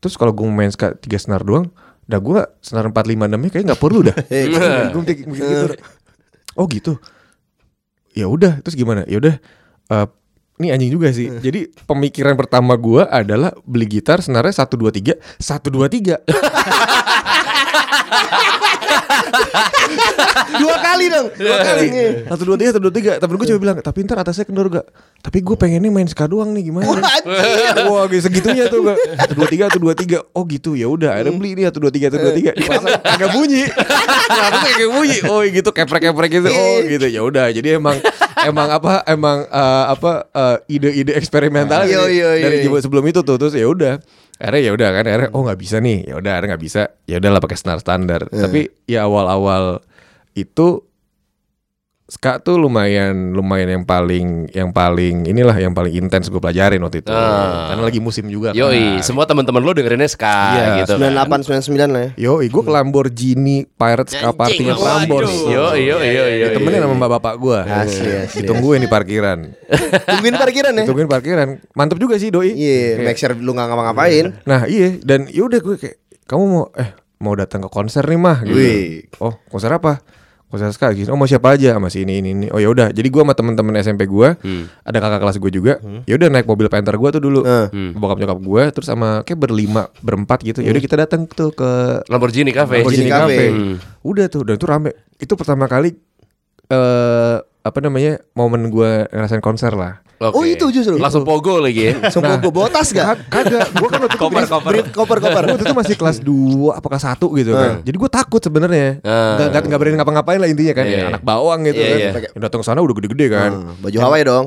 [SPEAKER 5] Terus kalau gue main ska tiga senar doang, dah gue senar empat lima enamnya kayak nggak perlu dah. gue mikir mikir gitu. Oh gitu ya udah terus gimana ya udah eh, ini anjing juga sih jadi pemikiran pertama gua adalah beli gitar senarnya satu dua tiga satu dua tiga
[SPEAKER 2] Dua kali dong. Dua kali.
[SPEAKER 5] satu dua tiga satu dua tiga tapi gue coba bilang tapi ntar atasnya kendor gak tapi gue pengennya main ska doang nih gimana
[SPEAKER 2] Wah, anjir.
[SPEAKER 5] Wah, kayak segitunya tuh gua. Satu dua tiga, satu dua tiga. Oh gitu, ya udah. Ada beli nih satu dua tiga, satu dua tiga. Dipasang, Kagak bunyi. Kenapa tuh kagak bunyi? Oh gitu, keprek keprek gitu.
[SPEAKER 3] Iya,
[SPEAKER 5] Oh gitu, ya udah. Jadi emang emang apa? Emang eh, apa? eh, Ide-ide eksperimental
[SPEAKER 2] Yo,
[SPEAKER 3] Iya,
[SPEAKER 5] dari,
[SPEAKER 2] yo, yo.
[SPEAKER 5] dari jebol sebelum itu tuh terus ya udah. Akhirnya ya udah kan. Akhirnya oh nggak bisa nih. Ya udah, akhirnya nggak bisa. Ya udahlah pakai senar standar.
[SPEAKER 3] Iya.
[SPEAKER 5] Tapi ya awal-awal itu Ska tuh lumayan lumayan yang paling yang paling inilah yang paling intens gue pelajarin waktu itu.
[SPEAKER 3] Ah.
[SPEAKER 5] Karena lagi musim juga.
[SPEAKER 3] Yoi,
[SPEAKER 5] kan.
[SPEAKER 3] semua teman-teman lo dengerinnya ska
[SPEAKER 5] Iya,
[SPEAKER 3] gitu. kan.
[SPEAKER 2] 98 99 lah ya.
[SPEAKER 5] Yoi, gue ke Lamborghini Pirates Ska Party yang
[SPEAKER 4] waduh.
[SPEAKER 5] Prambors. Iya,
[SPEAKER 3] Yoi, yoi, yoi, yoi.
[SPEAKER 5] Temenin sama bapak-bapak gue.
[SPEAKER 2] Iya, Asli, asli.
[SPEAKER 5] Ditungguin di parkiran.
[SPEAKER 2] Tungguin parkiran ya.
[SPEAKER 5] Ditungguin parkiran. Mantep juga sih doi.
[SPEAKER 2] Iya, make sure lu nggak ngapa-ngapain.
[SPEAKER 5] Nah iya dan yaudah gue kayak kamu mau eh mau datang ke konser nih mah gitu.
[SPEAKER 2] Wih.
[SPEAKER 5] Oh konser apa? Konser ska gitu. Oh mau siapa aja? Sama si ini ini ini. Oh yaudah. Jadi gue sama temen-temen SMP gue
[SPEAKER 2] Hmm.
[SPEAKER 5] ada kakak kelas gue juga. Yaudah naik mobil Panther gue tuh dulu.
[SPEAKER 2] Eh.
[SPEAKER 5] Bokap nyokap gue terus sama kayak berlima berempat gitu.
[SPEAKER 2] Hmm.
[SPEAKER 5] Yaudah kita datang tuh ke
[SPEAKER 3] Lamborghini Cafe.
[SPEAKER 5] Lamborghini
[SPEAKER 2] Cafe.
[SPEAKER 5] Cafe.
[SPEAKER 3] Hmm.
[SPEAKER 5] Udah tuh, dan itu rame. Itu pertama kali eh apa namanya? momen gua ngerasain konser lah.
[SPEAKER 3] Oke.
[SPEAKER 2] Oh, itu justru.
[SPEAKER 3] Langsung pogo lagi ya.
[SPEAKER 2] Semua gue botas gak?
[SPEAKER 5] Kag- Kagak, gua kan waktu itu
[SPEAKER 4] Koper,
[SPEAKER 5] masih-
[SPEAKER 4] koper.
[SPEAKER 2] Brit koper koper.
[SPEAKER 5] Gua waktu itu masih kelas 2 apa kelas 1 gitu kan.
[SPEAKER 3] Hmm.
[SPEAKER 5] Jadi gua takut sebenarnya.
[SPEAKER 3] Ah.
[SPEAKER 5] Enggak enggak berani ngapa-ngapain lah intinya kan.
[SPEAKER 3] Iya.
[SPEAKER 5] Anak bawang gitu
[SPEAKER 3] Iya, iya.
[SPEAKER 5] kan. Yang Datang ke sana udah gede-gede kan.
[SPEAKER 2] Hmm, Baju Hawaii dong.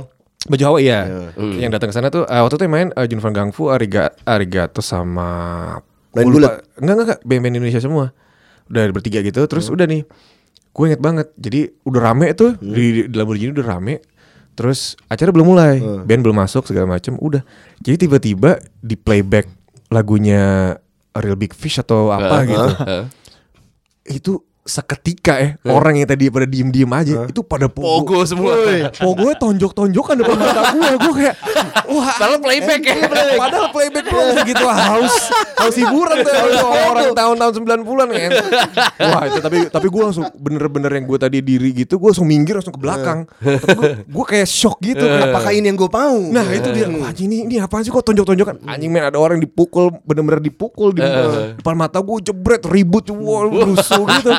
[SPEAKER 5] Baju Hawa iya. Yang datang ke sana tuh eh, waktu itu yang main eh, Jun Van Gangfu, Ariga, Arigato sama
[SPEAKER 2] Lain
[SPEAKER 5] Gua
[SPEAKER 2] bulat.
[SPEAKER 5] lupa. Enggak enggak enggak, band-band Indonesia semua. Udah bertiga gitu, terus udah nih. Gue inget banget. Jadi udah rame tuh di, di Lamborghini udah rame. Terus acara belum mulai, band belum masuk segala macem udah. Jadi tiba-tiba di playback lagunya Real Big Fish atau apa gitu
[SPEAKER 3] Heeh.
[SPEAKER 5] itu seketika eh orang yang tadi pada diem-diem aja itu pada pogo,
[SPEAKER 3] Pogo semua.
[SPEAKER 5] Pogonya Oh, tonjok-tonjokan depan mata gue Gue kayak Wah
[SPEAKER 3] Padahal playback ya.
[SPEAKER 5] Padahal playback gue bisa gitu ah, Haus Haus hiburan tuh Orang tahun-tahun 90an kan Wah itu tapi Tapi gue langsung Bener-bener yang gue tadi diri gitu Gue langsung minggir Langsung ke belakang Gue kayak shock gitu Kenapa
[SPEAKER 2] Apakah ini yang gue mau?
[SPEAKER 5] Nah itu dia Wah, anjing ini, ini apaan sih kok tonjok-tonjokan Anjing men ada orang dipukul Bener-bener dipukul di Depan mata gue jebret Ribut wah, rusuh gitu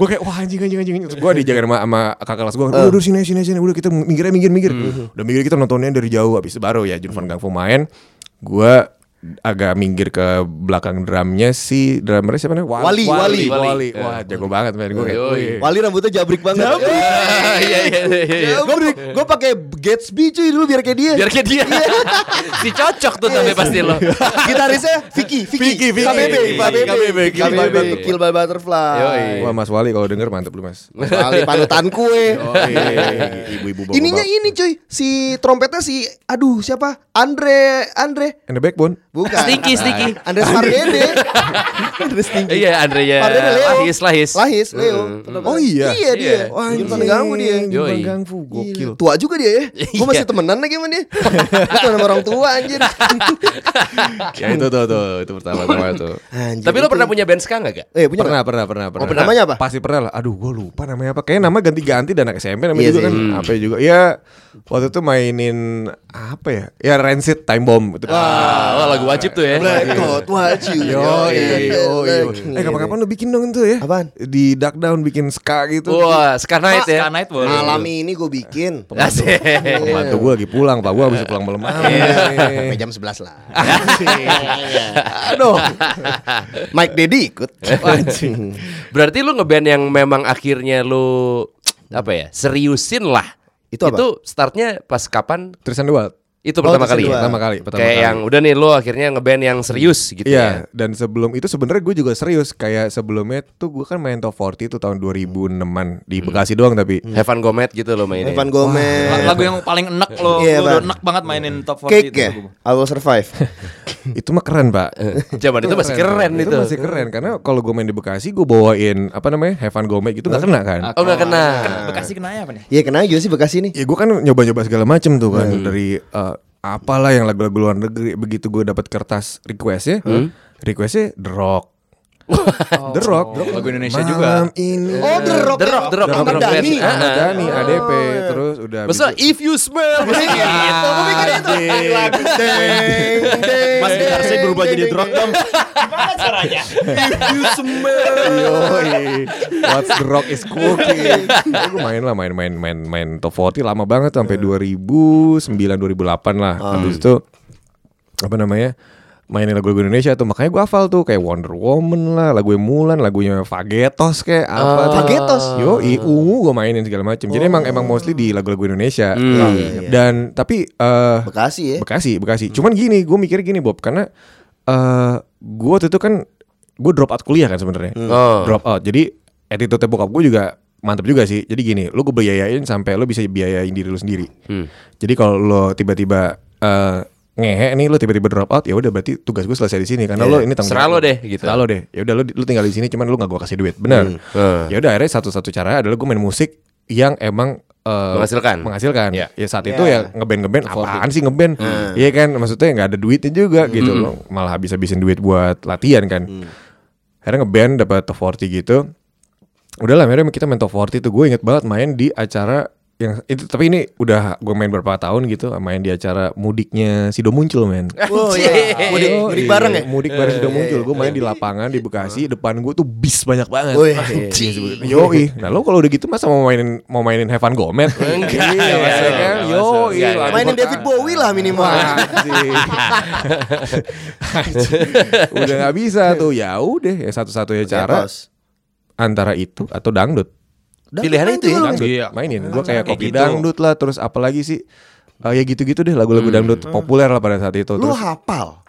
[SPEAKER 5] Gue kayak wah anjing anjing anjing Terus gue dijagain sama, sama kakak kelas gue Udah udah sini sini sini Udah kita minggir aja, minggir minggir Udah minggir kita nontonnya dari jauh Abis itu baru ya Jun Van Gangfu main Gue agak minggir ke belakang drumnya si drummernya siapa namanya
[SPEAKER 2] Wali, Wali.
[SPEAKER 5] Wali, Wali. Wah jago banget men gue kayak
[SPEAKER 3] Yoi.
[SPEAKER 5] wih.
[SPEAKER 2] Wali rambutnya jabrik banget. Eh,
[SPEAKER 3] Ah, Iya iya iya, iya.
[SPEAKER 2] Gue gue pakai Gatsby cuy dulu biar kayak dia.
[SPEAKER 3] Biar kayak dia.
[SPEAKER 2] Iya.
[SPEAKER 3] si cocok tuh tapi pasti lo.
[SPEAKER 2] Gitarisnya Vicky,
[SPEAKER 5] Vicky, Vicky.
[SPEAKER 2] KBB, KBB,
[SPEAKER 3] KBB, Kill by
[SPEAKER 2] KBB,
[SPEAKER 3] Butterfly.
[SPEAKER 2] Kill by Butterfly.
[SPEAKER 3] Yoi.
[SPEAKER 5] Wah Mas Wali kalau denger mantep lu mas
[SPEAKER 2] Mas Wali panutan kue. Iya.
[SPEAKER 5] Ibu-ibu bapak-bapak.
[SPEAKER 2] Ininya ini cuy, si trompetnya si aduh siapa? Andre, Andre.
[SPEAKER 5] And the backbone
[SPEAKER 2] Bukan.
[SPEAKER 3] Stinky, Stinky.
[SPEAKER 2] Andres Pardede. Andres Stinky.
[SPEAKER 3] Iya Andre ya.
[SPEAKER 2] Pardede Leo.
[SPEAKER 3] Lahis lahis.
[SPEAKER 2] Lahis, Leo.
[SPEAKER 5] Oh, iya?
[SPEAKER 2] Iya dia.
[SPEAKER 3] Iya.
[SPEAKER 2] Wah,
[SPEAKER 5] Anjing.
[SPEAKER 2] Jumpa ganggu dia.
[SPEAKER 5] Jun Van
[SPEAKER 3] Yoi.
[SPEAKER 5] Gangfu, gokil.
[SPEAKER 2] Gila, Tua juga dia ya. Gue masih
[SPEAKER 3] Iya.
[SPEAKER 2] temenan lagi sama dia. Itu sama orang tua anjir.
[SPEAKER 5] Ya itu tuh tuh itu pertama-tama tuh.
[SPEAKER 2] Anjir,
[SPEAKER 3] Tapi lo
[SPEAKER 2] itu-
[SPEAKER 3] pernah punya band ska nggak gak?
[SPEAKER 2] Eh, punya
[SPEAKER 5] pernah, pernah, pernah, pernah.
[SPEAKER 2] pernah. Namanya apa?
[SPEAKER 5] Pasti pernah lah. Aduh, gue lupa namanya apa. Kayaknya nama ganti-ganti dan anak SMP
[SPEAKER 2] Iya
[SPEAKER 5] namanya
[SPEAKER 2] sih.
[SPEAKER 5] juga kan. Apa ya juga? Ya waktu itu mainin apa ya? Ya Rancid Time Bomb gitu.
[SPEAKER 3] Ah, wah, lagu wajib tuh ya.
[SPEAKER 2] Black Out What You.
[SPEAKER 5] Yo, yo, yo.
[SPEAKER 2] Gini,
[SPEAKER 5] Eh kapan-kapan lu bikin dong itu ya?
[SPEAKER 2] Apaan?
[SPEAKER 5] Di Dark Down bikin ska gitu.
[SPEAKER 3] Wah, ska night ya.
[SPEAKER 4] Ska Night boleh.
[SPEAKER 2] Malam ini gue bikin.
[SPEAKER 3] Asik.
[SPEAKER 5] Pembantu gue lagi pulang, pak. Gue habis
[SPEAKER 2] Eh.
[SPEAKER 5] pulang malam.
[SPEAKER 2] Iya. Sampai jam 11 lah. Aduh. Mike Dedi ikut. Anjing.
[SPEAKER 3] Berarti lu ngeband yang memang akhirnya lu apa ya? Seriusin lah.
[SPEAKER 2] Itu apa?
[SPEAKER 3] Itu startnya pas kapan?
[SPEAKER 5] Tristan Dual.
[SPEAKER 3] Itu pertama
[SPEAKER 2] itu
[SPEAKER 3] kali.
[SPEAKER 2] kedua.
[SPEAKER 3] ya?
[SPEAKER 5] Pertama kali, pertama
[SPEAKER 3] Kayak
[SPEAKER 5] kali.
[SPEAKER 3] yang udah nih lo akhirnya ngeband yang serius gitu
[SPEAKER 5] Iya, dan sebelum itu sebenarnya gue juga serius kayak sebelumnya tuh gue kan main top 40 itu tahun 2006-an di Bekasi doang tapi
[SPEAKER 3] ya. Heaven Gomez gitu lo mainnya.
[SPEAKER 2] Evan Gomez.
[SPEAKER 4] La- Lagu yang paling enak lo,
[SPEAKER 2] Iya,
[SPEAKER 4] lo udah
[SPEAKER 2] Bang.
[SPEAKER 4] enak banget mainin top 40
[SPEAKER 2] Cake
[SPEAKER 4] itu.
[SPEAKER 2] ya? I will survive.
[SPEAKER 5] itu mah keren, Pak.
[SPEAKER 3] Zaman itu masih keren itu.
[SPEAKER 5] Itu masih keren karena kalau gue main di Bekasi gue bawain apa namanya? Heaven Gomez gitu nggak kena kan?
[SPEAKER 3] Oh nggak kena.
[SPEAKER 4] Bekasi kena apa nih?
[SPEAKER 2] Iya kenapa juga sih Bekasi nih?
[SPEAKER 5] Ya gue kan nyoba-nyoba segala macem tuh kan dari eh, apalah yang lagu-lagu luar negeri begitu gue dapat kertas requestnya, requestnya The Rock. The Rock,
[SPEAKER 4] lagu Indonesia
[SPEAKER 5] Malam
[SPEAKER 4] juga.
[SPEAKER 5] ini.
[SPEAKER 2] Oh, The Rock. Ah,
[SPEAKER 3] The Rock, The Rock,
[SPEAKER 2] Ahmad
[SPEAKER 3] Ahmad
[SPEAKER 2] Dhani.
[SPEAKER 3] Dhani.
[SPEAKER 5] Ahmad Dhani, ADP, terus udah.
[SPEAKER 3] Masa
[SPEAKER 5] begitu-
[SPEAKER 3] if you smell
[SPEAKER 2] Gitu, gua mikir itu. Deng, deng,
[SPEAKER 4] Mas gitar saya
[SPEAKER 2] deng,
[SPEAKER 4] berubah
[SPEAKER 2] deng,
[SPEAKER 4] jadi
[SPEAKER 2] deng,
[SPEAKER 4] drone
[SPEAKER 2] deng.
[SPEAKER 4] dong. Gimana caranya?
[SPEAKER 5] Yoi. What's the rock is cooking. gue main lah, main main main main top 40 lama banget sampai 2009 2008 lah. Habis itu apa namanya? mainin lagu-lagu Indonesia tuh makanya gue hafal tuh kayak Wonder Woman lah lagunya Mulan lagunya Fagetos kayak apa tuh.
[SPEAKER 2] Fagetos?
[SPEAKER 5] yo ungu gue mainin segala macam jadi emang emang mostly di lagu-lagu Indonesia dan tapi eh
[SPEAKER 2] Bekasi ya.
[SPEAKER 5] Bekasi, Bekasi. Cuman gini, gue mikir gini Bob, karena eh gue waktu itu kan gue drop out kuliah kan sebenarnya,
[SPEAKER 3] Oh.
[SPEAKER 5] drop out. Jadi attitude bokap gue juga mantep juga sih. Jadi gini, lu gue biayain sampai lu bisa biayain diri lu sendiri.
[SPEAKER 3] Hmm.
[SPEAKER 5] Jadi kalau lo tiba-tiba eh ngehe nih lu tiba-tiba drop out, ya udah berarti tugas gue selesai di sini karena lo ini tanggung
[SPEAKER 3] Serah
[SPEAKER 5] jawab
[SPEAKER 3] lo deh, gitu.
[SPEAKER 5] Serah lo deh. Ya udah lu lu tinggal di sini cuman lu gak gue kasih duit. Benar.
[SPEAKER 3] Eh.
[SPEAKER 5] Ya udah akhirnya satu-satu cara adalah gue main musik yang emang eh,
[SPEAKER 3] Menghasilkan.
[SPEAKER 5] menghasilkan
[SPEAKER 2] Iya.
[SPEAKER 3] Ya.
[SPEAKER 5] ya saat itu ya ngeband ngeband apaan sih ngeband
[SPEAKER 2] Hmm.
[SPEAKER 5] iya kan maksudnya nggak ada duitnya juga gitu loh malah habis habisin duit buat latihan kan
[SPEAKER 2] Hmm.
[SPEAKER 5] akhirnya ngeband dapat top 40 gitu udah lah akhirnya kita main top 40 tuh gue inget banget main di acara yang itu tapi ini udah gue main berapa tahun gitu main di acara mudiknya Sido muncul men
[SPEAKER 2] Oh iya. Mudik,
[SPEAKER 5] Yo,
[SPEAKER 2] mudik
[SPEAKER 5] iya.
[SPEAKER 2] bareng ya. eh,
[SPEAKER 5] Mudik bareng Sido muncul. Gue main di lapangan di Bekasi, depan gue tuh bis banyak banget.
[SPEAKER 2] Wih.
[SPEAKER 3] Iya,
[SPEAKER 5] Yo, nah lo kalau udah gitu masa mau mainin mau mainin Heaven Gomez?
[SPEAKER 3] Enggak, enggak masuk,
[SPEAKER 5] Iya, maksudnya kan,
[SPEAKER 3] enggak
[SPEAKER 5] Yo,
[SPEAKER 3] masuk. Enggak, enggak.
[SPEAKER 5] Iya.
[SPEAKER 2] Mainin David Bowie lah minimal.
[SPEAKER 5] udah nggak bisa tuh ya udah ya satu-satunya cara
[SPEAKER 2] Ketos.
[SPEAKER 5] antara itu atau dangdut
[SPEAKER 2] Udah, main
[SPEAKER 3] Pilihannya itu ya,
[SPEAKER 2] dulu.
[SPEAKER 5] dangdut mainin gue kayak
[SPEAKER 4] kayak
[SPEAKER 5] kopi
[SPEAKER 4] gitu.
[SPEAKER 5] dangdut lah terus apalagi sih Eh, ya gitu-gitu deh lagu-lagu dangdut populer lah pada saat itu
[SPEAKER 2] Lu
[SPEAKER 5] terus
[SPEAKER 2] hafal.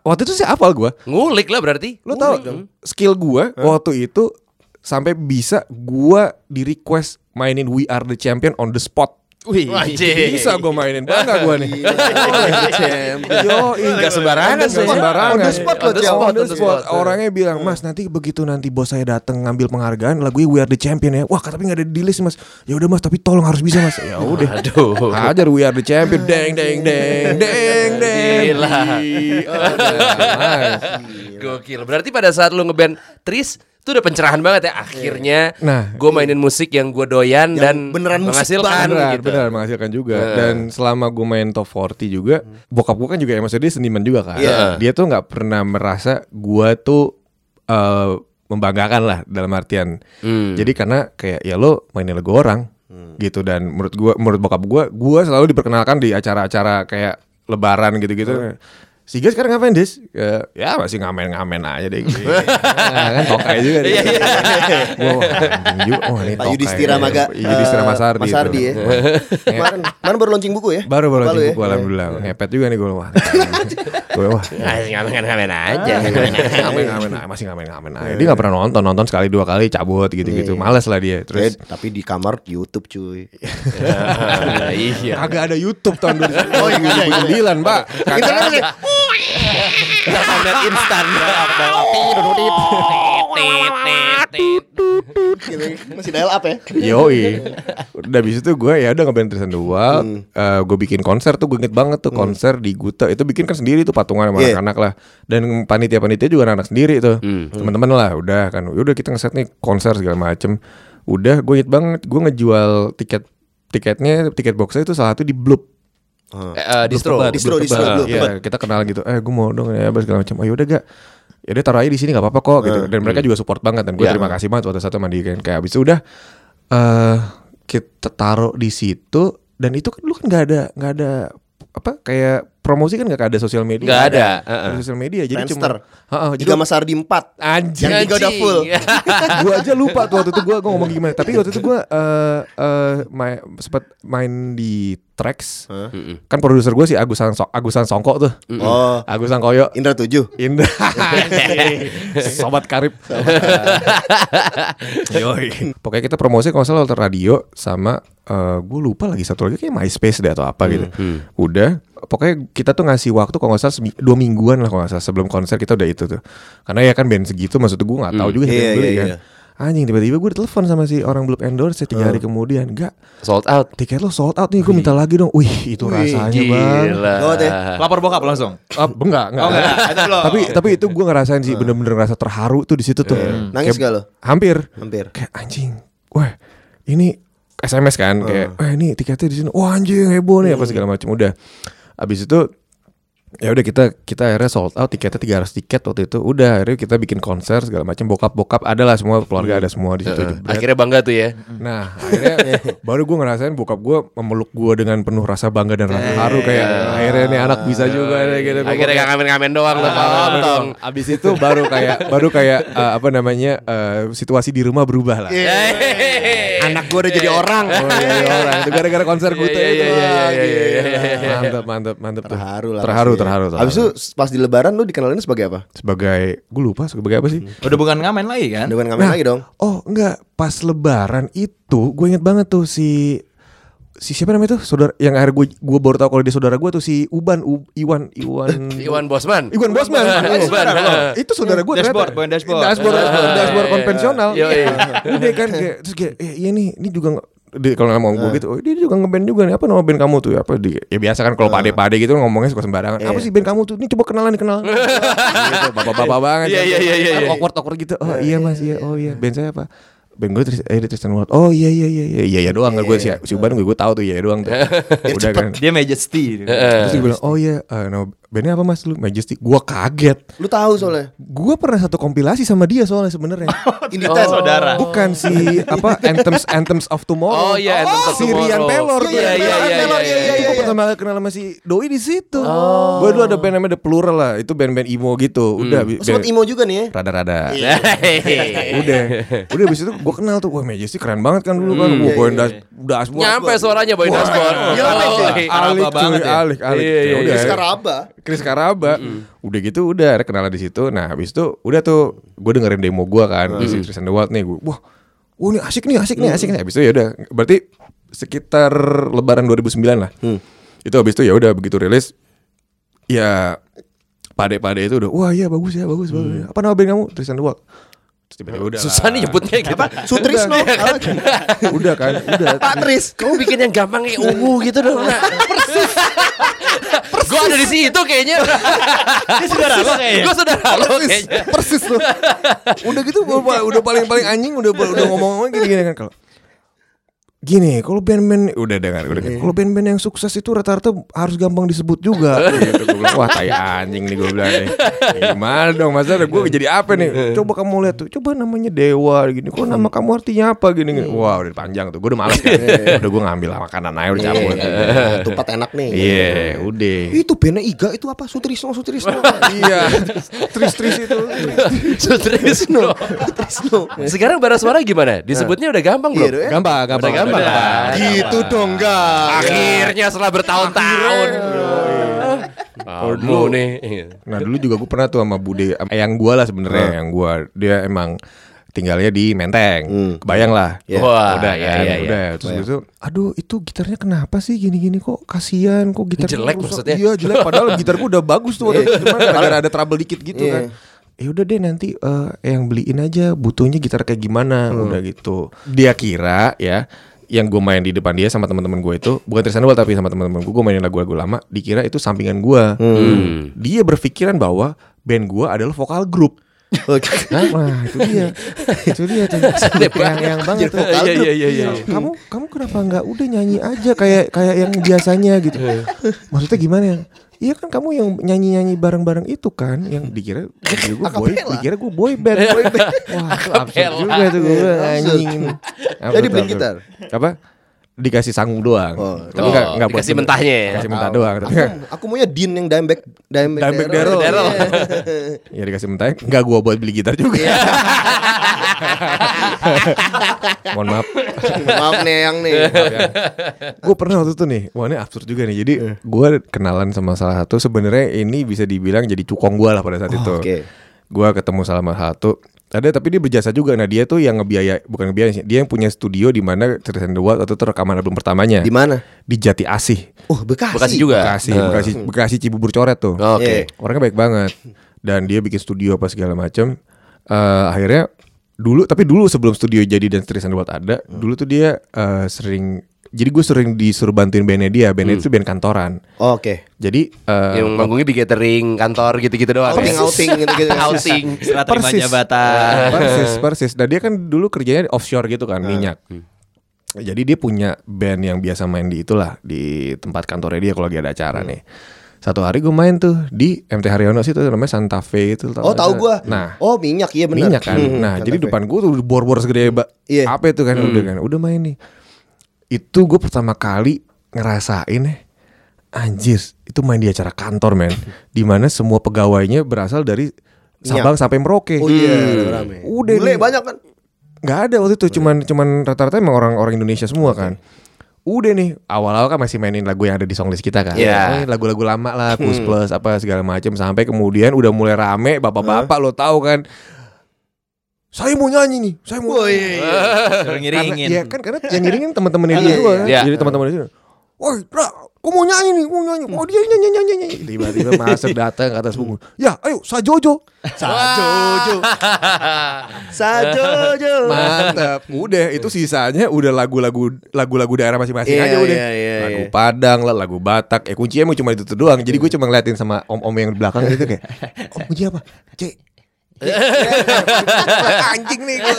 [SPEAKER 5] waktu itu sih apal gue
[SPEAKER 3] Ngulik lah berarti.
[SPEAKER 5] Lu tau skill gua waktu itu sampai bisa gua di request mainin We Are the Champion on the spot.
[SPEAKER 3] Wih, iya,
[SPEAKER 5] Bisa gua mainin bangga gua nih. Yo,
[SPEAKER 3] Nggak sembarangan
[SPEAKER 5] enggak
[SPEAKER 3] sih.
[SPEAKER 5] sembarangan.
[SPEAKER 2] On the spot
[SPEAKER 3] loh,
[SPEAKER 5] On the
[SPEAKER 3] Cel.
[SPEAKER 5] spot,
[SPEAKER 3] On the
[SPEAKER 5] on the spot.
[SPEAKER 3] spot.
[SPEAKER 5] Orangnya bilang, "Mas, nanti begitu nanti bos saya datang ngambil penghargaan, lagunya We Are the Champion ya." Wah, tapi nggak ada di list, Mas. Ya udah, Mas, tapi tolong harus bisa, Mas. Ya udah.
[SPEAKER 3] Aduh.
[SPEAKER 5] Hajar We Are the Champion, deng deng deng deng deng.
[SPEAKER 3] Gila.
[SPEAKER 5] Mas.
[SPEAKER 3] Gokil. Berarti pada saat lu ngeband Tris itu udah pencerahan banget ya akhirnya.
[SPEAKER 5] Nah,
[SPEAKER 3] gue mainin musik yang gue doyan dan
[SPEAKER 2] beneran musik
[SPEAKER 3] menghasilkan
[SPEAKER 5] benar
[SPEAKER 3] gitu.
[SPEAKER 5] benar menghasilkan juga dan selama gue main top 40 juga bokap gue kan juga emang dia seniman juga kan
[SPEAKER 3] Hmm. Iya.
[SPEAKER 5] dia tuh nggak pernah merasa gue tuh eh, membanggakan lah dalam artian
[SPEAKER 3] Hmm.
[SPEAKER 5] jadi karena kayak ya lo mainin lagu orang gitu dan menurut gua menurut bokap gue gue selalu diperkenalkan di acara-acara kayak lebaran gitu-gitu Si Gas sekarang ngapain, Dis? Ya, ya masih ngamen-ngamen aja deh. Nah, kan tokai juga. Iya, iya. Oh, ini
[SPEAKER 2] Pak
[SPEAKER 5] tokai.
[SPEAKER 2] Yudhistira Maga.
[SPEAKER 5] Iya,
[SPEAKER 2] eh,
[SPEAKER 5] Yudhistira Mas Ardi.
[SPEAKER 2] Mas
[SPEAKER 5] itu. Iya.
[SPEAKER 2] Ardi ya. Kemarin kemarin baru launching buku ya?
[SPEAKER 5] Baru baru
[SPEAKER 2] Baru ya?
[SPEAKER 5] launching buku alhamdulillah. Ngepet juga nih gue wah. Gue wah.
[SPEAKER 3] Nah, ngamen-ngamen
[SPEAKER 2] Iya.
[SPEAKER 3] aja.
[SPEAKER 5] Ngamen ngamen aja, masih ngamen ngamen aja. Dia nggak pernah nonton nonton sekali dua kali cabut gitu gitu. Males lah dia.
[SPEAKER 2] Eh,
[SPEAKER 5] Terus
[SPEAKER 2] tapi di kamar di YouTube cuy.
[SPEAKER 3] Ah, Iya.
[SPEAKER 5] kagak ada YouTube tahun 2009
[SPEAKER 2] Oh, iya, iya,
[SPEAKER 5] Mbak. Kagak
[SPEAKER 2] Internet masih-
[SPEAKER 3] Internet instan.
[SPEAKER 2] Gitu, masih dial up ya.
[SPEAKER 5] Yoi Udah abis itu gue ya udah ngeband Tristan The Wild
[SPEAKER 2] Hmm.
[SPEAKER 5] Eh, Gue bikin konser tuh gue inget banget tuh konser di Gute Itu bikin kan sendiri tuh patungan sama
[SPEAKER 2] Iya. Hmm.
[SPEAKER 5] anak-anak lah Dan panitia-panitia juga anak-anak sendiri tuh Teman-teman lah udah kan Udah kita ngeset nih konser segala macem Udah gue inget banget gue ngejual tiket Tiketnya, tiket boxnya itu salah satu di Bloop
[SPEAKER 3] Eh, distro.
[SPEAKER 2] Ah.
[SPEAKER 5] Bloop tebal,
[SPEAKER 2] Distro,
[SPEAKER 5] Bloop
[SPEAKER 2] distro,
[SPEAKER 5] tebal.
[SPEAKER 2] Bloop
[SPEAKER 5] Iya, kita kenal gitu. Eh, gue mau dong ya, apa segala macam. Oh, yaudah gak. Ya udah taruh aja di sini nggak apa-apa kok
[SPEAKER 2] Hmm,
[SPEAKER 5] gitu. Dan mereka juga support banget dan gue
[SPEAKER 2] Ya.
[SPEAKER 3] Iya.
[SPEAKER 5] terima kasih banget waktu satu mandi kan. Kayak abis itu udah eh kita taruh di situ dan itu kan lu kan nggak ada nggak ada apa kayak promosi kan nggak ada sosial media
[SPEAKER 3] Nggak ada,
[SPEAKER 5] Nggak ada
[SPEAKER 3] heeh.
[SPEAKER 5] sosial media jadi
[SPEAKER 2] Friendster.
[SPEAKER 5] cuma Heeh, jadi
[SPEAKER 2] Tiga Mas Ardi empat.
[SPEAKER 5] anjing
[SPEAKER 2] Yang tiga udah full.
[SPEAKER 5] gue aja lupa tuh waktu itu gue ngomong gimana tapi waktu itu gue eh eh, ma- sempet main di tracks kan produser gue si Agusan so Agusan Songko tuh
[SPEAKER 2] Oh,
[SPEAKER 5] Agusan Koyo
[SPEAKER 2] Indra tujuh.
[SPEAKER 5] Indah Sobat Karib Yoi. Pokoknya kita promosi kalau nggak salah lewat radio Sama gue lupa lagi satu lagi kayak MySpace deh atau apa gitu Udah Pokoknya kita tuh ngasih waktu kalau nggak salah semi- dua mingguan lah kalau nggak salah sebelum konser kita udah itu tuh Karena ya kan band segitu maksud gue nggak tahu juga sih
[SPEAKER 2] Iya,
[SPEAKER 5] band beli
[SPEAKER 2] iya,
[SPEAKER 5] kan
[SPEAKER 2] iya.
[SPEAKER 5] Anjing tiba-tiba gue ditelepon sama si orang belum endorse ya tiga hari kemudian Enggak
[SPEAKER 3] Sold out.
[SPEAKER 5] tiket lo sold out nih gue minta lagi dong Oh. Wih itu rasanya bang
[SPEAKER 2] Gawat ya.
[SPEAKER 4] Lapor bokap langsung.
[SPEAKER 5] Ah, enggak, enggak.
[SPEAKER 4] Oh, enggak. Itu belum.
[SPEAKER 5] tapi tapi itu gue ngerasain sih bener-bener ngerasa terharu tuh di situ tuh.
[SPEAKER 2] Nangis
[SPEAKER 5] Kayak-
[SPEAKER 2] gak lo?
[SPEAKER 5] Hampir.
[SPEAKER 2] Hampir.
[SPEAKER 5] Kayak anjing. Wah, ini SMS kan kayak wah ini tiketnya di sini. Wah anjing heboh nih apa segala macam udah. Abis itu ya udah kita kita akhirnya sold out tiketnya 300 tiket waktu itu udah akhirnya kita bikin konser segala macam bokap-bokap adalah semua keluarga ada semua di situ Jebret.
[SPEAKER 3] Akhirnya bangga tuh ya.
[SPEAKER 5] Nah akhirnya baru gue ngerasain bokap gue memeluk gue dengan penuh rasa bangga dan rasa haru kayak akhirnya nih anak bisa juga nih gitu.
[SPEAKER 3] Akhirnya nggak ngamen-ngamen doang tuh. Potong.
[SPEAKER 5] Abis itu baru kayak baru kayak eh, apa namanya eh, situasi di rumah berubah lah.
[SPEAKER 3] Iya.
[SPEAKER 2] Anak gue udah jadi orang.
[SPEAKER 5] Oh iya, iya, orang. Itu gara-gara konser gue itu
[SPEAKER 3] iya, iya,
[SPEAKER 5] lah,
[SPEAKER 3] iya, iya,
[SPEAKER 5] gila.
[SPEAKER 3] iya,
[SPEAKER 5] Mantap mantap mantap tuh.
[SPEAKER 2] Terharu lah.
[SPEAKER 5] Terharu
[SPEAKER 3] ya.
[SPEAKER 2] pasti.
[SPEAKER 5] terharu. terharu.
[SPEAKER 2] Abis itu pas di lebaran lu dikenalin sebagai apa?
[SPEAKER 5] sebagai gue lupa sebagai apa sih?
[SPEAKER 3] Hmm.
[SPEAKER 4] Udah bukan ngamen lagi kan?
[SPEAKER 2] Dengan ngamen lagi dong.
[SPEAKER 5] Oh enggak pas lebaran itu gue inget banget tuh si si siapa namanya tuh saudara yang akhirnya gue gue baru tahu kalau dia saudara gue tuh si Uban U- Iwan Iwan
[SPEAKER 3] Iwan Bosman.
[SPEAKER 5] Iwan Bosman
[SPEAKER 3] Iwan Bosman.
[SPEAKER 5] itu saudara gue
[SPEAKER 4] Dashboard, Boyan Dashboard.
[SPEAKER 5] dashboard dashboard,
[SPEAKER 3] Ah,
[SPEAKER 5] dashboard
[SPEAKER 3] iya, iya.
[SPEAKER 5] konvensional
[SPEAKER 3] Yoi.
[SPEAKER 5] udah kan kayak terus kayak eh, iya nih ini juga nge- dia kalau ngomong gue gitu, oh, dia juga ngeband juga nih apa nama band kamu tuh apa di ya biasa kan kalau pade-pade gitu ngomongnya suka sembarangan apa sih band kamu tuh ini coba kenalan nih kenalan gitu, bapak-bapak banget
[SPEAKER 3] Iya, iya, iya, iya, iya.
[SPEAKER 5] awkward awkward gitu oh iya mas iya oh iya band saya apa band gue Tris- eh, Tristan Ward oh iya iya iya iya iya iya doang gue si si Uban gue gue tahu tuh iya doang tuh udah kan
[SPEAKER 4] Dia majesty.
[SPEAKER 5] terus gue bilang oh iya eh, nama bandnya apa mas lu Majesty gue kaget
[SPEAKER 2] Lu tahu soalnya.
[SPEAKER 5] Gua pernah satu kompilasi sama dia soalnya sebenarnya.
[SPEAKER 2] Ini tes.
[SPEAKER 4] saudara.
[SPEAKER 5] Bukan si apa Anthems Anthems of
[SPEAKER 3] Oh,
[SPEAKER 5] Tomorrow.
[SPEAKER 3] iya, Anthems of
[SPEAKER 5] si Rian
[SPEAKER 3] Tomorrow.
[SPEAKER 5] Pelor. tuh.
[SPEAKER 3] Iya, iya,
[SPEAKER 5] Rian
[SPEAKER 3] iya,
[SPEAKER 5] Pelor,
[SPEAKER 3] iya, iya, Oh.
[SPEAKER 5] Itu gua pertama kali kenal sama si Doi di situ. Gua dulu ada band namanya The Plural lah, itu band-band emo
[SPEAKER 3] Hmm.
[SPEAKER 5] gitu. Udah bi-
[SPEAKER 2] Lu sempet
[SPEAKER 5] band-
[SPEAKER 2] emo juga nih ya.
[SPEAKER 5] Iya, rada-rada.
[SPEAKER 3] Iya. Hehehe.
[SPEAKER 5] Udah. Udah habis itu gua kenal tuh, wah Majesty keren banget kan dulu
[SPEAKER 3] Hmm.
[SPEAKER 5] kan. Gua Boyan Das Dashboard.
[SPEAKER 3] Iya, Nyampe suaranya Boy Dashboard.
[SPEAKER 2] Iya,
[SPEAKER 3] Oh,
[SPEAKER 2] iya.
[SPEAKER 3] iya.
[SPEAKER 5] Alik
[SPEAKER 4] Araba banget
[SPEAKER 5] cuy,
[SPEAKER 4] ya.
[SPEAKER 5] alik, alik.
[SPEAKER 3] Iya, iya,
[SPEAKER 5] Udah,
[SPEAKER 3] iya.
[SPEAKER 2] Terus Karaba.
[SPEAKER 5] Chris Karaba. Udah gitu udah ada kenalan di situ. Nah, habis itu udah tuh gue dengerin demo gua kan di si Chris and the Wild nih gue. Wah, wah ini asik nih, asik nih, asik nih. Habis itu ya udah berarti sekitar lebaran 2009 lah.
[SPEAKER 3] Hmm.
[SPEAKER 5] Itu habis itu ya udah begitu rilis ya pade-pade itu udah wah iya bagus ya bagus bagus apa nama band kamu Chris and the Wild Terus tiba-tiba udah
[SPEAKER 3] Mm. Nah, Susah nih nyebutnya gitu.
[SPEAKER 2] Sutrisno.
[SPEAKER 5] udah kan udah
[SPEAKER 2] Pak Tris. Iya,
[SPEAKER 3] Kamu bikin yang gampang kayak ungu gitu dong. Nak. Persis. Gue ada di situ kayaknya.
[SPEAKER 4] Dia saudara lo kayaknya.
[SPEAKER 3] Gue saudara lo
[SPEAKER 5] persis
[SPEAKER 3] kayaknya.
[SPEAKER 5] persis tuh udah gitu udah udah paling paling anjing udah udah ngomong-ngomong gini gini kan kalau gini kalau band-band udah dengar udah dengar. kalau band-band yang sukses itu rata-rata harus gampang disebut juga gitu gue bilang wah tai anjing nih gue bilang nih Iya, gimana dong masa gue jadi apa nih coba kamu lihat tuh coba namanya dewa gini kok nama kamu artinya apa gini, gini. wah udah panjang tuh gue udah malas kan udah gue ngambil makanan aja udah cabut
[SPEAKER 2] Nah, Tupat enak nih.
[SPEAKER 5] iya udah
[SPEAKER 2] Itu bandnya Iga itu apa? Sutrisno, Sutrisno.
[SPEAKER 5] iya tris-tris itu
[SPEAKER 3] Sutrisno.
[SPEAKER 2] Sutrisno.
[SPEAKER 3] Sekarang bara suara gimana? Disebutnya udah gampang
[SPEAKER 2] Iya,
[SPEAKER 3] belum?
[SPEAKER 2] dong, ya.
[SPEAKER 5] Gampang, gampang.
[SPEAKER 3] Udah gampang, Pak.
[SPEAKER 5] Gitu dong, enggak.
[SPEAKER 3] Akhirnya setelah bertahun-tahun.
[SPEAKER 5] Kalau
[SPEAKER 3] Kamu
[SPEAKER 5] dulu-
[SPEAKER 3] nih. Iya.
[SPEAKER 5] Nah, dulu juga gue pernah tuh sama Bude, sama yang gua lah sebenarnya, yang gua dia emang tinggalnya di Menteng. Kebayang lah.
[SPEAKER 3] Wah,
[SPEAKER 5] udah
[SPEAKER 3] iya,
[SPEAKER 5] kan,
[SPEAKER 3] iya, iya.
[SPEAKER 5] udah. Terus habis itu, aduh itu gitarnya kenapa sih gini-gini kok kasihan kok gitar
[SPEAKER 3] Jelek maksudnya.
[SPEAKER 5] Iya, jelek padahal gitar gua udah bagus tuh waktu itu. Cuman gara-gara ada trouble dikit gitu kan. Ya udah deh nanti eh, yang beliin aja butuhnya gitar kayak gimana udah gitu. Dia kira ya yang gue main di depan dia sama teman-teman gue itu bukan Tristan Wild tapi sama teman-teman gue gue mainin lagu-lagu lama dikira itu sampingan gue dia berpikiran bahwa band gue adalah vokal grup Nah, itu dia. itu dia tuh. yang yang banget tuh.
[SPEAKER 3] Iya, iya, iya, iya.
[SPEAKER 5] Kamu kamu kenapa nggak udah nyanyi aja kayak kayak yang biasanya gitu. Maksudnya gimana ya? Iya kan kamu yang nyanyi-nyanyi bareng-bareng itu kan yang dikira dikira gue boy, dikira gue boy band. Boy band. Wah, itu absurd
[SPEAKER 3] Acapella.
[SPEAKER 5] juga tuh gue bilang,
[SPEAKER 2] Absurd.
[SPEAKER 5] anjing. Absurd,
[SPEAKER 2] Jadi beli
[SPEAKER 5] absurd.
[SPEAKER 2] gitar?
[SPEAKER 5] Apa? dikasih sanggup doang.
[SPEAKER 2] Oh.
[SPEAKER 5] Tapi nggak
[SPEAKER 3] Oh,
[SPEAKER 5] nggak buat
[SPEAKER 3] dikasih
[SPEAKER 5] bener.
[SPEAKER 3] mentahnya ya?
[SPEAKER 5] Dikasih mentah doang. Tapi nggak-
[SPEAKER 2] Aku maunya Din yang dime back dime back,
[SPEAKER 5] Dimebag Daryl.
[SPEAKER 2] Daryl. Iya.
[SPEAKER 5] ya dikasih mentah. Nggak gua buat beli gitar juga. Mohon maaf.
[SPEAKER 2] Maaf nih yang nih.
[SPEAKER 5] Gue pernah waktu itu nih. Wah ini absurd juga nih. Jadi
[SPEAKER 2] Iya.
[SPEAKER 5] gua kenalan sama salah satu. Sebenarnya ini bisa dibilang jadi cukong gua lah pada saat itu.
[SPEAKER 2] Oh, oke.
[SPEAKER 5] Gua ketemu sama salah satu. Ada tapi dia berjasa juga. Nah dia tuh yang ngebiaya bukan ngebiaya sih. Dia yang punya studio di mana Tristan the Wild waktu itu rekaman album pertamanya
[SPEAKER 2] Di mana?
[SPEAKER 5] di Jati Asih.
[SPEAKER 2] Oh, Bekasi.
[SPEAKER 3] Bekasi juga. Oh,
[SPEAKER 5] Bekasi, Bekasi, Bekasi Cibubur coret tuh.
[SPEAKER 3] Oke.
[SPEAKER 2] Iya.
[SPEAKER 5] Orangnya baik banget dan dia bikin studio apa segala macam. Eh, akhirnya dulu tapi dulu sebelum studio jadi dan Tristan Wild ada,
[SPEAKER 3] Hmm.
[SPEAKER 5] dulu tuh dia eh, sering jadi gue sering disuruh bantuin bandnya dia, bandnya itu band kantoran.
[SPEAKER 2] Oh, Oke.
[SPEAKER 5] Jadi eh,
[SPEAKER 3] Hmm. Yang manggungnya di catering kantor gitu-gitu doang.
[SPEAKER 2] Outing
[SPEAKER 3] ya?
[SPEAKER 2] outing gitu, gitu-gitu.
[SPEAKER 3] Outing.
[SPEAKER 4] Setelah terima
[SPEAKER 5] Persis.
[SPEAKER 4] jabatan.
[SPEAKER 5] persis persis. Nah dia kan dulu kerjanya offshore gitu
[SPEAKER 2] Ah.
[SPEAKER 5] kan minyak.
[SPEAKER 2] Hmm.
[SPEAKER 5] Jadi dia punya band yang biasa main di itulah di tempat kantornya dia kalau lagi ada acara
[SPEAKER 2] Hmm.
[SPEAKER 5] nih. Satu hari gue main tuh di MT Haryono sih itu namanya Santa Fe itu.
[SPEAKER 2] Oh, tahu gua.
[SPEAKER 5] Nah
[SPEAKER 2] Oh, minyak iya benar.
[SPEAKER 5] minyak kan.
[SPEAKER 2] Hmm,
[SPEAKER 5] Nah,
[SPEAKER 2] kata
[SPEAKER 5] jadi
[SPEAKER 2] gue.
[SPEAKER 5] depan gue tuh bor-bor segede ba-
[SPEAKER 2] Iya.
[SPEAKER 5] apa itu kan udah kan. Udah main nih. Itu gue pertama kali ngerasain eh anjir, itu main di acara kantor, men. Dimana semua pegawainya berasal dari Sabang sampai Merauke.
[SPEAKER 2] Oh iya, rame.
[SPEAKER 5] Hmm. Udah
[SPEAKER 2] Bule
[SPEAKER 5] nih.
[SPEAKER 2] banyak kan?
[SPEAKER 5] nggak ada
[SPEAKER 2] Oh,
[SPEAKER 5] waktu
[SPEAKER 2] iya.
[SPEAKER 5] itu cuman cuman rata-rata emang orang-orang Indonesia semua kan udah nih awal-awal kan masih mainin lagu yang ada di songlist kita kan
[SPEAKER 3] Iya.
[SPEAKER 5] Eh, lagu-lagu lama lah plus
[SPEAKER 2] Hmm.
[SPEAKER 5] plus apa segala macam sampai kemudian udah mulai rame bapak-bapak lo tahu kan saya mau nyanyi nih saya mau
[SPEAKER 2] Woi.
[SPEAKER 5] nyanyi."
[SPEAKER 4] Suruh
[SPEAKER 5] karena,
[SPEAKER 4] ngiringin.
[SPEAKER 5] iya kan karena yang ngiringin teman-teman itu
[SPEAKER 2] Iya,
[SPEAKER 5] juga
[SPEAKER 2] iya.
[SPEAKER 5] kan.
[SPEAKER 3] Iya.
[SPEAKER 5] jadi teman-teman itu woi Ra, aku mau nyanyi nih mau nyanyi mau dia nyanyi nyanyi nyanyi tiba-tiba master datang ke atas punggung ya ayo sajojo sajojo
[SPEAKER 2] Sajojo.
[SPEAKER 5] Mantap. Udah itu sisanya udah lagu-lagu lagu-lagu daerah masing-masing
[SPEAKER 2] Iya,
[SPEAKER 5] aja udah.
[SPEAKER 2] iya, iya,
[SPEAKER 5] lagu
[SPEAKER 2] iya.
[SPEAKER 5] Padang lah, lagu Batak. Eh kuncinya emang cuma itu tuh doang. Jadi gue cuma ngeliatin sama om-om yang di belakang gitu kayak, "Om kunci apa?" C. anjing nih gue.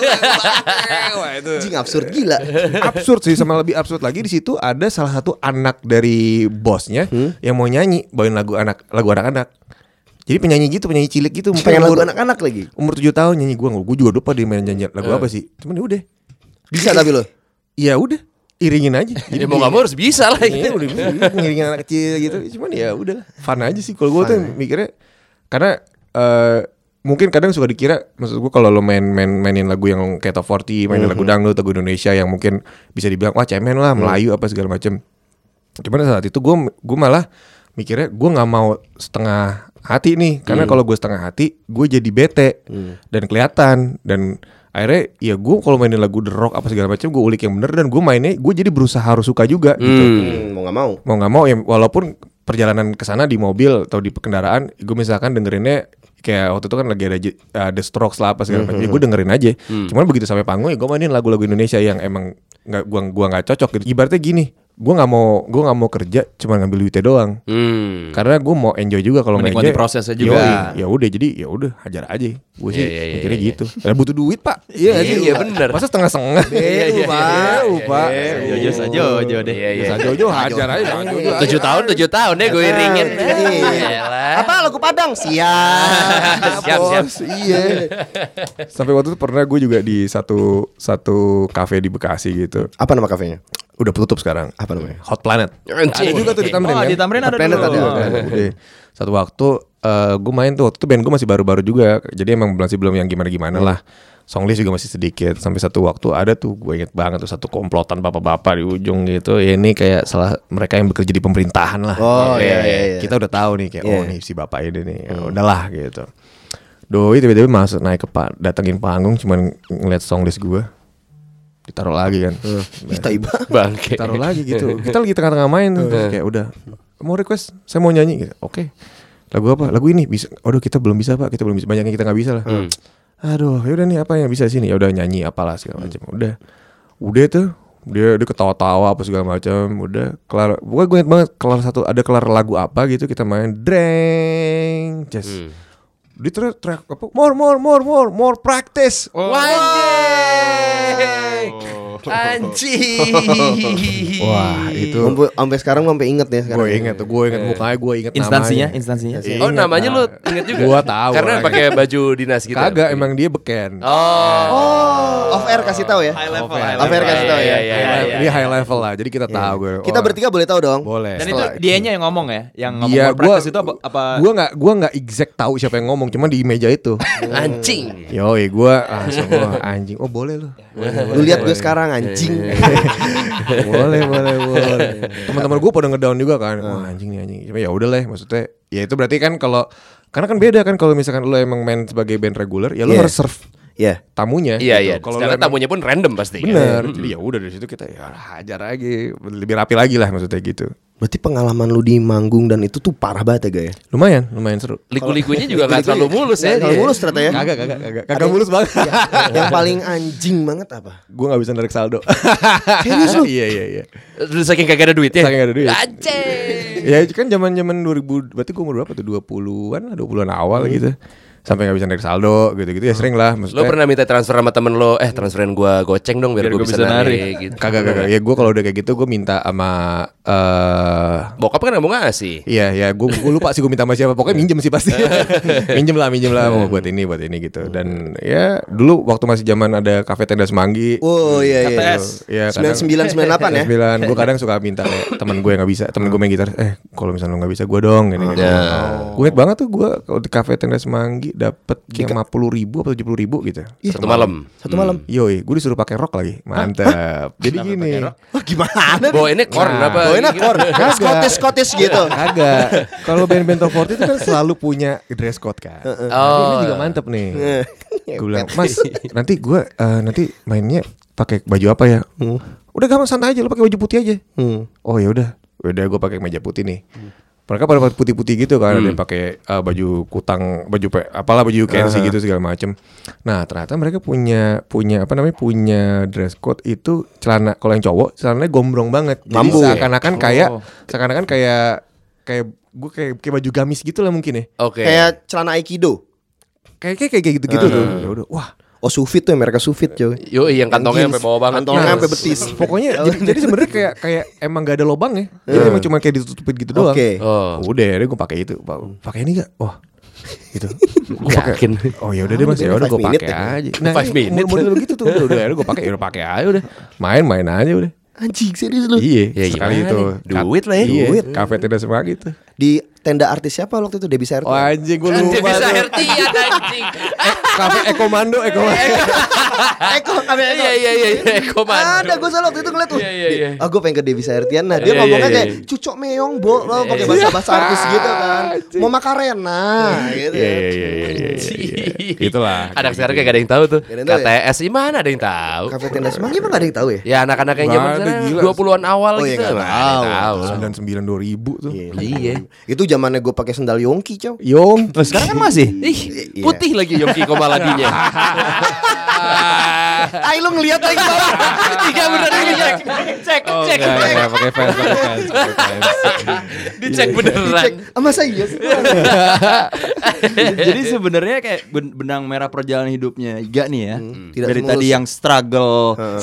[SPEAKER 5] Wah, itu
[SPEAKER 2] Anjing absurd gila.
[SPEAKER 5] absurd sih sama lebih absurd lagi di situ ada salah satu anak dari bosnya
[SPEAKER 2] Hmm?
[SPEAKER 5] yang mau nyanyi bawain lagu anak lagu anak-anak jadi penyanyi gitu penyanyi cilik gitu mungkin
[SPEAKER 2] Pengen lagu
[SPEAKER 5] umur-
[SPEAKER 2] anak-anak lagi.
[SPEAKER 5] umur 7 tahun nyanyi gua gue juga lupa dia main nyanyi lagu
[SPEAKER 2] Eh.
[SPEAKER 5] apa sih cuman ya udah
[SPEAKER 2] Bisa tapi lo.
[SPEAKER 5] ya udah iringin aja
[SPEAKER 3] Jadi Ya, mau gak mau harus bisa lah.
[SPEAKER 5] Iya, udah bisa ngiringin anak kecil gitu cuman ya udah fun aja sih kalau gue tuh mikirnya karena eh, mungkin kadang suka dikira maksud gue kalau lo main main mainin lagu yang kayak top 40 mainin lagu dangdut lagu Indonesia yang mungkin bisa dibilang wah cemen lah Melayu apa segala macem cuman saat itu gue gue malah mikirnya gue nggak mau setengah hati nih karena kalau gue setengah hati gue jadi bete dan kelihatan dan akhirnya ya gue kalau mainin lagu the rock apa segala macam gue ulik yang bener dan gue mainnya gue jadi berusaha harus suka juga gitu
[SPEAKER 2] Hmm, mau nggak mau.
[SPEAKER 5] mau nggak mau ya walaupun perjalanan ke sana di mobil atau di kendaraan gue misalkan dengerinnya kayak waktu itu kan lagi ada J- uh, The Strokes lah apa segala macam ya gue dengerin aja cuman begitu sampai panggung ya gue mainin lagu-lagu Indonesia yang emang nggak gua gua nggak cocok gitu ibaratnya gini gue nggak mau gue nggak mau kerja cuma ngambil duitnya doang
[SPEAKER 3] Hmm.
[SPEAKER 5] karena gue mau enjoy juga kalau nggak
[SPEAKER 4] Menikmati
[SPEAKER 5] enjoy
[SPEAKER 4] prosesnya juga.
[SPEAKER 5] yoi. ya udah jadi ya udah hajar aja gue sih
[SPEAKER 3] Iya, iya, iya,
[SPEAKER 5] mikirnya
[SPEAKER 3] iya.
[SPEAKER 5] gitu Lah, butuh duit pak iya
[SPEAKER 3] Iya,
[SPEAKER 5] sih.
[SPEAKER 3] iya, bener.
[SPEAKER 5] masa setengah setengah
[SPEAKER 2] Iya, iya, iya,
[SPEAKER 5] Beu, pak
[SPEAKER 4] Jojo saja Jojo deh.
[SPEAKER 3] Iya, iya.
[SPEAKER 5] Sajojo hajar aja Sajojo hajar.
[SPEAKER 3] Tujuh tahun, tujuh tahun ya gue iringin.
[SPEAKER 2] Iya.
[SPEAKER 3] Yalah.
[SPEAKER 2] Apa lagu Padang? Siap.
[SPEAKER 3] Siap, siap.
[SPEAKER 5] Bos, iya. Sampai waktu itu pernah gue juga di satu satu kafe di Bekasi gitu.
[SPEAKER 2] Apa nama kafenya?
[SPEAKER 5] Udah tutup sekarang.
[SPEAKER 2] Apa namanya?
[SPEAKER 5] Hot Planet.
[SPEAKER 3] Anjing.
[SPEAKER 5] Ada juga tuh di Tamrin
[SPEAKER 4] Oh,
[SPEAKER 5] kan?
[SPEAKER 4] di Tamrin ada
[SPEAKER 2] Planet
[SPEAKER 4] dulu.
[SPEAKER 2] ada.
[SPEAKER 5] Iya, kan? Udah. Satu waktu gue main tuh waktu itu band gue masih baru-baru juga. Jadi emang masih belum yang gimana-gimana lah. Songlist juga masih sedikit sampai satu waktu ada tuh gue inget banget tuh satu komplotan bapak-bapak di ujung gitu. Ya ini kayak salah mereka yang bekerja di pemerintahan lah.
[SPEAKER 2] Oh, iya, iya, iya.
[SPEAKER 5] Kita udah tahu nih kayak oh
[SPEAKER 2] Iya. Hmm.
[SPEAKER 5] nih si bapak ini nih. Ya Udahlah gitu. Doi tiba-tiba masuk naik ke pa- datengin panggung cuman ngeliat songlist gue ditaruh lagi kan.
[SPEAKER 2] Kita iba.
[SPEAKER 3] Bangke.
[SPEAKER 5] taruh lagi gitu kita lagi tengah-tengah main tuh. Terus kayak udah mau request saya mau nyanyi gitu. oke lagu apa lagu ini bisa aduh kita belum bisa pak kita belum bisa banyak yang kita nggak bisa lah aduh yaudah nih apa yang bisa sini ya udah nyanyi apalah segala macam udah udah tuh dia dia ketawa-tawa apa segala macam udah kelar pokoknya gue inget banget kelar satu ada kelar lagu apa gitu kita main dreng just dia terus track
[SPEAKER 3] Oh.
[SPEAKER 5] apa more more more more more practice
[SPEAKER 3] Wah, anjing. Anjing.
[SPEAKER 5] Wah, itu
[SPEAKER 2] Sampai sampai sekarang gua sampai inget ya sekarang.
[SPEAKER 5] gue inget, gue inget mukanya, gue inget
[SPEAKER 4] Instansinya,
[SPEAKER 5] namanya.
[SPEAKER 4] instansinya.
[SPEAKER 5] Iya.
[SPEAKER 3] Oh,
[SPEAKER 5] Ingat,
[SPEAKER 3] namanya
[SPEAKER 5] ah.
[SPEAKER 3] lu inget juga.
[SPEAKER 5] Gua tahu
[SPEAKER 3] Karena
[SPEAKER 5] orangnya.
[SPEAKER 3] pakai baju dinas gitu. ya?
[SPEAKER 5] Kagak, emang dia beken.
[SPEAKER 3] Oh.
[SPEAKER 2] Oh, off air kasih tahu ya.
[SPEAKER 4] High level,
[SPEAKER 5] Oke.
[SPEAKER 4] high
[SPEAKER 2] Off air
[SPEAKER 4] level.
[SPEAKER 2] kasih tahu ya.
[SPEAKER 3] Iya, iya,
[SPEAKER 5] High
[SPEAKER 3] iya,
[SPEAKER 5] level-
[SPEAKER 3] iya.
[SPEAKER 5] Ini high level lah, jadi kita tahu gue.
[SPEAKER 2] Kita
[SPEAKER 5] oh,
[SPEAKER 2] bertiga boleh tahu dong.
[SPEAKER 5] boleh.
[SPEAKER 4] Dan itu dianya yang ngomong ya, yang ngomong
[SPEAKER 5] Iya,
[SPEAKER 4] work
[SPEAKER 5] gua
[SPEAKER 4] practice itu apa? apa
[SPEAKER 5] gua nggak gua nggak exact tahu siapa yang ngomong, cuma di meja itu.
[SPEAKER 3] Anjing.
[SPEAKER 5] Yoi, gua langsung gua anjing. Oh, boleh lu.
[SPEAKER 3] Iya.
[SPEAKER 2] Lu lihat gue sekarang anjing.
[SPEAKER 5] boleh boleh
[SPEAKER 3] Iya,
[SPEAKER 5] boleh teman-teman gue pada ngedown juga kan wah anjing nih anjing cuma ya udah lah maksudnya ya itu berarti kan kalau karena kan beda kan kalau misalkan lo emang main sebagai band reguler ya lo
[SPEAKER 2] Iya.
[SPEAKER 5] harus serve
[SPEAKER 2] Ya.
[SPEAKER 5] tamunya
[SPEAKER 3] Iya
[SPEAKER 5] gitu.
[SPEAKER 3] iya.
[SPEAKER 5] kalau
[SPEAKER 3] Sekarang tamunya
[SPEAKER 5] tamunya
[SPEAKER 3] pun random pasti. kan?
[SPEAKER 5] bener jadi ya udah dari situ kita ya hajar lagi lebih rapi lagi lah maksudnya gitu
[SPEAKER 2] Berarti pengalaman lu di manggung dan itu tuh parah banget ya, Ga, ya?
[SPEAKER 5] lumayan lumayan seru
[SPEAKER 3] Liku-likunya juga nggak terlalu mulus ya.
[SPEAKER 2] Kalau
[SPEAKER 3] dia.
[SPEAKER 2] mulus ternyata ya. Iya.
[SPEAKER 5] kagak kagak kagak kagak mulus banget
[SPEAKER 2] Yang paling anjing banget apa?
[SPEAKER 5] gue gak bisa narik saldo
[SPEAKER 2] Serius lu?
[SPEAKER 5] iya iya iya
[SPEAKER 3] Terus saking kagak ada duitnya.
[SPEAKER 5] Saking nggak ada duit.
[SPEAKER 3] Anjing.
[SPEAKER 5] ya itu kan zaman zaman 2000 berarti gue umur berapa tuh 20-an lah 20-an awal gitu sampai nggak bisa narik saldo gitu-gitu ya sering lah maksudnya
[SPEAKER 3] Lo pernah minta transfer sama temen lo, eh transferin gua goceng dong biar,
[SPEAKER 4] Biar
[SPEAKER 3] gua
[SPEAKER 4] gua
[SPEAKER 3] bisa,
[SPEAKER 4] bisa
[SPEAKER 3] narik.
[SPEAKER 4] narik.
[SPEAKER 3] gitu.
[SPEAKER 5] kagak kagak ya gue kalau udah kayak gitu gue minta sama eh
[SPEAKER 3] Bokap kan nggak mau ngasih.
[SPEAKER 5] Iya ya gue lupa sih gue minta sama siapa pokoknya minjem sih pasti minjem lah minjem lah mau
[SPEAKER 2] Hmm.
[SPEAKER 5] buat ini buat ini gitu dan ya dulu waktu masih zaman ada kafe tenda semanggi
[SPEAKER 2] Oh iya iya.
[SPEAKER 4] KTS.
[SPEAKER 5] Iya, kadang-
[SPEAKER 2] 9998 ya.
[SPEAKER 5] sembilan gue kadang suka minta kayak teman gue yang nggak bisa teman gue main gitar eh kalau misalnya lo nggak bisa gue dong gini gini
[SPEAKER 2] Ya.
[SPEAKER 5] gue inget banget tuh gue kalau di kafe tenda semanggi dapet lima puluh ribu atau tujuh puluh ribu gitu Hmm.
[SPEAKER 3] Satu malam.
[SPEAKER 2] Satu malam.
[SPEAKER 5] yoi gue disuruh pakai rok lagi mantap jadi gini
[SPEAKER 2] Wah, gimana?
[SPEAKER 3] Bawa ini korn
[SPEAKER 5] Nah.
[SPEAKER 3] apa? gitu.
[SPEAKER 2] Bawain akor.
[SPEAKER 5] Kagak.
[SPEAKER 2] Scottish Scottish gitu.
[SPEAKER 5] Agak. Kalau band-band top 40 itu kan selalu punya dress code kan. Jadi
[SPEAKER 3] Oh,
[SPEAKER 5] Ini juga mantep nih. gue bilang, Mas, nanti gue eh, nanti mainnya pakai baju apa ya? Udah gampang santai aja, lo pakai baju putih aja. Oh ya udah, udah gue pakai meja putih nih. Mereka pada pakai putih-putih gitu kan, ada yang pakai eh, baju kutang, baju pe- apalah baju UKNC gitu segala macem. Nah ternyata mereka punya punya apa namanya punya dress code itu celana kalau yang cowok celananya gombrong banget, Jadi
[SPEAKER 2] Mambu.
[SPEAKER 5] seakan-akan kayak seakan-akan kayak kayak gue kayak, kayak baju gamis gitu lah mungkin ya.
[SPEAKER 3] Oke.
[SPEAKER 2] Kayak celana aikido.
[SPEAKER 5] Kayak kayak kayak gitu-gitu tuh. Ya udah, wah.
[SPEAKER 2] Oh, sufit tuh mereka sufit, coy.
[SPEAKER 3] Yo, yang kantongnya
[SPEAKER 2] Jeans.
[SPEAKER 3] sampai bawah banget.
[SPEAKER 2] Kantongnya
[SPEAKER 3] Yes.
[SPEAKER 2] sampai betis.
[SPEAKER 5] Pokoknya jadi, jadi sebenarnya kayak kayak emang gak ada lobang ya. Jadi emang cuma kayak ditutupin gitu doang.
[SPEAKER 2] Oke.
[SPEAKER 3] Oh.
[SPEAKER 5] Udah, deh gue pakai itu. Pa- Pakai ini gak? Wah. Gitu. Gua
[SPEAKER 3] Gak
[SPEAKER 5] pakai.
[SPEAKER 3] yakin.
[SPEAKER 5] Oh ya udah deh Mas,
[SPEAKER 2] Ini
[SPEAKER 5] ya udah
[SPEAKER 2] five
[SPEAKER 5] gue
[SPEAKER 2] minute
[SPEAKER 5] pakai
[SPEAKER 2] deh.
[SPEAKER 5] aja.
[SPEAKER 3] Five
[SPEAKER 5] Nah, ini
[SPEAKER 3] minute.
[SPEAKER 5] model begitu tuh. Udah, udah, udah gue pakai, udah pakai aja udah. Main-main aja udah.
[SPEAKER 2] Anjing, serius lu.
[SPEAKER 5] Iya,
[SPEAKER 3] Ya,
[SPEAKER 5] sekali
[SPEAKER 3] gimana
[SPEAKER 5] itu.
[SPEAKER 3] nih? Duit lah ya.
[SPEAKER 5] Iya,
[SPEAKER 3] Duit.
[SPEAKER 5] Kafe tidak semua gitu.
[SPEAKER 2] Di tenda artis siapa waktu itu Debbie Sarto?
[SPEAKER 5] Oh anjing gue
[SPEAKER 3] Anjing,
[SPEAKER 5] lupa.
[SPEAKER 3] bisa
[SPEAKER 5] tuh.
[SPEAKER 3] hertian anjing.
[SPEAKER 5] Kafe Ekomando, Ekomando.
[SPEAKER 2] Eko, ada Eko.
[SPEAKER 3] Iya iya iya iya, komando.
[SPEAKER 2] Ada gue salah waktu itu ngeliat tuh.
[SPEAKER 3] Iya, iya, iya.
[SPEAKER 2] Ah gue pengen ke Dewi Sairtian. Nah dia
[SPEAKER 3] Iya,
[SPEAKER 2] ngomongnya
[SPEAKER 3] iya, iya.
[SPEAKER 2] kayak cucok meong bo lo pakai bahasa bahasa artis gitu kan. Mau makarena gitu.
[SPEAKER 5] Iya
[SPEAKER 2] ya.
[SPEAKER 5] iya iya iya, iya. iya. Itulah.
[SPEAKER 3] Anak
[SPEAKER 5] Kayak
[SPEAKER 3] sekarang
[SPEAKER 5] gitu.
[SPEAKER 3] kayak gak ada yang tahu tuh.
[SPEAKER 2] Gak ada yang tahu ya?
[SPEAKER 3] KTS di mana ada yang tahu?
[SPEAKER 2] Kafe tenda semanggi emang gak ada yang tahu ya.
[SPEAKER 3] Ya anak-anak yang
[SPEAKER 5] Gak
[SPEAKER 3] zaman
[SPEAKER 5] ada, gila.
[SPEAKER 3] dua puluhan awal
[SPEAKER 2] Oh, iya,
[SPEAKER 3] gitu.
[SPEAKER 2] gak
[SPEAKER 3] Gak ada yang
[SPEAKER 2] tahu.
[SPEAKER 3] tahu.
[SPEAKER 5] 99 2000 tuh.
[SPEAKER 3] Iya.
[SPEAKER 2] Itu zamannya gue pakai sendal Yongki cow.
[SPEAKER 5] Yong, terus
[SPEAKER 4] Sekarang kan masih.
[SPEAKER 3] Ih,
[SPEAKER 2] Iya.
[SPEAKER 3] putih lagi Yongki Komaladinya.
[SPEAKER 2] Ay lu ngeliat lagi
[SPEAKER 3] Tiga beneran dicek, cek, Oh, cek, cek,
[SPEAKER 5] pakai fans, pakai fans, pakai fans.
[SPEAKER 3] dicek beneran.
[SPEAKER 2] Dicek "Ah, iya sama saya. yes.
[SPEAKER 4] Jadi sebenarnya kayak ben- benang merah perjalanan hidupnya Iga nih ya.
[SPEAKER 2] tidak
[SPEAKER 4] Dari
[SPEAKER 2] semulus.
[SPEAKER 4] tadi yang struggle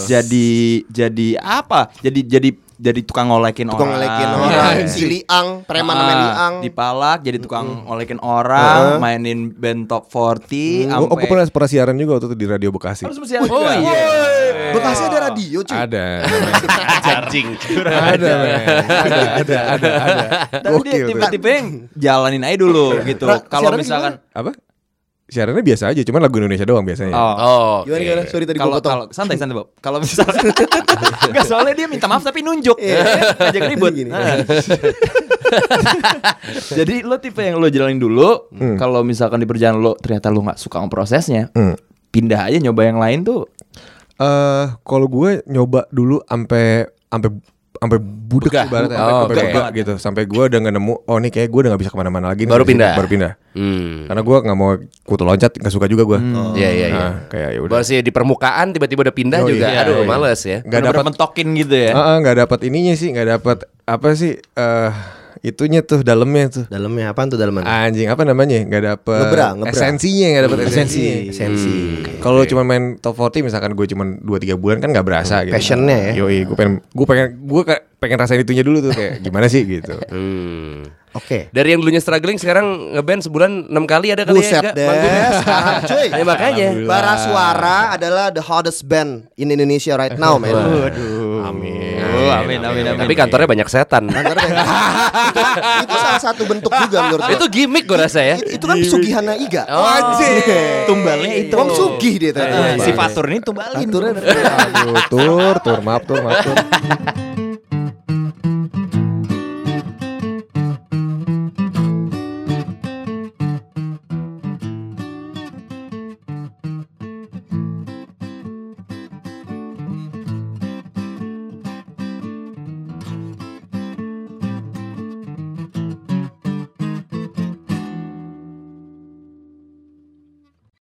[SPEAKER 4] jadi jadi apa? Jadi jadi jadi tukang ngolekin
[SPEAKER 2] Tukang
[SPEAKER 4] orang.
[SPEAKER 2] ngelekin orang.
[SPEAKER 4] Iya.
[SPEAKER 2] Si Liang, preman
[SPEAKER 4] Ah,
[SPEAKER 2] namanya Liang.
[SPEAKER 4] Dipalak jadi tukang
[SPEAKER 2] Hmm.
[SPEAKER 4] ngolekin orang, mainin band top 40
[SPEAKER 2] Hmm.
[SPEAKER 5] Oh,
[SPEAKER 4] sampai
[SPEAKER 5] aku pernah pernah siaran juga waktu itu di radio Bekasi.
[SPEAKER 4] Harus bersiaran
[SPEAKER 3] Oh,
[SPEAKER 4] juga.
[SPEAKER 3] iya.
[SPEAKER 2] Bekasi ada radio cuy.
[SPEAKER 5] Ada,
[SPEAKER 3] Anjing.
[SPEAKER 5] ada, men. ada, ada, ada, ada.
[SPEAKER 4] Tapi dia
[SPEAKER 5] Gokil tuh.
[SPEAKER 4] tipe-tipe yang jalanin aja dulu gitu.
[SPEAKER 2] Ra,
[SPEAKER 4] Kalau
[SPEAKER 2] siarannya
[SPEAKER 4] misalkan
[SPEAKER 5] Apa? Siarannya biasa aja, cuman lagu Indonesia doang biasanya.
[SPEAKER 4] Oh.
[SPEAKER 3] Oh,
[SPEAKER 2] Gimana gimana? Sorry tadi gue
[SPEAKER 4] Kalau
[SPEAKER 2] potong.
[SPEAKER 4] kalau santai santai Bob. Kalau misalnya enggak soalnya dia minta maaf tapi nunjuk.
[SPEAKER 5] Iya.
[SPEAKER 4] Ngajak ribut.
[SPEAKER 2] Gini.
[SPEAKER 4] Nah. Jadi lo tipe yang lo jalanin dulu, kalau misalkan di perjalanan lo ternyata lo nggak suka sama prosesnya,
[SPEAKER 5] Hmm.
[SPEAKER 4] pindah aja nyoba yang lain tuh.
[SPEAKER 5] Eh, kalau gue nyoba dulu ampe ampe ampe budek
[SPEAKER 3] Begah.
[SPEAKER 5] ibaratnya,
[SPEAKER 3] Oh,
[SPEAKER 5] ampe- ampe
[SPEAKER 3] oke.
[SPEAKER 5] begah gitu, sampai gue udah nggak nemu, oh nih kayak gue udah nggak bisa kemana-mana lagi. nih.
[SPEAKER 3] Baru pindah?
[SPEAKER 5] Baru pindah.
[SPEAKER 3] hmm.
[SPEAKER 5] Karena gue nggak mau kutu loncat, nggak suka juga gue.
[SPEAKER 3] Iya iya iya.
[SPEAKER 5] Nah, kayak ya udah.
[SPEAKER 3] Baru sih di permukaan tiba-tiba udah pindah
[SPEAKER 5] Oh,
[SPEAKER 3] juga.
[SPEAKER 5] iya,
[SPEAKER 3] Aduh,
[SPEAKER 5] iya.
[SPEAKER 3] males ya.
[SPEAKER 5] Nggak Ah.
[SPEAKER 4] Bener-bener
[SPEAKER 5] dapat
[SPEAKER 4] mentokin gitu ya.
[SPEAKER 5] Heeh, nggak dapat ininya sih, nggak dapat apa sih? eh itunya tuh dalamnya tuh.
[SPEAKER 2] Dalamnya apaan tuh dalaman?
[SPEAKER 5] Anjing apa namanya? Gak dapet
[SPEAKER 2] Ngebra, ngebra.
[SPEAKER 5] esensinya, gak dapet esensi.
[SPEAKER 2] Esensi.
[SPEAKER 5] Kalau cuma main top 40 misalkan gue cuma 2 3 bulan kan nggak berasa gitu.
[SPEAKER 2] Passionnya ya.
[SPEAKER 5] Yoi, gue pengen gue pengen gue kayak pengen rasain itunya dulu tuh kayak gimana sih gitu.
[SPEAKER 3] Hmm.
[SPEAKER 2] Oke.
[SPEAKER 3] Dari yang dulunya struggling sekarang ngeband sebulan 6 kali ada kali
[SPEAKER 2] Buset
[SPEAKER 3] ya? Gak?
[SPEAKER 2] deh.
[SPEAKER 3] Manggungnya.
[SPEAKER 2] Sekarang cuy.
[SPEAKER 3] Ya, makanya.
[SPEAKER 2] Bara Suara adalah the hottest band in Indonesia right now, man.
[SPEAKER 5] Amin.
[SPEAKER 4] Oh, amin, amin, amin.
[SPEAKER 3] Tapi kantornya banyak setan.
[SPEAKER 2] Kantor band. itu, ya? itu salah satu bentuk juga menurut gue.
[SPEAKER 3] Itu gimmick gue rasa ya.
[SPEAKER 2] Itu, itu kan Sugihana Iga.
[SPEAKER 3] Oh,
[SPEAKER 2] Anjing.
[SPEAKER 4] Tumbalnya itu.
[SPEAKER 2] Wong Sugih dia
[SPEAKER 5] Iya,
[SPEAKER 2] tadi.
[SPEAKER 4] Eh, si Fatur ini tumbalin.
[SPEAKER 2] Aturnya-
[SPEAKER 5] Aduh, tur, tur, maaf, tur, maaf, tur.